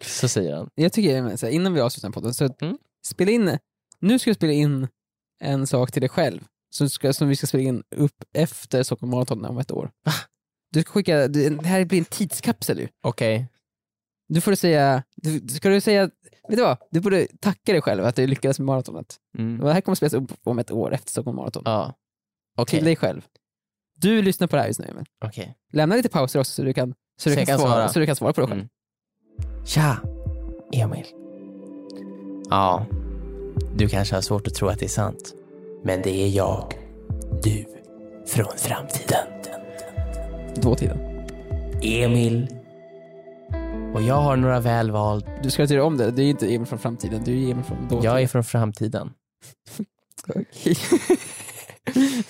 [SPEAKER 2] Så säger han.
[SPEAKER 3] Jag tycker, men, så här, innan vi avslutar podden, så
[SPEAKER 2] Mm.
[SPEAKER 3] spela in, nu ska du spela in en sak till dig själv som, ska, som vi ska spela in upp efter Stockholm Marathon om ett år. Du ska skicka, du, det här blir en tidskapsel ju.
[SPEAKER 2] Okej.
[SPEAKER 3] Du får säga, du, ska du säga, vet du vad? Du borde tacka dig själv att du lyckades med maratonet.
[SPEAKER 2] Mm.
[SPEAKER 3] Och Det här kommer spelas upp om ett år efter Stockholm Marathon.
[SPEAKER 2] Ja. Okej.
[SPEAKER 3] Till dig själv. Du lyssnar på det här just nu Emil.
[SPEAKER 2] Okej.
[SPEAKER 3] Lämna lite pauser också så du kan, så du
[SPEAKER 2] Så jag
[SPEAKER 3] kan,
[SPEAKER 2] kan
[SPEAKER 3] svara,
[SPEAKER 2] svara.
[SPEAKER 3] Så du kan svara på det själv.
[SPEAKER 2] Mm. Tja, Emil. Ja, du kanske har svårt att tro att det är sant. Men det är jag, du, från framtiden. Mm.
[SPEAKER 3] Dåtiden.
[SPEAKER 2] Emil. Och jag har några välvald.
[SPEAKER 3] Du ska inte göra om det, du är inte Emil från framtiden, du är Emil från dåtiden.
[SPEAKER 2] Jag är från framtiden.
[SPEAKER 3] Okej.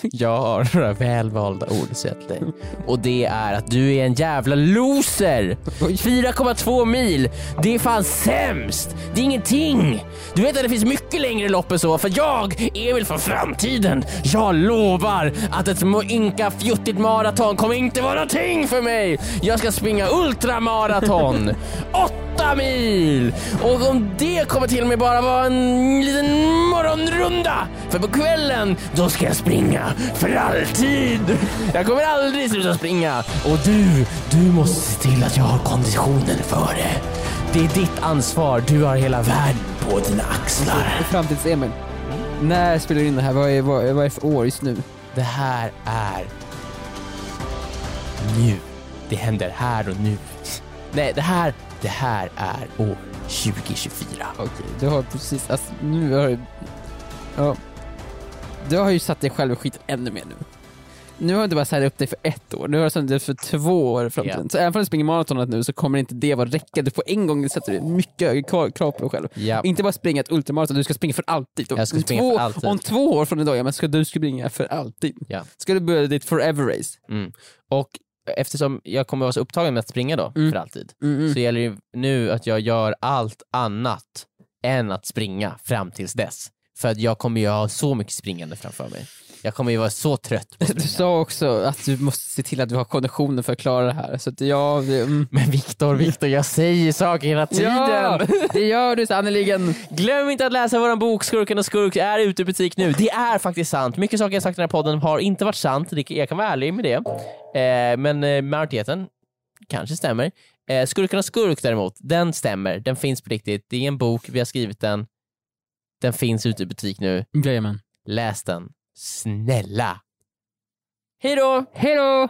[SPEAKER 2] Jag har några välvalda ord sett dig. Och det är att du är en jävla loser!
[SPEAKER 3] Oj.
[SPEAKER 2] 4,2 mil, det är fan sämst! Det är ingenting! Du vet att det finns mycket längre lopp än så, för jag, Emil från framtiden, jag lovar att ett mo- ynka fjuttigt maraton kommer inte vara någonting för mig! Jag ska springa ultramaraton! 8 mil! Och om det kommer till mig bara vara en liten morgonrunda, för på kvällen, då ska jag springa för alltid! Jag kommer aldrig sluta springa! Och du, du måste se till att jag har konditionen för det. Det är ditt ansvar, du har hela världen på dina axlar.
[SPEAKER 3] Framtids-Emil.
[SPEAKER 2] Mm.
[SPEAKER 3] När spelar du in det här? Vad är, vad, är- vad är det för år just nu?
[SPEAKER 2] Det här är nu. Det händer här och nu. Nej, det här, det här är år 2024.
[SPEAKER 3] Okej, du har precis, alltså, nu har du... Ja. Du har ju satt dig själv i skiten ännu mer nu. Nu har du inte bara satt upp dig för ett år, nu har du satt dig för två år i framtiden.
[SPEAKER 2] Ja.
[SPEAKER 3] Så även om du springer maratonet nu så kommer inte det vara räcka. Du får en gång sätter du mycket högre krav- krav på dig själv.
[SPEAKER 2] Ja.
[SPEAKER 3] Inte bara springa ett ultramaraton, du ska springa för alltid. Om
[SPEAKER 2] Jag ska springa
[SPEAKER 3] två,
[SPEAKER 2] för alltid.
[SPEAKER 3] Om två år från idag, ja, men ska du springa för alltid.
[SPEAKER 2] Ja.
[SPEAKER 3] Ska du börja ditt forever race?
[SPEAKER 2] Mm. Och eftersom jag kommer vara så upptagen med att springa då, för alltid,
[SPEAKER 3] Mm.
[SPEAKER 2] så gäller det ju nu att jag gör allt annat än att springa fram tills dess. För att jag kommer ju ha så mycket springande framför mig. Jag kommer ju vara så trött på att
[SPEAKER 3] Du
[SPEAKER 2] springa.
[SPEAKER 3] sa också att du måste se till att du har konditionen för att klara det här. Så att ja, det, mm.
[SPEAKER 2] Men Viktor, Viktor, jag säger saker hela tiden!
[SPEAKER 3] ja, det gör du sannerligen.
[SPEAKER 2] Glöm inte att läsa vår bok Skurken och Skurk är ute i butik nu. Det är faktiskt sant. Mycket saker jag sagt i den här podden har inte varit sant. Det- Jag kan vara ärlig med det. Eh, Men eh, majoriteten kanske stämmer. Eh, Skurkarnas skurk däremot, den stämmer. Den finns på riktigt. Det är en bok, vi har skrivit den. Den finns ute i butik nu.
[SPEAKER 3] Jajamän.
[SPEAKER 2] Läs den. Snälla! Hej då!
[SPEAKER 3] Hej då!